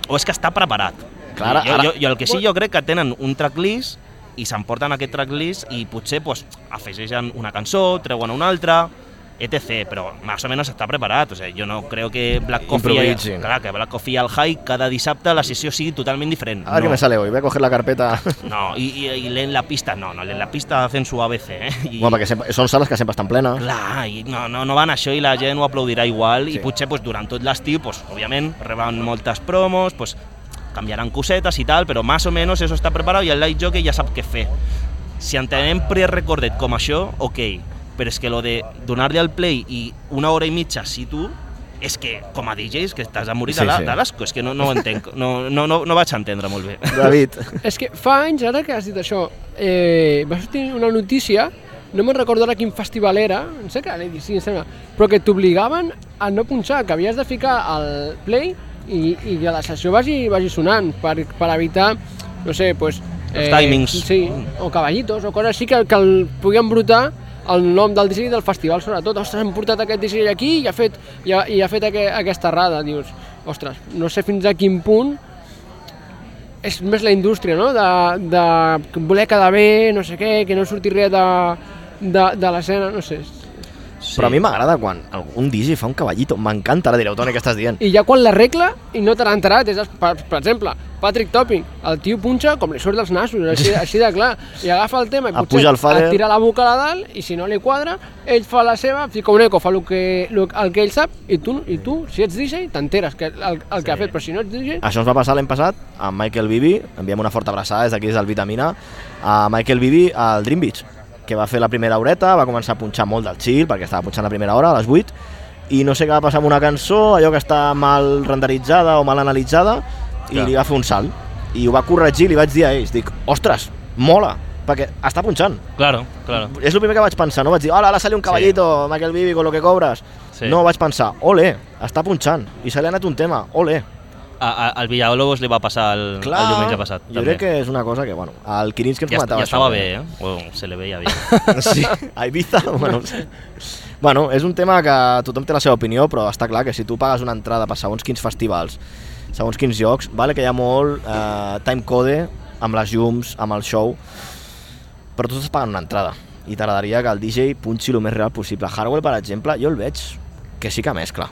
[SPEAKER 4] o és que està preparat.
[SPEAKER 2] Clar,
[SPEAKER 4] jo,
[SPEAKER 2] ara-
[SPEAKER 4] jo, jo, el que sí jo crec que tenen un tracklist i s'emporten aquest tracklist i potser pues, afegeixen una cançó, treuen una altra, etc. Però més o menys està preparat. O sigui, jo no crec que Black Coffee,
[SPEAKER 2] Improvisin.
[SPEAKER 4] clar, que Black Coffee al High cada dissabte la sessió sigui totalment diferent.
[SPEAKER 2] A ver qué Ah, me sale hoy. Voy a coger la carpeta.
[SPEAKER 4] no i, i, i leen la pista, no, no, leen la pista hacen su ABC. Eh? I,
[SPEAKER 2] Bueno, perquè sempre, són sales que sempre estan plenes.
[SPEAKER 4] Ah. Clar, i no, no, no van això i la gent ho aplaudirà igual
[SPEAKER 2] Sí.
[SPEAKER 4] i potser pues, durant tot l'estiu, pues, òbviament, reben moltes promos, pues, canviaran cosetes i tal, però més o menys això està preparat i el light jockey ja sap què fer. Si entenem pre-recordet com això, ok, però és que lo de donar-li al play i una hora i mitja si tu, és que com a DJs que estàs a morir
[SPEAKER 2] Sí,
[SPEAKER 4] de la-
[SPEAKER 2] sí.
[SPEAKER 4] de l'asco, és que no, no ho entenc, no, no, no, no vaig entendre molt bé.
[SPEAKER 2] David,
[SPEAKER 6] És que fa anys, ara que has dit això, eh, va sortir una notícia, no me'n recordo ara quin festival era, em sé que era l'Edi, sí, em sembla, però que t'obligaven a no punxar, que havies de ficar el play i, i que la sessió vagi, vagi sonant per, per evitar, no sé, pues, eh,
[SPEAKER 4] Els timings.
[SPEAKER 6] Sí, o cavallitos, o coses així que, que el pugui embrutar el nom del DJ del festival, sobretot. Ostres, hem portat aquest DJ aquí i ha fet, i ha, i ha fet aqu aquesta errada. Dius, ostres, no sé fins a quin punt és més la indústria, no? De, de voler quedar bé, no sé què, que no surti res de, de, de l'escena, no sé.
[SPEAKER 4] Sí.
[SPEAKER 2] però a mi m'agrada quan un DJ fa un cavallito. M'encanta la direutònia que estàs dient.
[SPEAKER 6] I ja quan l'arregla i no te l'ha enterat, és, per, per exemple, Patrick Topping, el tio punxa com li surt dels nassos, així, així de clar, i agafa el tema i
[SPEAKER 2] Ah, puja el fader.
[SPEAKER 6] et tira la boca a la dalt i si no li quadra, ell fa la seva, fica un eco, fa el que, el, el que ell sap i tu, i tu si ets DJ, t'enteres que el, el que ha fet, però si no ets DJ,
[SPEAKER 2] Això ens va passar l'any passat amb Michael Bibi, enviem una forta abraçada des d'aquí des del Vitamina, a Michael Bibi al Dream Beach, que va fer la primera horeta, va començar a punxar molt del chill, perquè estava punxant la primera hora, a les 8, i no sé què va passar amb una cançó, allò que està mal renderitzada o mal analitzada, i
[SPEAKER 4] Ja.
[SPEAKER 2] li va fer un salt. I ho va corregir, li vaig dir a ells, dic, ostres, mola, perquè està punxant.
[SPEAKER 4] Claro, claro.
[SPEAKER 2] És el primer que vaig pensar, no vaig dir, hola, ara sale un caballito, Michael Bibi, con lo que cobras.
[SPEAKER 4] Sí.
[SPEAKER 2] No, vaig pensar, ole, està punxant, i se li ha anat un tema, ole.
[SPEAKER 4] A, a, al Villalobos li va passar el, el diumenge passat.
[SPEAKER 2] Jo crec que és una cosa que, bueno, el Kirinsky ens
[SPEAKER 4] Ja,
[SPEAKER 2] comentava
[SPEAKER 4] ja
[SPEAKER 2] això.
[SPEAKER 4] estava bé, eh? Bueno, se le veia bé.
[SPEAKER 2] Sí, a Ibiza, bueno, no sé. bueno, és un tema que tothom té la seva opinió, però està clar que si tu pagues una entrada per segons quins festivals, segons quins llocs, vale que hi ha molt eh, time code amb les llums, amb el show, però tu estàs pagant una entrada i t'agradaria que el DJ punxi el més real possible. Hardwell, per exemple, jo el veig que sí que mescla,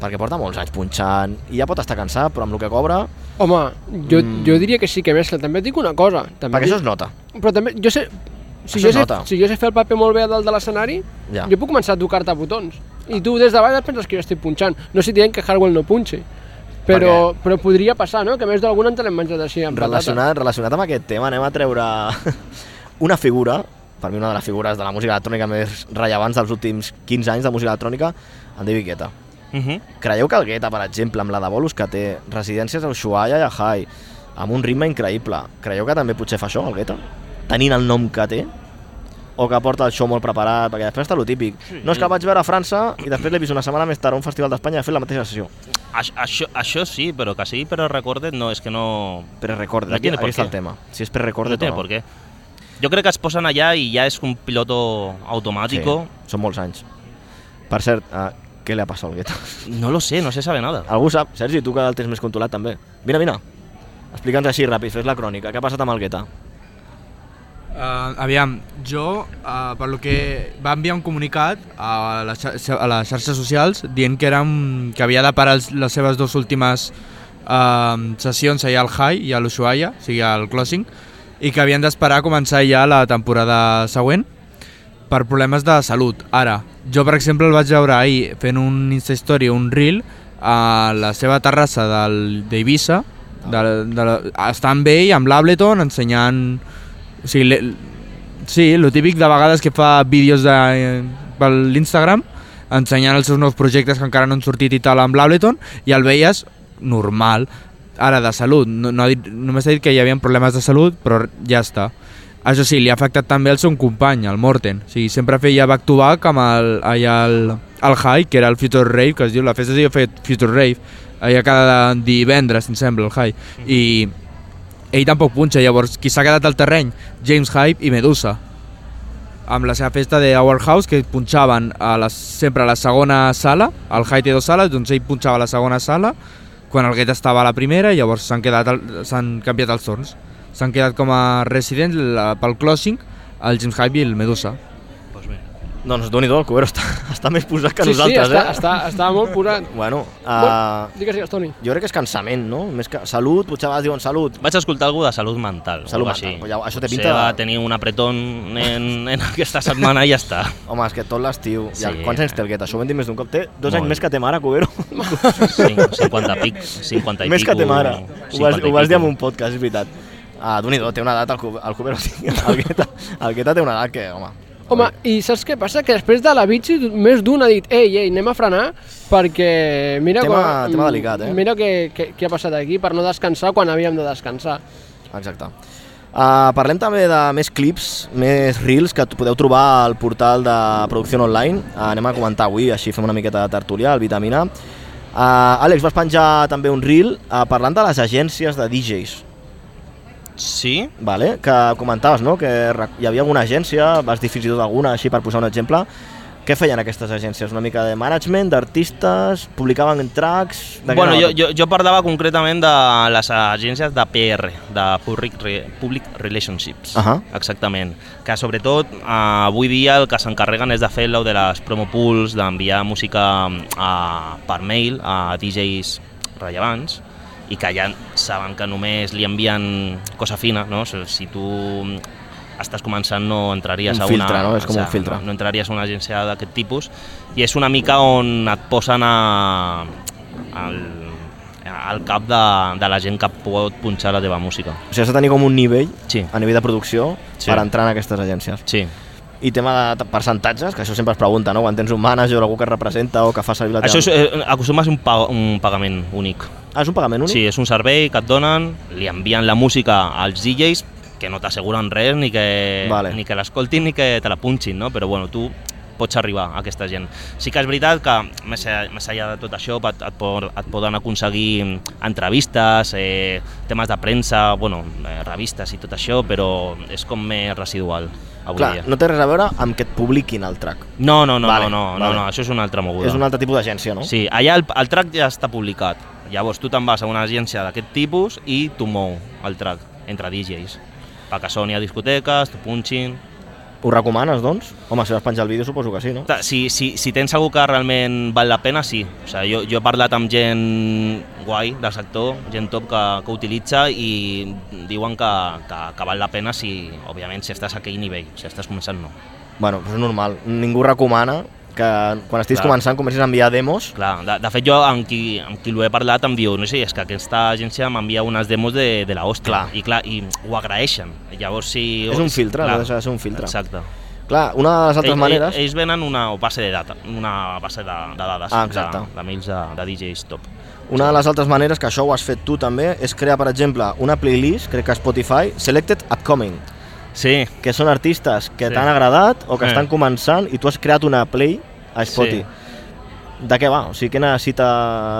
[SPEAKER 2] perquè porta molts anys punxant i ja pot estar cansat, però amb el que cobra,
[SPEAKER 6] home, jo,
[SPEAKER 2] Mm.
[SPEAKER 6] jo diria que sí que mescla. També et dic una cosa. També
[SPEAKER 2] perquè
[SPEAKER 6] dic-
[SPEAKER 2] això es nota.
[SPEAKER 6] Però també, jo sé... Si
[SPEAKER 2] Això
[SPEAKER 6] jo,
[SPEAKER 2] es
[SPEAKER 6] sé,
[SPEAKER 2] nota.
[SPEAKER 6] si jo sé fer el paper molt bé a dalt de l'escenari,
[SPEAKER 2] Ja.
[SPEAKER 6] jo puc començar a tocar-te botons. I tu des de baix et penses que jo estic punxant. No estic dient que Harwell no punxi. Però, però podria passar, no? Que a més d'alguna ens l'hem menjat així amb patata.
[SPEAKER 2] relacionat, relacionat amb aquest tema, anem a treure una figura, per mi una de les figures de la música electrònica més rellevants dels últims 15 anys de música electrònica, en David Guetta.
[SPEAKER 4] Uh -huh.
[SPEAKER 2] Creieu que el Guetta, per exemple, amb la de bolos que té residències a Ushuaia i a Hai, amb un ritme increïble, creieu que també potser fa això, el Guetta? Tenint el nom que té? O que porta el show molt preparat? Perquè després està lo típic. No, és que el vaig veure a França i després l'he vist una setmana més tard a un festival d'Espanya i ha fet la mateixa sessió.
[SPEAKER 4] Això, això, això sí, però que sigui però recordes no, és que no...
[SPEAKER 2] Però recorda,
[SPEAKER 4] No
[SPEAKER 2] aquí,
[SPEAKER 4] tiene por
[SPEAKER 2] aquí està
[SPEAKER 4] qué.
[SPEAKER 2] el tema. Si és per
[SPEAKER 4] No
[SPEAKER 2] recorda
[SPEAKER 4] té per què. Jo crec que es posen allà i ja és un piloto automático.
[SPEAKER 2] Sí, són molts anys. Per cert, uh, què li ha passat al Guetta?
[SPEAKER 4] No lo sé, no se sabe nada.
[SPEAKER 2] Algú sap? Sergi, tu que el tens més controlat també. Vine, vine. Explica'ns així ràpid, fes la crònica. Què ha passat amb el Guetta?
[SPEAKER 5] Uh, aviam, jo, uh, per lo que va enviar un comunicat a, la xarxa, a les xarxes socials dient que, era un, que havia de parar els, les seves dues últimes uh, sessions allà al High i a l'Ushuaia, o sigui al Closing, i que havien d'esperar a començar ja la temporada següent per problemes de salut. Ara, jo per exemple el vaig veure ahir fent un Insta Story, un Reel, a la seva terrassa del- d'Eivissa, de, de, de, estar amb ell, amb l'Ableton, ensenyant... O sigui, le- Sí, el típic de vegades que fa vídeos de, eh, per l'Instagram ensenyant els seus nous projectes que encara no han sortit i tal amb l'Ableton i el veies normal, ara de salut. No, no ha dit, només ha dit que hi havia problemes de salut, però ja està. Això sí, li ha afectat també el seu company, el Morten. O sigui, sempre feia back to back amb el, ai, el, el High, que era el Future Rave, que es diu, la festa es diu Fe- Future Rave, allà cada divendres, em sembla, el High. I ell tampoc punxa, llavors qui s'ha quedat al terreny? James Hype i Medusa amb la seva festa de Our House que punxaven a les, sempre a la segona sala el Hype té dues sales, doncs ell punxava a la segona sala quan el Guet estava a la primera i llavors s'han quedat al- s'han canviat els torns s'han quedat com a residents la, pel closing el James Hype i el Medusa
[SPEAKER 2] Doncs doni do, el Cubero està, està més posat que
[SPEAKER 6] sí,
[SPEAKER 2] nosaltres,
[SPEAKER 6] sí, està,
[SPEAKER 2] eh?
[SPEAKER 6] està, està molt posat.
[SPEAKER 2] Bueno, uh,
[SPEAKER 6] Digues, digues, Toni.
[SPEAKER 2] jo crec que és cansament, no? Més que salut, potser a vegades diuen salut.
[SPEAKER 4] Vaig escoltar algú de salut mental.
[SPEAKER 2] Salut
[SPEAKER 4] o algo
[SPEAKER 2] mental,
[SPEAKER 4] Així.
[SPEAKER 2] pues ja- això té
[SPEAKER 4] Potser
[SPEAKER 2] pinta de-
[SPEAKER 4] va tenir un apretón en, en aquesta setmana i ja està.
[SPEAKER 2] Home, és que tot l'estiu... Ja,
[SPEAKER 4] Sí.
[SPEAKER 2] quants anys té el Guetta? Això ho hem dit més d'un cop. Té dos
[SPEAKER 4] Molt.
[SPEAKER 2] anys més que té mare, Cubero.
[SPEAKER 4] Cin- 50 pic, 50 i
[SPEAKER 2] més
[SPEAKER 4] pico,
[SPEAKER 2] que té mare. Ho
[SPEAKER 4] 50
[SPEAKER 2] vas,
[SPEAKER 4] i
[SPEAKER 2] ho vas dir en
[SPEAKER 4] pico.
[SPEAKER 2] un podcast, és veritat. Ah, d'un té una edat el, Cu- el Cubero. El Guetta, el Guetta té una edat que, home...
[SPEAKER 6] Home, i saps què passa? Que després de la bitxi, més d'un ha dit ei, ei, anem a frenar perquè mira,
[SPEAKER 2] Tema-
[SPEAKER 6] quan-
[SPEAKER 2] tema delicat, eh?
[SPEAKER 6] mira què, què, què ha passat aquí per no descansar quan havíem de descansar.
[SPEAKER 2] Exacte. Uh, parlem també de més clips, més reels que t- podeu trobar al portal de producció online. Uh, anem a comentar avui, així fem una miqueta de tertúlia, el Vitamina. Uh, Àlex, vas penjar també un reel uh, parlant de les agències de DJs,
[SPEAKER 4] Sí,
[SPEAKER 2] vale? que comentaves no? que rec- hi havia alguna agència, vas dir fins i tot alguna així per posar un exemple. Què feien aquestes agències? Una mica de management, d'artistes, publicaven tracks... De què
[SPEAKER 4] Bueno,
[SPEAKER 2] anava
[SPEAKER 4] jo,
[SPEAKER 2] tot?
[SPEAKER 4] jo, jo parlava concretament de les agències de PR, de Public, Re Public Relationships,
[SPEAKER 2] Ahà.
[SPEAKER 4] exactament, que sobretot eh, avui dia el que s'encarreguen és de fer lo de les promo pools, d'enviar música eh, per mail a DJs rellevants, i que ja saben que només li envien cosa fina, no? Si si tu mm, estàs començant no entraries
[SPEAKER 2] Un
[SPEAKER 4] a una...
[SPEAKER 2] filtre, no? És com un
[SPEAKER 4] exacte,
[SPEAKER 2] filtre.
[SPEAKER 4] No, no entraries a una agència d'aquest tipus i és una mica on et posen a, al, al cap de, de la gent que pot punxar la teva música.
[SPEAKER 2] O sigui, has de tenir com un nivell,
[SPEAKER 4] Sí.
[SPEAKER 2] a nivell de producció,
[SPEAKER 4] Sí.
[SPEAKER 2] per entrar en aquestes agències.
[SPEAKER 4] Sí.
[SPEAKER 2] I tema de t- percentatges, que això sempre es pregunta, no? Quan tens un manager o algú que et representa o que fa servir la
[SPEAKER 4] Això és,
[SPEAKER 2] teva...
[SPEAKER 4] eh, acostuma a ser un, pa, un pagament únic.
[SPEAKER 2] Ah, és un pagament únic?
[SPEAKER 4] Sí, és un servei que et donen, li envien la música als DJs que no t'asseguren res, ni que,
[SPEAKER 2] Vale.
[SPEAKER 4] ni que l'escoltin ni que te la punxin, no? però bueno, tu pots arribar a aquesta gent. Sí que és veritat que més, a- més enllà de tot això et, et, po- et poden aconseguir entrevistes, eh, temes de premsa, bueno, eh, revistes i tot això, però és com més residual avui
[SPEAKER 2] Clar,
[SPEAKER 4] dia.
[SPEAKER 2] no té res a veure amb que et publiquin el track.
[SPEAKER 4] No, no, no, no,
[SPEAKER 2] Vale,
[SPEAKER 4] no,
[SPEAKER 2] vale.
[SPEAKER 4] no, no, això és una altra moguda.
[SPEAKER 2] És un altre tipus d'agència, no?
[SPEAKER 4] Sí, allà el, el track ja està publicat. Llavors tu te'n vas a una agència d'aquest tipus i tu mou el track entre DJs. Perquè soni a discoteques, t'ho punxin...
[SPEAKER 2] Ho recomanes, doncs? Home, si vas penjar el vídeo suposo que sí, no?
[SPEAKER 4] Ta- Si, si, si tens algú que realment val la pena, sí. O sigui, jo, jo he parlat amb gent guai del sector, gent top que, que ho utilitza i diuen que, que, que val la pena si, òbviament, si estàs a aquell nivell. Si estàs començant, no.
[SPEAKER 2] Bueno, però és normal. Ningú recomana que quan estiguis
[SPEAKER 4] Clar.
[SPEAKER 2] començant comencis a enviar demos.
[SPEAKER 4] Clar, de, de fet jo amb qui, amb qui l'ho he parlat em diu, no sé, és que aquesta agència m'envia unes demos de, de la hòstia.
[SPEAKER 2] Clar.
[SPEAKER 4] I clar, i ho agraeixen. Llavors si...
[SPEAKER 2] És un filtre, no deixa de ser un filtre.
[SPEAKER 4] Exacte.
[SPEAKER 2] Clar, una de les altres
[SPEAKER 4] Ell-
[SPEAKER 2] maneres...
[SPEAKER 4] Ell, ells venen una base de data, una base de, de dades.
[SPEAKER 2] Ah, exacte.
[SPEAKER 4] De, de mails de, de DJs top.
[SPEAKER 2] Una de les altres maneres, que això ho has fet tu també, és crear, per exemple, una playlist, crec que a Spotify, Selected Upcoming,
[SPEAKER 4] Sí,
[SPEAKER 2] que són artistes que
[SPEAKER 4] Sí.
[SPEAKER 2] t'han agradat o que
[SPEAKER 4] Sí.
[SPEAKER 2] estan començant i tu has creat una play a Spotify. De què va? O sigui, què necessita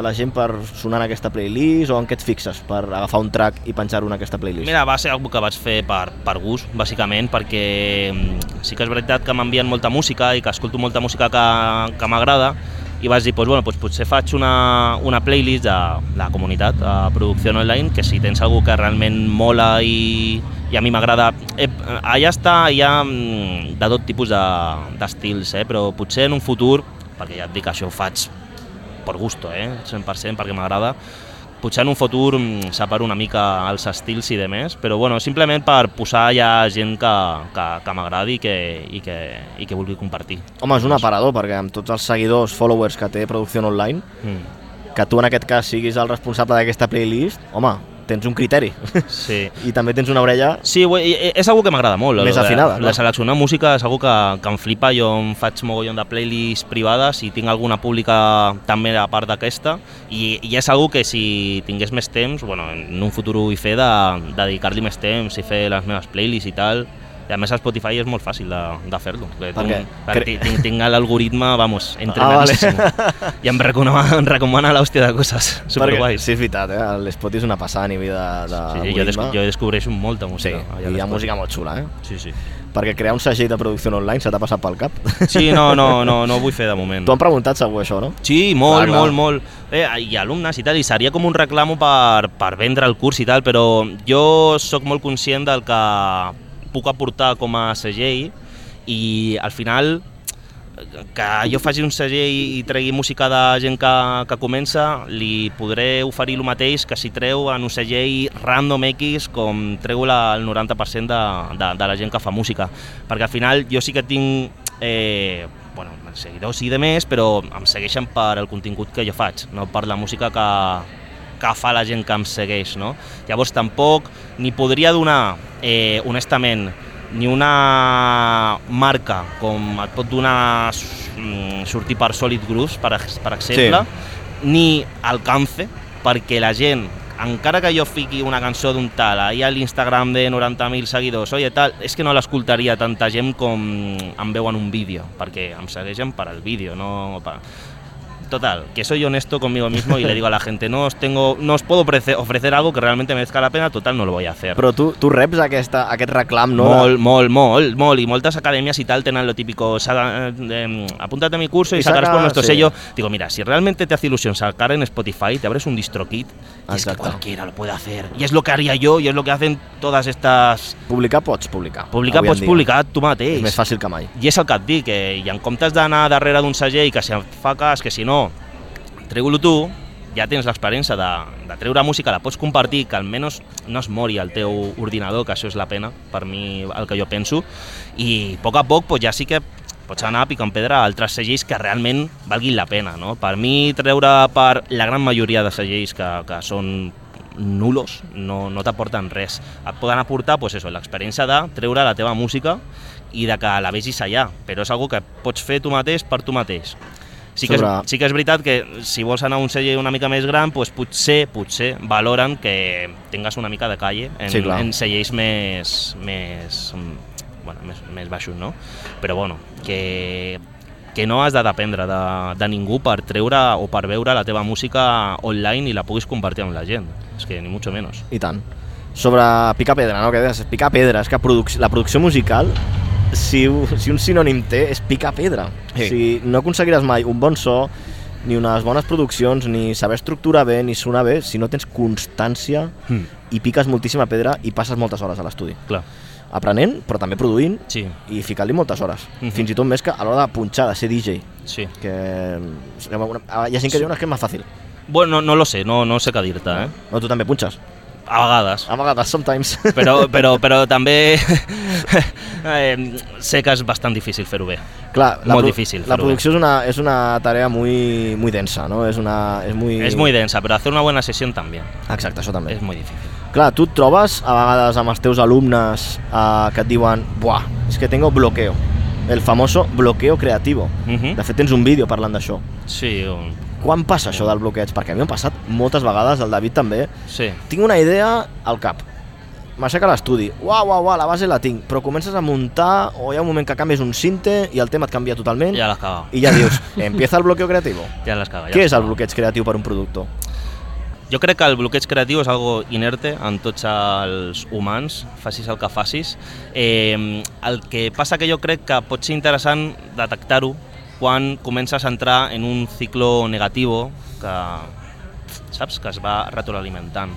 [SPEAKER 2] la gent per sonar en aquesta playlist o en què et fixes per agafar un track i penjar-ho en aquesta playlist?
[SPEAKER 4] Mira, va ser algo que vaig fer per, per gust, bàsicament, perquè mm, sí que és veritat que m'envien molta música i que escolto molta música que, que m'agrada i vaig dir, doncs, bueno, doncs potser faig una, una playlist de la comunitat de producció online, que si tens algú que realment mola i, i a mi m'agrada... Eh, allà està, hi ha mm, de tot tipus de- d'estils, eh? però potser en un futur, perquè ja et dic, això ho faig per gusto, eh? 100% perquè m'agrada. Potser en un futur mm, separo una mica els estils i demés, però bueno, simplement per posar ja gent que, que, que m'agradi i que, i, que, i que vulgui compartir.
[SPEAKER 2] Home, és un aparador, perquè amb tots els seguidors, followers que té producció online,
[SPEAKER 4] Mm.
[SPEAKER 2] que tu en aquest cas siguis el responsable d'aquesta playlist, home, tens un criteri
[SPEAKER 4] Sí.
[SPEAKER 2] i també tens una orella
[SPEAKER 4] Sí, güey, i- i- és algo que m'agrada molt. el
[SPEAKER 2] Més
[SPEAKER 4] de-
[SPEAKER 2] afinada,
[SPEAKER 4] La
[SPEAKER 2] clar.
[SPEAKER 4] seleccionar música és algo que, que em flipa. Jo em faig mogollon de playlists privades i tinc alguna pública també a part d'aquesta. I, I és algo que si tingués més temps, bueno, en un futur ho vull fer de, de dedicar-li més temps i fer les meves playlists i tal. I a més a Spotify és molt fàcil de, de fer-lo. perquè
[SPEAKER 2] Per què?
[SPEAKER 4] tinc- perquè
[SPEAKER 2] Cre- Ah,
[SPEAKER 4] Tinc, tinc l'algoritme, vamos,
[SPEAKER 2] vale.
[SPEAKER 4] entrenadíssim. I em recomana, em recomana l'hòstia de coses superguais.
[SPEAKER 2] Sí, és veritat, eh? l'Spot és una passada a nivell de, de
[SPEAKER 4] sí, sí, jo, desc jo descobreixo molta
[SPEAKER 2] Sí,
[SPEAKER 4] música. allà
[SPEAKER 2] i hi ha
[SPEAKER 4] a
[SPEAKER 2] música molt xula, eh?
[SPEAKER 4] Sí, sí.
[SPEAKER 2] Perquè crear un segell de producció online se t'ha passat pel cap.
[SPEAKER 4] Sí, no, no, no, no ho vull fer de moment.
[SPEAKER 2] Mm. T'ho han preguntat segur això, no?
[SPEAKER 4] Sí, molt,
[SPEAKER 2] Clar, clar.
[SPEAKER 4] molt, molt. Eh, I alumnes i tal, i seria com un reclamo per, per vendre el curs i tal, però jo sóc molt conscient del que puc aportar com a segell i al final que jo faci un segell i tregui música de gent que, que comença, li podré oferir el mateix que si treu en un segell random X com treu la, el 90% de, de, de la gent que fa música. Perquè al final jo sí que tinc... Eh, bueno, seguidors i de més, però em segueixen per el contingut que jo faig, no per la música que, que fa la gent que em segueix, no? Llavors tampoc ni podria donar, eh, honestament, ni una marca com et pot donar mm, sortir per Solid Grooves, per, ex- per exemple, sí. ni alcance, perquè la gent, encara que jo fiqui una cançó d'un tal ahir a l'Instagram de 90.000 seguidors, oye, tal, és que no l'escoltaria tanta gent com em veuen un vídeo, perquè em segueixen per al vídeo, no per, Total, que soy honesto conmigo mismo y le digo a la gente, no os tengo, no os puedo ofrecer, ofrecer algo que realmente merezca la pena, total no lo voy a hacer.
[SPEAKER 2] Però tu, tu reps aquesta, aquest reclam, no?
[SPEAKER 4] Mol, mol, mol, mol. Y moltes academias y tal tenían lo típico, "Saca- eh, em, apúntate a mi curso y,
[SPEAKER 2] Y
[SPEAKER 4] sacarás
[SPEAKER 2] saca-
[SPEAKER 4] por nuestro
[SPEAKER 2] sí.
[SPEAKER 4] sello. Digo, mira, si realmente te hace ilusión sacar en Spotify, te abres un distrokit y es que
[SPEAKER 2] Exacto.
[SPEAKER 4] cualquiera lo puede hacer. Y es lo que haría yo y es lo que hacen todas estas...
[SPEAKER 2] Publicar pots publicar.
[SPEAKER 4] Publicar,
[SPEAKER 2] avui
[SPEAKER 4] pots
[SPEAKER 2] en dia.
[SPEAKER 4] publicar tu mateix.
[SPEAKER 2] És més fàcil que mai.
[SPEAKER 4] I és el que et dic, eh? i en comptes d'anar darrere d'un segell que si em fa cas, que si no, treu-lo tu, ja tens l'experiència de, de treure música, la pots compartir, que almenys no es mori el teu ordinador, que això és la pena, per mi, el que jo penso, i a poc a poc pues, ja sí que pots anar picant pedra a altres segells que realment valguin la pena. No? Per mi, treure per la gran majoria de segells que, que són nulos, no, no t'aporten res. Et poden aportar pues, eso, l'experiència de treure la teva música i de que la vegis allà, però és algo que pots fer tu mateix per tu mateix. Sí que,
[SPEAKER 2] Sobre-
[SPEAKER 4] és, sí que és veritat que si vols anar a un celler una mica més gran, pues potser potser valoren que tingues una mica de calle en,
[SPEAKER 2] Sí, clar.
[SPEAKER 4] en cellers més, més, mm, bueno, més, més baixos, no? Però bueno, que, que no has de dependre de, de ningú per treure o per veure la teva música online i la puguis compartir amb la gent. És que ni mucho menos.
[SPEAKER 2] I tant. Sobre picar pedra, no? Que deies, picar pedra. És que produc la producció musical, si, u- si un sinònim té, és picar pedra.
[SPEAKER 4] Sí.
[SPEAKER 2] O sigui, no aconseguiràs mai un bon so, ni unes bones produccions, ni saber estructurar bé, ni sonar bé, si no tens constància
[SPEAKER 4] Mm.
[SPEAKER 2] i piques moltíssima pedra i passes moltes hores a l'estudi.
[SPEAKER 4] Clar.
[SPEAKER 2] Aprenent, però també produint
[SPEAKER 4] Sí,
[SPEAKER 2] i ficant-li moltes hores.
[SPEAKER 4] Mhm.
[SPEAKER 2] Fins i tot més que a l'hora de punxar, de ser DJ.
[SPEAKER 4] sí.
[SPEAKER 2] Que... mm, ah, Hi ha gent que diu "No, és que és més fàcil.
[SPEAKER 4] Bueno, no, no lo sé, no, no sé què dir-te, eh?
[SPEAKER 2] No, tu també punxes.
[SPEAKER 4] A vegades.
[SPEAKER 2] A vegades, sometimes.
[SPEAKER 4] però, però, però també eh, sé que és bastant difícil fer-ho bé.
[SPEAKER 2] Clar,
[SPEAKER 4] Molt
[SPEAKER 2] produ-
[SPEAKER 4] difícil
[SPEAKER 2] La
[SPEAKER 4] fer-ho
[SPEAKER 2] producció es una, es una tarea muy, muy densa, ¿no? Es una... Es muy...
[SPEAKER 4] És molt densa, però fer una bona sessió també.
[SPEAKER 2] Exacte, això també.
[SPEAKER 4] És molt difícil.
[SPEAKER 2] Clar, tu et trobes a vegades amb els teus alumnes eh, que et diuen «Buah, és que tengo bloqueo». El famoso bloqueo creativo.
[SPEAKER 4] Mhm.
[SPEAKER 2] De fet, tens un vídeo parlant d'això.
[SPEAKER 4] Sí, o...
[SPEAKER 2] Quan passa això del bloqueig? Perquè a mi m'ha passat moltes vegades, el David també.
[SPEAKER 4] sí.
[SPEAKER 2] Tinc una idea al cap. M'aixec a l'estudi. Uau, uau, uau, la base la tinc. Però comences a muntar o hi ha un moment que canvies un cinte i el tema et canvia totalment.
[SPEAKER 4] Ja l'has cagat.
[SPEAKER 2] I ja dius, empieza el bloqueo creativo.
[SPEAKER 4] Ja l'has cagat. ja
[SPEAKER 2] Què
[SPEAKER 4] l'has
[SPEAKER 2] és el
[SPEAKER 4] cagat.
[SPEAKER 2] bloqueig creatiu per un productor?
[SPEAKER 4] Jo crec que el bloqueig creatiu és algo inerte en tots els humans, facis el que facis. Eh, el que passa que jo crec que pot ser interessant detectar-ho quan comences a entrar en un ciclo negatiu que, saps? Que es va retroalimentant.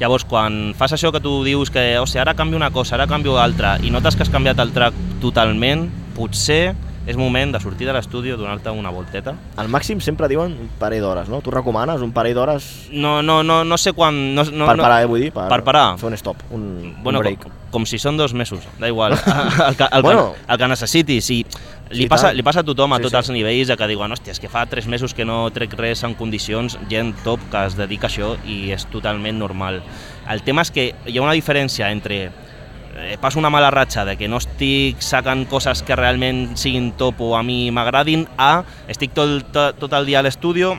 [SPEAKER 4] Llavors, quan fas això que tu dius que, hòstia, ara canvio una cosa, ara canvio altra, i notes que has canviat el track totalment, potser és moment de sortir de l'estudi, donar-te una volteta,
[SPEAKER 2] Al màxim sempre diuen un parell d'hores, no? Tu recomanes un parell d'hores
[SPEAKER 4] no, no, no, no sé quan... No, no,
[SPEAKER 2] no, per
[SPEAKER 4] no-
[SPEAKER 2] parar, eh, vull dir? Per,
[SPEAKER 4] Per parar.
[SPEAKER 2] Fer un stop, un,
[SPEAKER 4] bueno, com,
[SPEAKER 2] un break.
[SPEAKER 4] com si són dos mesos, da igual, el, que, el,
[SPEAKER 2] Bueno.
[SPEAKER 4] que, el que necessitis. I Li,
[SPEAKER 2] Sí,
[SPEAKER 4] passa,
[SPEAKER 2] tant.
[SPEAKER 4] li passa a tothom, a
[SPEAKER 2] Sí,
[SPEAKER 4] tots
[SPEAKER 2] sí.
[SPEAKER 4] els nivells, a que diuen, hòstia, és que fa tres mesos que no trec res en condicions, gent top que es dedica a això i és totalment normal. El tema és que hi ha una diferència entre eh, passo una mala ratxa de que no estic sacant coses que realment siguin top o a mi m'agradin, a estic tot, el- to- tot el dia a l'estudio,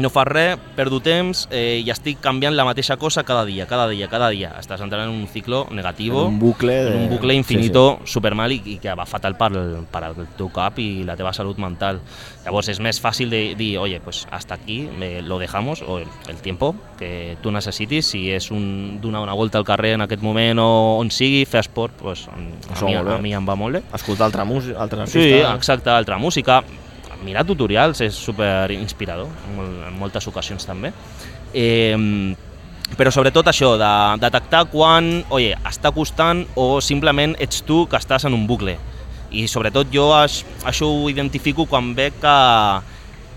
[SPEAKER 4] no fas res, perdo temps eh, i estic canviant la mateixa cosa cada dia, cada dia, cada dia. Estàs entrant en un ciclo negatiu,
[SPEAKER 2] En un bucle de-
[SPEAKER 4] en un bucle
[SPEAKER 2] sí,
[SPEAKER 4] infinito sí, sí. supermal i, i que va fatal per, al- per al teu cap i la teva salut mental. Llavors és més fàcil de dir, oye, pues hasta aquí me lo dejamos, o el, el tiempo que tu necessitis, si és un, donar una volta al carrer en aquest moment o on sigui, fer esport, pues, a,
[SPEAKER 2] Això
[SPEAKER 4] mi,
[SPEAKER 2] molt
[SPEAKER 4] a
[SPEAKER 2] bé.
[SPEAKER 4] mi em va molt bé.
[SPEAKER 2] Escoltar altra música, altres
[SPEAKER 4] Sí,
[SPEAKER 2] artistes.
[SPEAKER 4] exacte, altra música. Mirar tutorials és super inspirador, en mol- en moltes ocasions també. Eh, però sobretot això, de detectar quan, oye, està costant o simplement ets tu que estàs en un bucle. I sobretot jo aix- això ho identifico quan veig que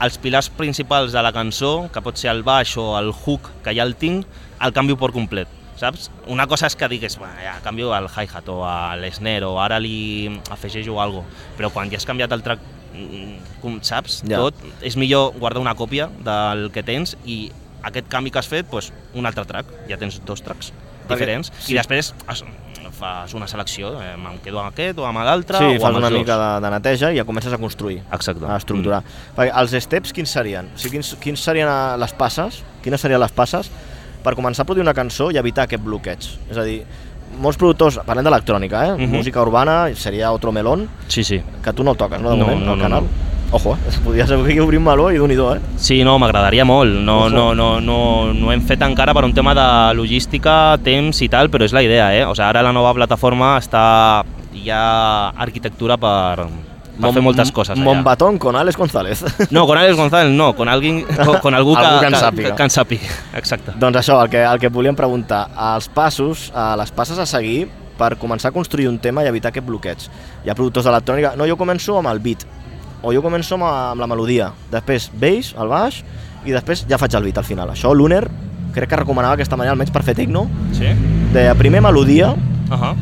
[SPEAKER 4] els pilars principals de la cançó, que pot ser el baix o el hook que ja el tinc, el canvio per complet, saps? Una cosa és que digues, bueno, ja canvio el hi-hat o a l'esner o ara li afegeixo algo, però quan ja has canviat el track, mm, com saps,
[SPEAKER 2] Ja.
[SPEAKER 4] ja. tot, és millor guardar una còpia del que tens i aquest canvi que has fet, doncs, un altre track, ja tens dos tracks
[SPEAKER 2] Perquè-
[SPEAKER 4] diferents,
[SPEAKER 2] sí.
[SPEAKER 4] i després es, mm, fas una selecció, eh, me'n quedo amb aquest o amb l'altre,
[SPEAKER 2] Sí,
[SPEAKER 4] o
[SPEAKER 2] fas
[SPEAKER 4] amb
[SPEAKER 2] una
[SPEAKER 4] els dos.
[SPEAKER 2] mica de, de neteja i ja comences a construir,
[SPEAKER 4] Exacte.
[SPEAKER 2] a estructurar. Mm. Perquè els steps quins serien? O sigui, quins, quins serien eh, les passes? Quines serien les passes per començar a produir una cançó i evitar aquest bloqueig? És a dir, molts productors, parlem d'electrònica, eh?
[SPEAKER 4] Mhm.
[SPEAKER 2] Música urbana, seria otro melón,
[SPEAKER 4] Mm. Sí, sí.
[SPEAKER 2] que tu no el toques, no? De
[SPEAKER 4] No,
[SPEAKER 2] moment,
[SPEAKER 4] no,
[SPEAKER 2] al
[SPEAKER 4] no,
[SPEAKER 2] canal.
[SPEAKER 4] no.
[SPEAKER 2] Ojo, eh? podria ser que obrim meló i d'un i do, eh?
[SPEAKER 4] Sí, no, m'agradaria molt. No, no, no, no, no hem fet encara per un tema de logística, temps i tal, però és la idea, eh? O sigui, ara la nova plataforma està... Hi ha arquitectura per, per fer moltes coses allà.
[SPEAKER 2] Montbatón con Alex González.
[SPEAKER 4] No, con Àlex González no, con, alguien, con, con algú,
[SPEAKER 2] Algú que
[SPEAKER 4] que,
[SPEAKER 2] en sàpiga.
[SPEAKER 4] que, que en sàpiga. Exacte.
[SPEAKER 2] Doncs això, el que, el que et volíem preguntar, els passos, eh, les passes a seguir per començar a construir un tema i evitar aquest bloqueig. Hi ha productors d'electrònica, no, jo començo amb el beat, o jo començo amb, amb la melodia, després bass, el baix, i després ja faig el beat al final. Això Luner crec que recomanava aquesta manera, almenys per fer techno,
[SPEAKER 4] Sí?
[SPEAKER 2] de primer melodia,
[SPEAKER 4] Uh -huh.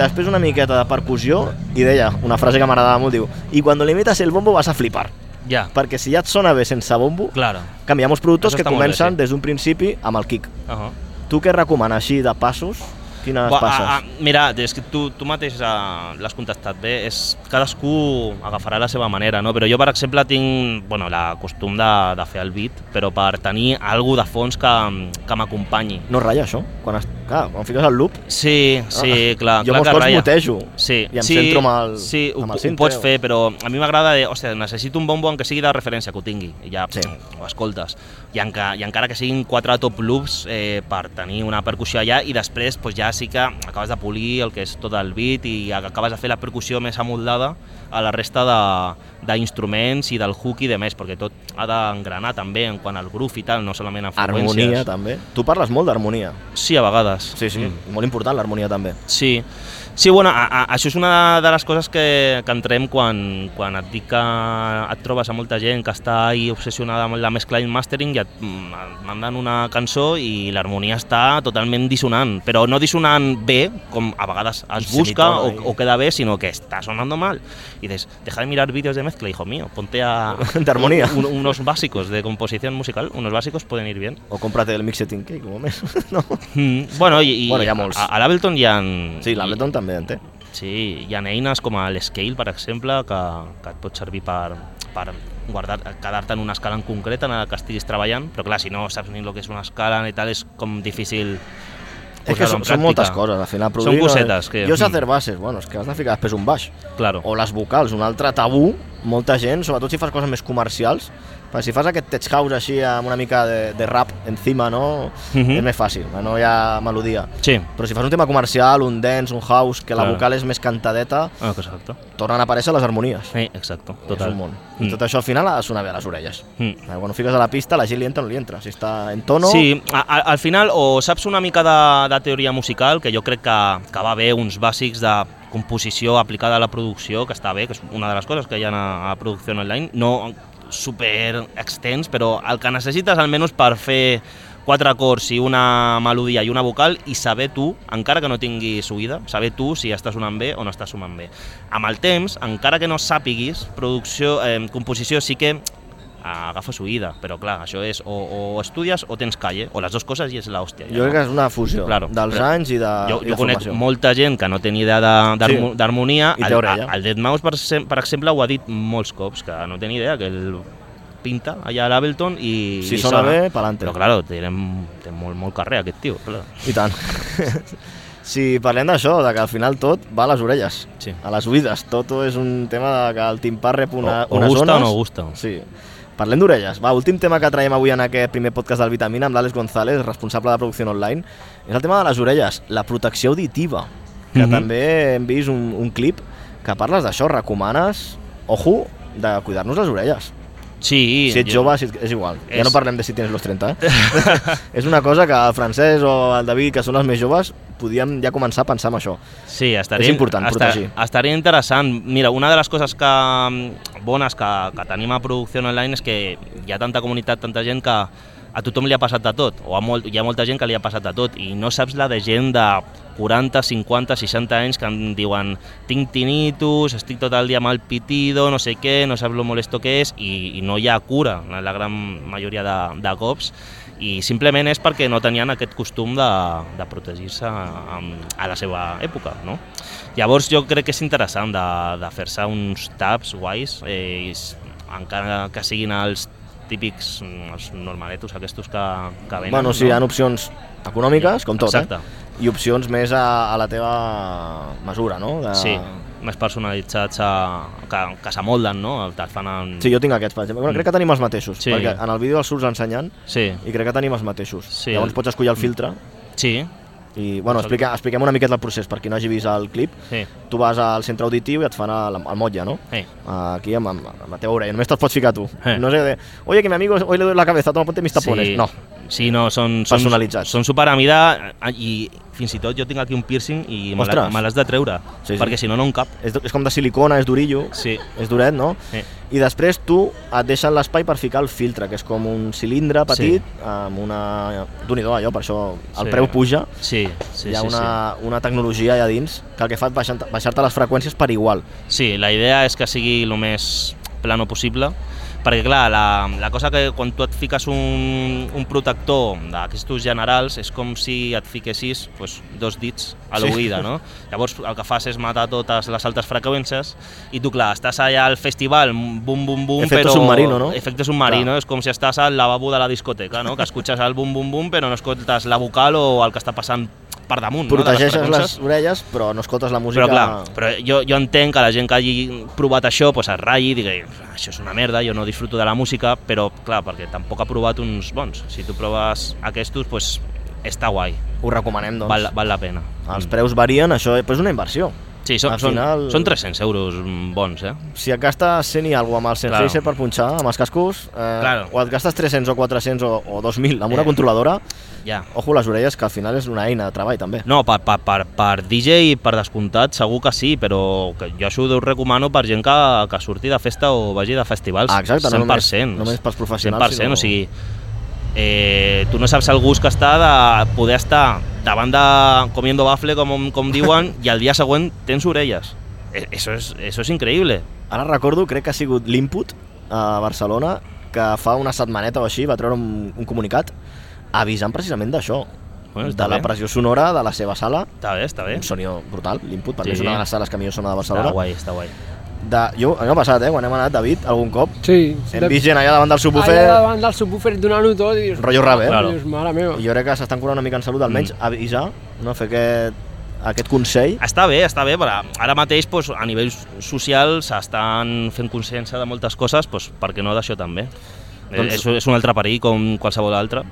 [SPEAKER 2] després una miqueta de percussió, i deia, una frase que m'agradava molt, diu, i quan li metes el bombo vas a flipar,
[SPEAKER 4] Ja,
[SPEAKER 2] perquè si ja et sona bé sense bombo,
[SPEAKER 4] claro.
[SPEAKER 2] canvia molts productors
[SPEAKER 4] Això
[SPEAKER 2] que
[SPEAKER 4] està molt bé,
[SPEAKER 2] comencen
[SPEAKER 4] sí.
[SPEAKER 2] des d'un principi amb el kick.
[SPEAKER 4] Uh -huh.
[SPEAKER 2] Tu què recomanes així de passos? Quines
[SPEAKER 4] Buah,
[SPEAKER 2] passes?
[SPEAKER 4] ah, ah, mira, és que tu, tu mateix ah, l'has contestat bé, és, cadascú agafarà la seva manera, no? però jo, per exemple, tinc bueno, la costum de, de fer el beat, però per tenir algú de fons que, que m'acompanyi.
[SPEAKER 2] No ratlla això? Quan, es... clar, quan fiques el loop,
[SPEAKER 4] Sí, sí, Ah, clar,
[SPEAKER 2] Ah, jo
[SPEAKER 4] clar
[SPEAKER 2] molts
[SPEAKER 4] que
[SPEAKER 2] cops
[SPEAKER 4] ratlla.
[SPEAKER 2] mutejo
[SPEAKER 4] Sí,
[SPEAKER 2] i em
[SPEAKER 4] sí,
[SPEAKER 2] centro amb el,
[SPEAKER 4] sí, ho,
[SPEAKER 2] amb el
[SPEAKER 4] ho
[SPEAKER 2] cintre,
[SPEAKER 4] pots
[SPEAKER 2] o-
[SPEAKER 4] fer, però a mi m'agrada de, hòstia, necessito un bombo que sigui de referència, que ho tingui, i ja
[SPEAKER 2] Sí.
[SPEAKER 4] sí. ho escoltes. I, enca, I encara que siguin quatre top loops eh, per tenir una percussió allà i després pues, ja sí que acabes de polir el que és tot el beat i acabes de fer la percussió més amoldada a la resta de- d'instruments i del hook i de més, perquè tot ha d'engranar també en quant al groove i tal, no solament en freqüències.
[SPEAKER 2] Harmonia, també. Tu parles molt d'harmonia.
[SPEAKER 4] Sí, a vegades.
[SPEAKER 2] Sí, sí,
[SPEAKER 4] Mm.
[SPEAKER 2] mm. molt important l'harmonia, també.
[SPEAKER 4] Sí, sí bueno, a, a, això és una de les coses que, que entrem quan, quan et dic que et trobes a molta gent que està ahí obsessionada amb la mescla i el mastering i et mm, et manden una cançó i l'harmonia està totalment dissonant, però no dissonant bé, com a vegades es
[SPEAKER 2] Un
[SPEAKER 4] busca o,
[SPEAKER 2] semitona i- eh?
[SPEAKER 4] o queda bé, sinó que està sonando mal. I dices, deja de mirar vídeos de mezcla, hijo mío, ponte a...
[SPEAKER 2] De harmonia.
[SPEAKER 4] un- unos básicos de composición musical, unos básicos pueden ir bien.
[SPEAKER 2] O compra't el mixeting cake, com a més. no?
[SPEAKER 4] Mm, bueno, i, i
[SPEAKER 2] Bueno, hi ha molts.
[SPEAKER 4] a, a l'Ableton hi ha...
[SPEAKER 2] Sí, l'Ableton també en té.
[SPEAKER 4] Sí, hi ha eines com l'Scale, per exemple, que, que et pot servir per, per guardar quedar-te en una escala en concreta en la que estiguis treballant, però clar, si no saps ni el que és una escala ni tal, és com difícil
[SPEAKER 2] És que
[SPEAKER 4] posar-ho
[SPEAKER 2] són,
[SPEAKER 4] en
[SPEAKER 2] són
[SPEAKER 4] pràctica.
[SPEAKER 2] moltes coses, al final produir... no-
[SPEAKER 4] cosetes que-
[SPEAKER 2] Jo sé
[SPEAKER 4] mm.
[SPEAKER 2] fer bases, bueno, és que has de ficar després un baix.
[SPEAKER 4] Claro.
[SPEAKER 2] O les vocals, un altre tabú, molta gent, sobretot si fas coses més comercials, perquè si fas aquest tech house així amb una mica de, de rap encima, no?
[SPEAKER 4] Mhm.
[SPEAKER 2] És més fàcil, no hi ha melodia.
[SPEAKER 4] Sí.
[SPEAKER 2] Però si fas un tema comercial, un dance, un house, que la
[SPEAKER 4] Claro.
[SPEAKER 2] vocal és més cantadeta,
[SPEAKER 4] Ah, exacte.
[SPEAKER 2] tornen a aparèixer les harmonies.
[SPEAKER 4] Sí, exacte.
[SPEAKER 2] És
[SPEAKER 4] Total.
[SPEAKER 2] un món. I
[SPEAKER 4] Mm.
[SPEAKER 2] tot això al final ha de sonar bé a les orelles.
[SPEAKER 4] Mm.
[SPEAKER 2] Eh, Quan ho fiques a la pista, la gent li entra o no li entra. Si està en tono...
[SPEAKER 4] Sí, a, a, al final o saps una mica de, de teoria musical, que jo crec que, que va bé uns bàsics de composició aplicada a la producció, que està bé, que és una de les coses que hi ha a, a producció online, no super extens, però el que necessites almenys per fer quatre acords i una melodia i una vocal i saber tu, encara que no tinguis oïda, saber tu si estàs sonant bé o no estàs sonant bé. Amb el temps, encara que no sàpiguis, producció, eh, composició sí que agafes oïda, però clar, això és o, o estudies o tens calle, o les dues coses i és l'hòstia.
[SPEAKER 2] Jo crec que és una fusió
[SPEAKER 4] Claro,
[SPEAKER 2] dels
[SPEAKER 4] però-
[SPEAKER 2] anys i de,
[SPEAKER 4] jo,
[SPEAKER 2] i
[SPEAKER 4] jo
[SPEAKER 2] de
[SPEAKER 4] conec
[SPEAKER 2] formació.
[SPEAKER 4] molta gent que no té ni idea de- d'harmo-
[SPEAKER 2] Sí.
[SPEAKER 4] d'harmonia.
[SPEAKER 2] I té
[SPEAKER 4] El,
[SPEAKER 2] orella.
[SPEAKER 4] el Dead Mouse, per, sem- per exemple, ho ha dit molts cops, que no té ni idea, que ell pinta allà a l'Ableton i...
[SPEAKER 2] Si
[SPEAKER 4] i
[SPEAKER 2] sona bé, pa'lante.
[SPEAKER 4] Però, claro, té, té molt, molt carrer aquest tio, clar.
[SPEAKER 2] I tant. si parlem d'això, de que al final tot va a les orelles,
[SPEAKER 4] Sí.
[SPEAKER 2] a les oïdes. Tot és un tema de que el timpà rep una,
[SPEAKER 4] O- o
[SPEAKER 2] unes
[SPEAKER 4] gusta
[SPEAKER 2] ones.
[SPEAKER 4] o no gusta.
[SPEAKER 2] Sí. Parlem d'orelles. Va, últim tema que traiem avui en aquest primer podcast del Vitamina amb l'Àlex González, responsable de producció online, és el tema de les orelles, la protecció auditiva, que
[SPEAKER 4] Mhm.
[SPEAKER 2] també hem vist un, un clip que parles d'això, recomanes, ojo, de cuidar-nos les orelles.
[SPEAKER 4] Sí,
[SPEAKER 2] Si ets
[SPEAKER 4] jo-
[SPEAKER 2] jove, si ets- és igual. Ja
[SPEAKER 4] És-
[SPEAKER 2] no parlem de si tens los 30. Eh? és una cosa que el francès o el David, que són els més joves, podíem ja començar a pensar en això.
[SPEAKER 4] Sí, estaria,
[SPEAKER 2] És important protegir.
[SPEAKER 4] estaria interessant. Mira, una de les coses que, mm, bones que, que tenim a producció online és que hi ha tanta comunitat, tanta gent que a tothom li ha passat de tot, o a molt, hi ha molta gent que li ha passat de tot, i no saps la de gent de 40, 50, 60 anys que em diuen tinc tinnitus, estic tot el dia amb el pitido, no sé què, no saps lo molesto que és, i, i no hi ha cura en la gran majoria de, de cops i simplement és perquè no tenien aquest costum de, de protegir-se eh, amb- a la seva època, no? Llavors jo crec que és interessant de, de fer-se uns tabs guais, eh, i s- encara que siguin els típics, mm, els normaletos aquests que, que venen.
[SPEAKER 2] bueno, sí, hi ha opcions econòmiques, com tot,
[SPEAKER 4] Exacte.
[SPEAKER 2] eh? I opcions més a, a la teva mesura, no? De...
[SPEAKER 4] Sí, més personalitzats a, que, que s'amolden, no? Te'ls fan en...
[SPEAKER 2] Sí, jo tinc aquests, per exemple. Bueno, crec que tenim els mateixos,
[SPEAKER 4] Sí.
[SPEAKER 2] perquè en el vídeo els surts ensenyant
[SPEAKER 4] Sí,
[SPEAKER 2] i crec que tenim els mateixos.
[SPEAKER 4] Sí. Mm.
[SPEAKER 2] Llavors pots escollir el filtre
[SPEAKER 4] sí,
[SPEAKER 2] i, bueno, explica, expliquem una miqueta el procés, per qui no hagi vist el clip.
[SPEAKER 4] sí.
[SPEAKER 2] Tu vas al centre auditiu i et fan el, el motlle, no?
[SPEAKER 4] Eh.
[SPEAKER 2] aquí amb, amb, amb la teva orella, només te'ls pots ficar tu.
[SPEAKER 4] Eh.
[SPEAKER 2] No sé de, oye, que mi amigo hoy le doy la cabeza, toma, ponte mis tapones.
[SPEAKER 4] Sí.
[SPEAKER 2] eh? No.
[SPEAKER 4] Sí, no, són... són
[SPEAKER 2] Personalitzats.
[SPEAKER 4] Són superamida eh, i fins i tot jo tinc aquí un piercing i me la-
[SPEAKER 2] Ostres.
[SPEAKER 4] me l'has de treure,
[SPEAKER 2] Sí, sí.
[SPEAKER 4] perquè si no, no em cap.
[SPEAKER 2] És, du- és com de silicona, és durillo,
[SPEAKER 4] Sí.
[SPEAKER 2] és duret, no?
[SPEAKER 4] Eh.
[SPEAKER 2] I després tu et deixen l'espai per ficar el filtre, que és com un cilindre petit amb una... d'un i do, allò, per això el
[SPEAKER 4] Sí.
[SPEAKER 2] preu puja.
[SPEAKER 4] Sí, sí,
[SPEAKER 2] Hi ha
[SPEAKER 4] sí,
[SPEAKER 2] una, una tecnologia allà dins que el que fa és baixar- baixar-te les freqüències per igual.
[SPEAKER 4] sí. Sí, la idea és que sigui el més plano possible, perquè clar, la, la cosa que quan tu et fiques un, un protector d'aquests generals és com si et fiquessis pues, dos dits a
[SPEAKER 2] Sí.
[SPEAKER 4] l'oïda, no? Llavors el que fas és matar totes les altes freqüències i tu clar, estàs allà al festival, bum bum bum,
[SPEAKER 2] Efecto
[SPEAKER 4] però...
[SPEAKER 2] submarino, no?
[SPEAKER 4] Efecte submarino, és com si estàs al lavabo de la discoteca, no? Que escutxes el bum bum bum però no escoltes la vocal o el que està passant per damunt, no?
[SPEAKER 2] Protegeixes
[SPEAKER 4] de
[SPEAKER 2] les
[SPEAKER 4] freqüències.
[SPEAKER 2] orelles, però no escoltes la música...
[SPEAKER 4] Però clar, però jo, jo entenc que la gent que hagi provat això pues, es ratlli i digui això és una merda, jo no disfruto de la música, però clar, perquè tampoc ha provat uns bons. Si tu proves aquests, pues, està guai,
[SPEAKER 2] Ho recomanem, doncs.
[SPEAKER 4] val, val la pena.
[SPEAKER 2] Els
[SPEAKER 4] Mm.
[SPEAKER 2] preus varien, això però és una inversió.
[SPEAKER 4] Sí, són,
[SPEAKER 2] al final-
[SPEAKER 4] són, són 300 euros mm, bons, eh?
[SPEAKER 2] Si et gastes 100 i alguna amb el Sensei
[SPEAKER 4] Claro.
[SPEAKER 2] claro. per punxar, amb els cascos, eh,
[SPEAKER 4] Claro.
[SPEAKER 2] o et gastes 300 o 400 o, o 2.000 amb una
[SPEAKER 4] Eh.
[SPEAKER 2] controladora,
[SPEAKER 4] Ja.
[SPEAKER 2] ojo les orelles, que al final és una eina de treball, també.
[SPEAKER 4] No, per, per, per, per DJ, per descomptat, segur que sí, però que jo això ho recomano per gent que, que surti de festa o vagi de festivals.
[SPEAKER 2] Ah, exacte, no
[SPEAKER 4] 100%.
[SPEAKER 2] només- només pels professionals,
[SPEAKER 4] 100%,
[SPEAKER 2] sinó-
[SPEAKER 4] o sigui, eh, tu no saps el gust que està de poder estar davant de comiendo bafle, com, com diuen, i al dia següent tens orelles. Eh, Eso es, eso es increíble.
[SPEAKER 2] Ara recordo, crec que ha sigut l'Input a Barcelona, que fa una setmaneta o així va treure un, un comunicat avisant precisament d'això,
[SPEAKER 4] Bueno,
[SPEAKER 2] de
[SPEAKER 4] està
[SPEAKER 2] la
[SPEAKER 4] bé.
[SPEAKER 2] pressió sonora de la seva sala,
[SPEAKER 4] Està bé, està bé.
[SPEAKER 2] un sonido brutal, l'Input, per
[SPEAKER 4] Sí.
[SPEAKER 2] mi és una de les sales que millor sona de
[SPEAKER 4] Està
[SPEAKER 2] Barcelona.
[SPEAKER 4] guai, està guai.
[SPEAKER 2] De, jo, a mi m'ha passat, eh, quan hem anat, David, algun cop,
[SPEAKER 6] Sí.
[SPEAKER 2] hem vist gent allà davant del subwoofer,
[SPEAKER 6] Allà davant del subwoofer donant-ho tot i dius...
[SPEAKER 2] rotllo rap, eh?
[SPEAKER 4] Claro.
[SPEAKER 6] Dius, mare meva.
[SPEAKER 2] I jo crec que s'estan curant una mica en salut, almenys mm. avisar, no? fer aquest, aquest consell.
[SPEAKER 4] Està bé, està bé, però ara mateix doncs, a nivell social s'estan fent consciència de moltes coses, doncs, per què no d'això també?
[SPEAKER 2] Doncs-
[SPEAKER 4] Doncs... És, és un altre perill com qualsevol altre.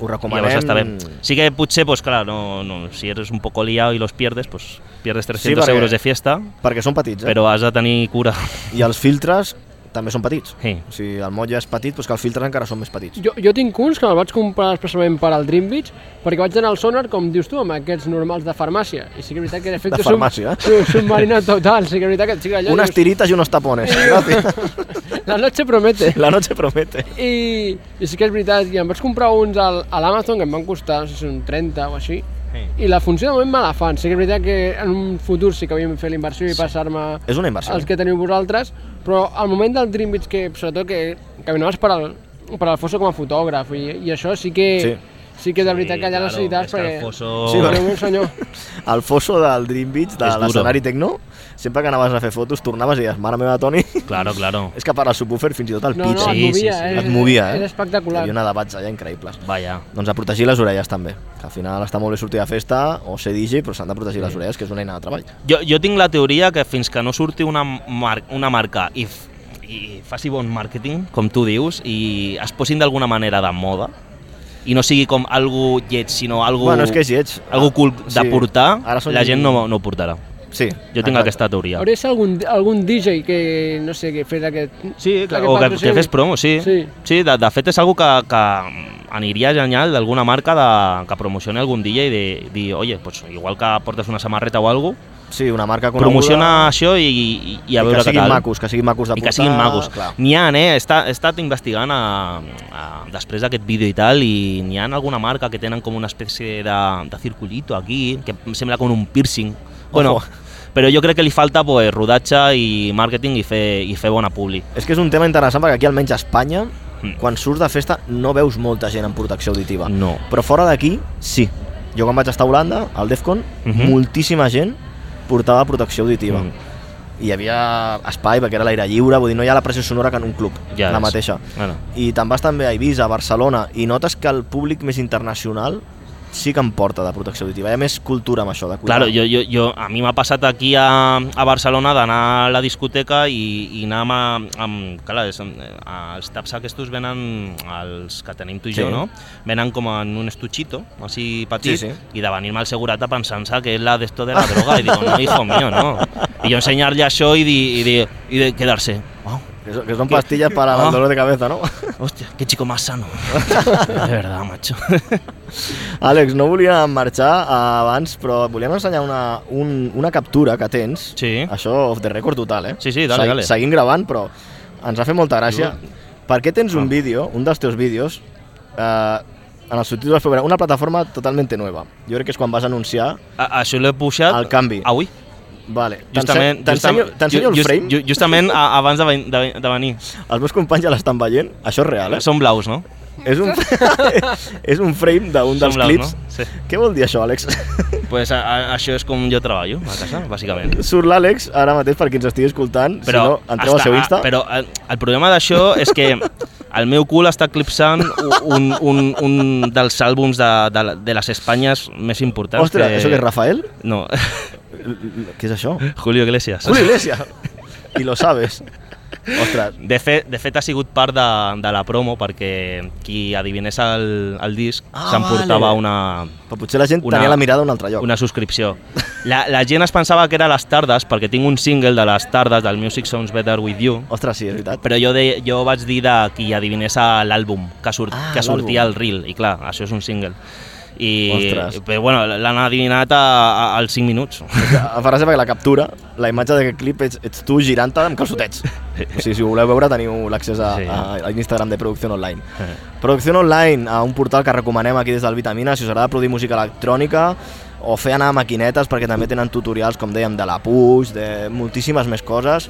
[SPEAKER 2] Ho
[SPEAKER 4] Com
[SPEAKER 2] recomanem.
[SPEAKER 4] Llavors està bé. Sí que potser, doncs, clar, no, no, si eres un poco liado i los pierdes, doncs, pierdes 300 sí,
[SPEAKER 2] perquè-
[SPEAKER 4] euros de fiesta,
[SPEAKER 2] Perquè són petits, eh?
[SPEAKER 4] però has de tenir cura.
[SPEAKER 2] I els filtres, també són petits.
[SPEAKER 4] Sí.
[SPEAKER 2] Si el mot ja és petit, doncs que els filtres encara són més petits.
[SPEAKER 6] Jo, jo tinc uns que me'ls vaig comprar expressament per al Dream Beach perquè vaig anar al sonar, com dius tu, amb aquests normals de farmàcia. I sí que és veritat que era efecte sub-
[SPEAKER 2] farmàcia, eh?
[SPEAKER 6] sub- submarina total. Sí que és veritat que et fica allò... i
[SPEAKER 2] Unes
[SPEAKER 6] dius,
[SPEAKER 2] tiritas i unos tapones. Gracias.
[SPEAKER 6] La noche promete.
[SPEAKER 2] La noche promete.
[SPEAKER 6] I, I sí que és veritat, i em vaig comprar uns al, a l'Amazon que em van costar, no sé si un 30 o així,
[SPEAKER 4] Sí.
[SPEAKER 6] i la funció de moment me la fan. Sí que és veritat que en un futur sí que havíem de fer la inversió i passar-me
[SPEAKER 2] És una inversió.
[SPEAKER 6] els que teniu vosaltres, però al moment del Dream Beach, que sobretot que caminaves per al, per al Fosso com a fotògraf, i, i això sí que...
[SPEAKER 2] Sí.
[SPEAKER 6] Sí. Sí que de veritat Pues que allà
[SPEAKER 4] claro,
[SPEAKER 6] necessites
[SPEAKER 4] és que el
[SPEAKER 6] perquè...
[SPEAKER 4] foso-
[SPEAKER 2] Sí, perquè-
[SPEAKER 6] Déu meu senyor.
[SPEAKER 2] eh? El fosso del Dream Beach, de
[SPEAKER 4] És duro.
[SPEAKER 2] l'escenari Tecno, sempre que anaves a fer fotos, tornaves i deies, mare meva, Toni,
[SPEAKER 4] Claro, claro.
[SPEAKER 2] és que per al subwoofer fins i tot el
[SPEAKER 6] No, no,
[SPEAKER 2] pitch
[SPEAKER 6] et
[SPEAKER 4] Sí,
[SPEAKER 6] movia,
[SPEAKER 4] sí, sí.
[SPEAKER 6] eh?
[SPEAKER 2] et movia, eh?
[SPEAKER 6] Era espectacular.
[SPEAKER 2] Hi havia una debats allà increïbles.
[SPEAKER 4] Vaya.
[SPEAKER 2] Doncs a protegir les orelles també, que al final està molt bé sortir de festa o ser DJ, però s'han de protegir les orelles, que és una eina de treball.
[SPEAKER 4] Jo, jo tinc la teoria que fins que no surti una, mar una marca i, f- i faci bon màrqueting, com tu dius, i es posin d'alguna manera de moda, i no sigui com algo lleig, sinó algo,
[SPEAKER 2] Bueno, és que és lleig.
[SPEAKER 4] algo cool de
[SPEAKER 2] Sí.
[SPEAKER 4] portar,
[SPEAKER 2] Ara són-
[SPEAKER 4] la gent no, no ho portarà.
[SPEAKER 2] Sí.
[SPEAKER 4] Jo tinc aquesta teoria.
[SPEAKER 6] Hauria de ser algun, algun DJ que, no sé, que fes aquest...
[SPEAKER 4] Sí, clar,
[SPEAKER 6] aquest
[SPEAKER 4] o que,
[SPEAKER 6] patrocini.
[SPEAKER 4] que fes promo, sí.
[SPEAKER 6] Sí.
[SPEAKER 4] sí de, de fet, és algo que, que aniria genial d'alguna marca de, que promocioni algun dia i de, dir, oye, pues, igual que portes una samarreta o algo,
[SPEAKER 2] Sí, una marca coneguda.
[SPEAKER 4] promociona això i, i, i a
[SPEAKER 2] I
[SPEAKER 4] veure què
[SPEAKER 2] que siguin
[SPEAKER 4] tal.
[SPEAKER 2] macos, que siguin macos
[SPEAKER 4] I
[SPEAKER 2] de portar.
[SPEAKER 4] que siguin magos.
[SPEAKER 2] Clar.
[SPEAKER 4] N'hi ha, eh? He estat, he estat investigant a, a, després d'aquest vídeo i tal, i n'hi ha alguna marca que tenen com una espècie de, de circulito aquí, que em sembla com un piercing. Bueno, però jo crec que li falta pues, rodatge i màrqueting i fer, i fer bona publi.
[SPEAKER 2] És que és un tema interessant perquè aquí, almenys a Espanya,
[SPEAKER 4] Mm.
[SPEAKER 2] quan surts de festa no veus molta gent amb protecció auditiva.
[SPEAKER 4] No.
[SPEAKER 2] Però fora d'aquí,
[SPEAKER 4] Sí.
[SPEAKER 2] jo quan vaig estar a Holanda, al DEFCON,
[SPEAKER 4] Mhm.
[SPEAKER 2] moltíssima gent portava protecció auditiva.
[SPEAKER 4] Mm.
[SPEAKER 2] I hi havia espai perquè era l'aire lliure, vull dir, no hi ha la pressió sonora que en un club,
[SPEAKER 4] Ja
[SPEAKER 2] la
[SPEAKER 4] és.
[SPEAKER 2] mateixa.
[SPEAKER 4] Bueno.
[SPEAKER 2] I te'n vas també a Eivissa, a Barcelona, i notes que el públic més internacional sí que en porta de protecció auditiva. Hi ha més cultura amb això, de cuidar.
[SPEAKER 4] Claro, jo, jo, jo, a mi m'ha passat aquí a, a Barcelona d'anar a la discoteca i, i anar amb, amb clar, és, amb- eh, els taps aquests venen, els que tenim tu i
[SPEAKER 2] Sí.
[SPEAKER 4] jo, no? Venen com en un estuchito, així petit,
[SPEAKER 2] Sí, sí.
[SPEAKER 4] i de venir-me al segurata pensant-se que és la d'esto de la droga, i dic, no, hijo mío, no. I jo ensenyar-li això i, di, i, di, i de quedar-se. Oh,
[SPEAKER 2] Que, so- que són pastillas para el
[SPEAKER 4] Ah.
[SPEAKER 2] dolor de cabeza, ¿no?
[SPEAKER 4] hòstia, que chico más sano. de verdad, macho.
[SPEAKER 2] Àlex, no volia marxar eh, abans, però et volíem ensenyar una, un, una captura que tens.
[SPEAKER 4] Sí.
[SPEAKER 2] Això off the record total, eh?
[SPEAKER 4] Sí, sí, dale, dale.
[SPEAKER 2] Seguim gravant, però ens ha fet molta gràcia. Per què tens un
[SPEAKER 4] Ah.
[SPEAKER 2] vídeo, un dels teus vídeos, eh, en els subtítols, però una plataforma totalment nova. Jo crec que és quan vas anunciar...
[SPEAKER 4] A, això l'he pujat
[SPEAKER 2] El canvi.
[SPEAKER 4] avui.
[SPEAKER 2] Vale.
[SPEAKER 4] Justament,
[SPEAKER 2] T'ense- T'ensenyo
[SPEAKER 4] justam-
[SPEAKER 2] t'ensenyo el
[SPEAKER 4] ju-
[SPEAKER 2] frame.
[SPEAKER 4] ju- Justament a, abans de, ven- de, de venir.
[SPEAKER 2] Els meus companys ja l'estan veient. Això és real, eh?
[SPEAKER 4] Són blaus, no?
[SPEAKER 2] És un, és un frame d'un dels
[SPEAKER 4] Són blaus,
[SPEAKER 2] clips.
[SPEAKER 4] no? Sí.
[SPEAKER 2] Què vol dir això, Àlex?
[SPEAKER 4] Pues a, a, això és com jo treballo a casa, bàsicament.
[SPEAKER 2] Surt l'Àlex ara mateix per qui ens estigui escoltant. Però, si no, entreu al
[SPEAKER 4] està-
[SPEAKER 2] seu Insta.
[SPEAKER 4] ah, Però el, el problema d'això és que el meu cul està eclipsant un, un, un dels àlbums de, de, la- de les Espanyes més importants.
[SPEAKER 2] Ostres, que... això que és Rafael?
[SPEAKER 4] No,
[SPEAKER 2] Què és això?
[SPEAKER 4] Julio Iglesias.
[SPEAKER 2] Julio Iglesias. I lo sabes. Ostres,
[SPEAKER 4] De fet, de fet, ha sigut part de, de la promo perquè qui adivinés el, el disc
[SPEAKER 2] Ah,
[SPEAKER 4] s'emportava
[SPEAKER 2] vale.
[SPEAKER 4] una,
[SPEAKER 2] però potser la gent una, tenia la mirada a un altre lloc.
[SPEAKER 4] Una subscripció. La, la gent es pensava que era les tardes, perquè tinc un single de les tardes del Music Sounds Better With You,
[SPEAKER 2] Ostres, sí, és veritat.
[SPEAKER 4] però jo, de, jo vaig dir de qui adivinés a l'àlbum que, surt,
[SPEAKER 2] Ah,
[SPEAKER 4] ah, que sortia
[SPEAKER 2] l'àlbum.
[SPEAKER 4] al reel, i clar, això és un single. I,
[SPEAKER 2] Ostres.
[SPEAKER 4] però bueno, l'han adivinat a, a, als 5 minuts.
[SPEAKER 2] Farà seva que la captura, la imatge d'aquest clip ets, ets tu girant-te amb calçotets. O sigui, si ho voleu veure teniu l'accés a,
[SPEAKER 4] Sí.
[SPEAKER 2] a, a l'Instagram de Producció Online.
[SPEAKER 4] Eh.
[SPEAKER 2] Producció Online, a un portal que recomanem aquí des del Vitamina, si us agrada produir música electrònica o fer anar maquinetes perquè també tenen tutorials, com dèiem, de la Puig, de moltíssimes més coses.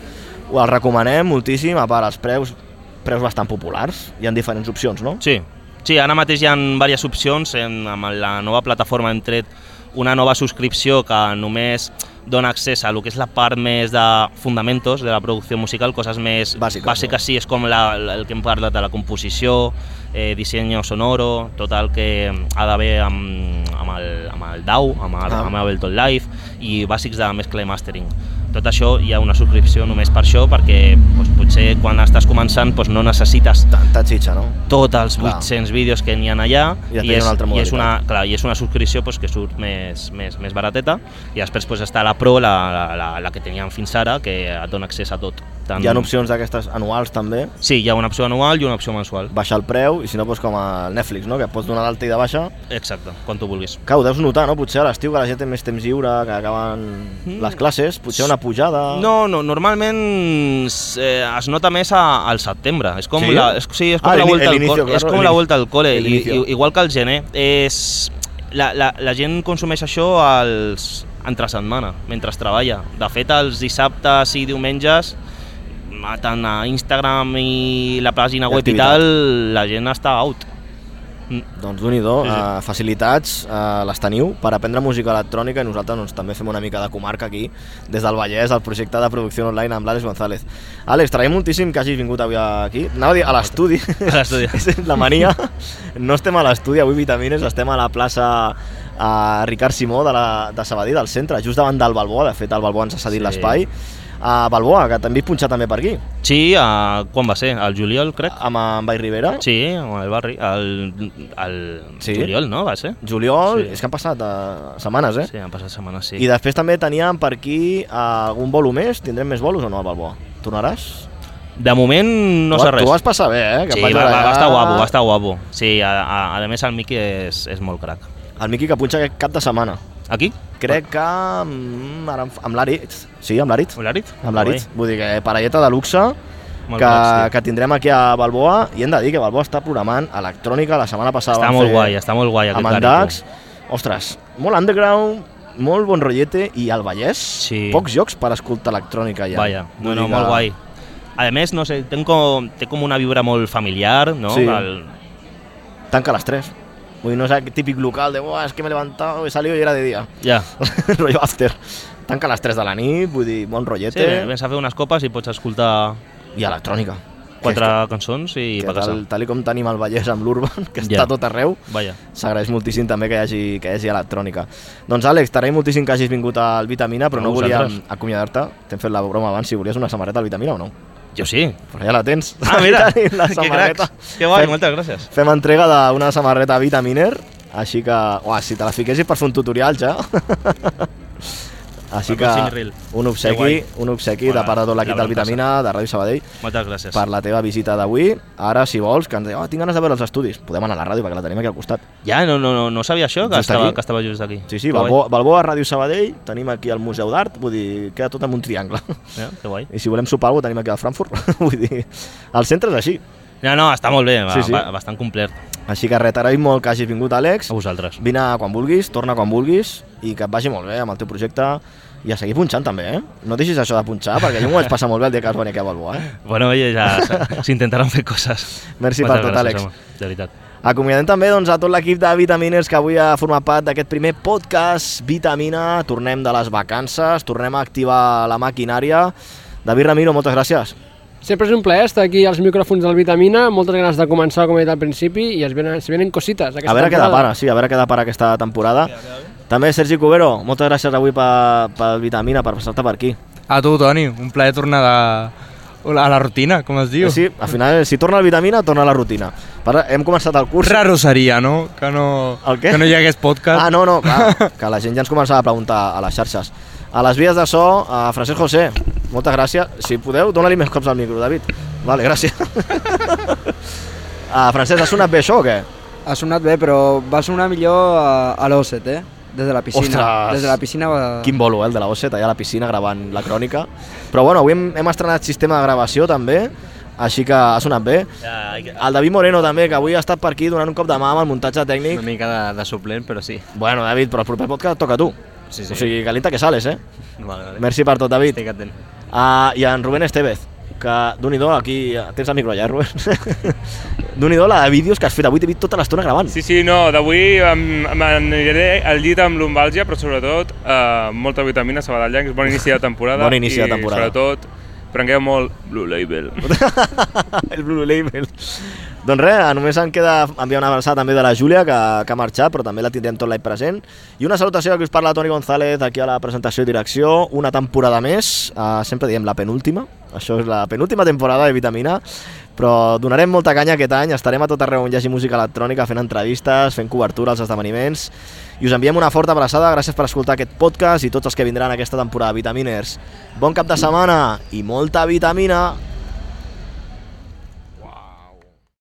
[SPEAKER 2] Ho els recomanem moltíssim, a part els preus, preus bastant populars, hi ha diferents opcions, no?
[SPEAKER 4] Sí, sí ara mateix hi ha diverses opcions. En, amb la nova plataforma hem tret una nova subscripció que només dona accés a lo que és la part més de fundamentos de la producció musical, coses més
[SPEAKER 2] Bàsiques,
[SPEAKER 4] bàsiques
[SPEAKER 2] no?
[SPEAKER 4] sí, és com la, la- el que hem parlat de la composició, eh, disseny sonoro, tot el que ha d'haver amb, amb, el, amb el DAW, amb, el,
[SPEAKER 2] Ah.
[SPEAKER 4] amb Ableton Live i bàsics de mescla i mastering. Tot això hi ha una subscripció només per això, perquè doncs, potser quan estàs començant doncs, no necessites
[SPEAKER 2] Tanta xitxa, no?
[SPEAKER 4] tots els
[SPEAKER 2] Clar.
[SPEAKER 4] 800 vídeos que n'hi ha allà
[SPEAKER 2] I després hi ha una altra
[SPEAKER 4] i, és una,
[SPEAKER 2] modalitat.
[SPEAKER 4] clar, i és una subscripció pues, que surt més, més, més barateta i després pues, està la Pro, la, la, la, la que teníem fins ara, que et dona accés a tot. Tant...
[SPEAKER 2] Hi ha opcions d'aquestes anuals també,
[SPEAKER 4] Sí, hi ha una opció anual i una opció mensual.
[SPEAKER 2] baixar el preu, i si no, doncs com a Netflix, no? que pots donar d'alta i de baixa.
[SPEAKER 4] Exacte, quan tu vulguis.
[SPEAKER 2] Clar, ho deus notar, no? Potser a l'estiu que la gent té més temps lliure, que acaben les classes, potser una pujada...
[SPEAKER 4] Mm. No, no, normalment s- eh, es nota més a, al setembre. És com
[SPEAKER 2] Sí?
[SPEAKER 4] la, és, sí, és com
[SPEAKER 2] Ah,
[SPEAKER 4] la
[SPEAKER 2] el-
[SPEAKER 4] vuelta
[SPEAKER 2] el
[SPEAKER 4] al
[SPEAKER 2] inicio,
[SPEAKER 4] col, és
[SPEAKER 2] claro,
[SPEAKER 4] com
[SPEAKER 2] el
[SPEAKER 4] la
[SPEAKER 2] inicio.
[SPEAKER 4] vuelta al cole,
[SPEAKER 2] El
[SPEAKER 4] i, i,
[SPEAKER 2] inicio.
[SPEAKER 4] igual que al gener. És, la, la, la gent consumeix això als, entre setmana, mentre es treballa. De fet, els dissabtes i diumenges a- tant a Instagram i la pàgina web i
[SPEAKER 2] Activitat.
[SPEAKER 4] tal, la gent està out.
[SPEAKER 2] Doncs d'un i do,
[SPEAKER 4] Sí,
[SPEAKER 2] sí,
[SPEAKER 4] sí.
[SPEAKER 2] Uh, facilitats uh, les teniu per aprendre música electrònica i nosaltres doncs, també fem una mica de comarca aquí, des del Vallès, al projecte de producció online amb l'Àlex González. Àlex, traiem moltíssim que hagis vingut avui aquí. Anava a dir a l'estudi.
[SPEAKER 4] A l'estudi.
[SPEAKER 2] És la mania. No estem a l'estudi, avui Vitamines, estem a la plaça a Ricard Simó de, la, de Sabadell, del centre, just davant del Balboa. De fet, el Balboa ens ha
[SPEAKER 4] Sí.
[SPEAKER 2] cedit sí. l'espai. A Balboa, que també he punxat també per aquí,
[SPEAKER 4] Sí, a, quan va ser? Al juliol, crec?
[SPEAKER 2] amb en Vall Rivera.
[SPEAKER 4] Sí, al barri, al, al
[SPEAKER 2] Ah. Sí.
[SPEAKER 4] juliol, no? Va ser?
[SPEAKER 2] Juliol,
[SPEAKER 4] Sí.
[SPEAKER 2] sí. és que han passat uh, setmanes, eh?
[SPEAKER 4] Sí, han passat setmanes, sí.
[SPEAKER 2] I després també teníem per aquí eh, algun bolo més, tindrem més bolos o no al Balboa? Tornaràs?
[SPEAKER 4] De moment no
[SPEAKER 2] Tu-
[SPEAKER 4] sé res.
[SPEAKER 2] Tu vas passar bé, eh?
[SPEAKER 4] sí,
[SPEAKER 2] et
[SPEAKER 4] va, va,
[SPEAKER 2] agradar.
[SPEAKER 4] va estar guapo, va estar guapo. Sí, a, a, a més el Miqui és, és molt crac.
[SPEAKER 2] El Miqui que punxa aquest cap de setmana.
[SPEAKER 4] Aquí?
[SPEAKER 2] Crec que mm, ara amb, amb l'Aritz, sí, amb l'Aritz,
[SPEAKER 4] Olarit?
[SPEAKER 2] amb l'Aritz, vull dir que eh, parelleta de luxe
[SPEAKER 4] Molt
[SPEAKER 2] que,
[SPEAKER 4] bons, tio.
[SPEAKER 2] que tindrem aquí a Balboa i hem de dir que Balboa està programant electrònica la setmana passada
[SPEAKER 4] Està
[SPEAKER 2] van
[SPEAKER 4] molt
[SPEAKER 2] fer
[SPEAKER 4] guai, està molt guai aquest
[SPEAKER 2] amb en Dax, ostres, molt underground molt bon rotllete i al Vallès
[SPEAKER 4] Sí.
[SPEAKER 2] pocs llocs per escoltar electrònica ja
[SPEAKER 4] Vaja, no,
[SPEAKER 2] Vull
[SPEAKER 4] no,
[SPEAKER 2] dir que-
[SPEAKER 4] molt guai. A més, no sé, té com, té com una vibra molt familiar, no?
[SPEAKER 2] Sí.
[SPEAKER 4] El,
[SPEAKER 2] tanca a las 3. Uy, no es el típico local de, "Buah, es que me he levantado, he salido y era de día.
[SPEAKER 4] ja.
[SPEAKER 2] Rollo after. Tanca a las 3 de la nit, vull dir, bon
[SPEAKER 4] Sí,
[SPEAKER 2] rotllete
[SPEAKER 4] vens a fer unes copes i pots escoltar
[SPEAKER 2] i electrònica.
[SPEAKER 4] quatre
[SPEAKER 2] Que,
[SPEAKER 4] cançons i
[SPEAKER 2] que
[SPEAKER 4] va a casa.
[SPEAKER 2] tal, tal i com tenim el Vallès amb l'Urban, que
[SPEAKER 4] Ja.
[SPEAKER 2] està tot arreu,
[SPEAKER 4] Vaja.
[SPEAKER 2] s'agraeix moltíssim també que hi hagi, que hi hagi electrònica. Doncs Àlex, t'agraïm moltíssim que hagis vingut al Vitamina, però
[SPEAKER 4] A
[SPEAKER 2] no, volíem
[SPEAKER 4] vosaltres.
[SPEAKER 2] acomiadar-te. T'hem fet la broma abans, si volies una samarreta al Vitamina o no.
[SPEAKER 4] Jo sí.
[SPEAKER 2] Però ja la tens.
[SPEAKER 4] Ah, mira,
[SPEAKER 2] Tenim la
[SPEAKER 4] que
[SPEAKER 2] samarreta.
[SPEAKER 4] cracs. Que guai,
[SPEAKER 2] Fem-
[SPEAKER 4] moltes gràcies.
[SPEAKER 2] Fem entrega d'una samarreta Vitaminer, així que... Uah, si te la fiquessis per fer un tutorial ja... així
[SPEAKER 4] Pel
[SPEAKER 2] que
[SPEAKER 4] pròxim reel.
[SPEAKER 2] un
[SPEAKER 4] Que guai.
[SPEAKER 2] obsequi, un obsequi de
[SPEAKER 4] Mola,
[SPEAKER 2] part de tot l'equip
[SPEAKER 4] la
[SPEAKER 2] del Vitamina, de Ràdio Sabadell,
[SPEAKER 4] Moltes gràcies.
[SPEAKER 2] per la teva visita d'avui. Ara, si vols, que ens deia, oh, tinc ganes de veure els estudis. Podem anar a la ràdio, perquè la tenim aquí al costat.
[SPEAKER 4] Ja, no, no, no, no sabia això, que
[SPEAKER 2] Just
[SPEAKER 4] estava,
[SPEAKER 2] aquí?
[SPEAKER 4] que estava just aquí.
[SPEAKER 2] Sí, sí,
[SPEAKER 4] Que guai.
[SPEAKER 2] Balboa, Balboa Ràdio Sabadell, tenim aquí el Museu d'Art, vull dir, queda tot en un triangle.
[SPEAKER 4] Ja, que guai.
[SPEAKER 2] I si volem sopar alguna cosa, tenim aquí al Frankfurt. vull dir, el centre és així.
[SPEAKER 4] No, no, està molt bé, va,
[SPEAKER 2] Sí, sí.
[SPEAKER 4] va, bastant complet
[SPEAKER 2] Així que res, t'agraïm molt que hagis vingut, Àlex.
[SPEAKER 4] a vosaltres.
[SPEAKER 2] Vine quan vulguis, torna quan vulguis i que et vagi molt bé amb el teu projecte i a seguir punxant també, eh? No deixis això de punxar perquè jo m'ho vaig passar molt bé el dia que vas venir aquí a Balboa, eh?
[SPEAKER 4] Bueno, oye, ja s- s'intentaran fer coses.
[SPEAKER 2] Merci
[SPEAKER 4] Moltes
[SPEAKER 2] per tot,
[SPEAKER 4] gràcies,
[SPEAKER 2] Àlex.
[SPEAKER 4] home, De veritat.
[SPEAKER 2] Acomiadem també doncs, a tot l'equip de Vitamines que avui ha format part d'aquest primer podcast Vitamina. Tornem de les vacances, tornem a activar la maquinària. David Ramiro, moltes gràcies.
[SPEAKER 6] Sempre és un plaer estar aquí als micròfons del Vitamina, moltes ganes de començar, com he dit al principi, i es venen, se vienen cosites aquesta
[SPEAKER 2] A veure què
[SPEAKER 6] temporada.
[SPEAKER 2] depara, sí, a veure què depara aquesta temporada. També Sergi Cubero, moltes gràcies avui per, per Vitamina, per passar-te per aquí.
[SPEAKER 5] A tu, Toni, un plaer tornar de... a la rutina, com es diu?
[SPEAKER 2] Eh, Sí, al final, si torna el Vitamina, torna la rutina. Per- Hem començat el curs...
[SPEAKER 5] Raro seria, no? Que no,
[SPEAKER 2] El què?
[SPEAKER 5] que no hi hagués podcast.
[SPEAKER 2] Ah, no, no, clar, que la gent ja ens començava a preguntar a les xarxes. A les vies de so, a Francesc José, moltes gràcies. Si podeu, dona-li més cops al micro, David. Vale, gràcies. a Francesc, ha sonat bé això o què?
[SPEAKER 7] Ha sonat bé, però va sonar millor a, a l'Osset, eh? Des de la piscina.
[SPEAKER 2] Ostres!
[SPEAKER 7] Des de la piscina va...
[SPEAKER 2] Quin bolo, eh, el de la Osseta, allà a la piscina gravant la crònica. Però bueno, avui hem, hem estrenat sistema de gravació també, així que ha sonat bé.
[SPEAKER 4] Ja, hay que-
[SPEAKER 2] El David Moreno també, que avui ha estat per aquí donant un cop de mà amb el muntatge tècnic.
[SPEAKER 8] Una mica de, de suplent, però sí.
[SPEAKER 2] Bueno, David, però el proper podcast toca a tu.
[SPEAKER 8] Sí, sí.
[SPEAKER 2] O sigui, calienta que sales, eh?
[SPEAKER 8] Vale, vale.
[SPEAKER 2] Merci per tot, David.
[SPEAKER 8] Estic atent.
[SPEAKER 2] Ah, I en Rubén Estevez, que d'un i do, aquí tens el micro allà, Rubén. d'un i do, la de vídeos que has fet avui, t'he vist tota l'estona gravant.
[SPEAKER 9] Sí, sí, no, d'avui em- m'aniré al llit amb lumbàlgia, però sobretot eh, molta vitamina, Sabadell Llancs, bon inici de temporada.
[SPEAKER 2] Bon inici de temporada.
[SPEAKER 9] I sobretot, prengueu molt Blue Label.
[SPEAKER 2] el Blue Label. Doncs res, només em queda enviar una abraçada també de la Júlia, que, que ha marxat, però també la tindrem tot l'any present. I una salutació que us parla Toni González aquí a la presentació i direcció, una temporada més, eh, sempre diem la penúltima, això és la penúltima temporada de Vitamina, però donarem molta canya aquest any, estarem a tot arreu on hi hagi música electrònica, fent entrevistes, fent cobertura als esdeveniments, i us enviem una forta abraçada, gràcies per escoltar aquest podcast i tots els que vindran aquesta temporada, Vitaminers. Bon cap de setmana i molta vitamina!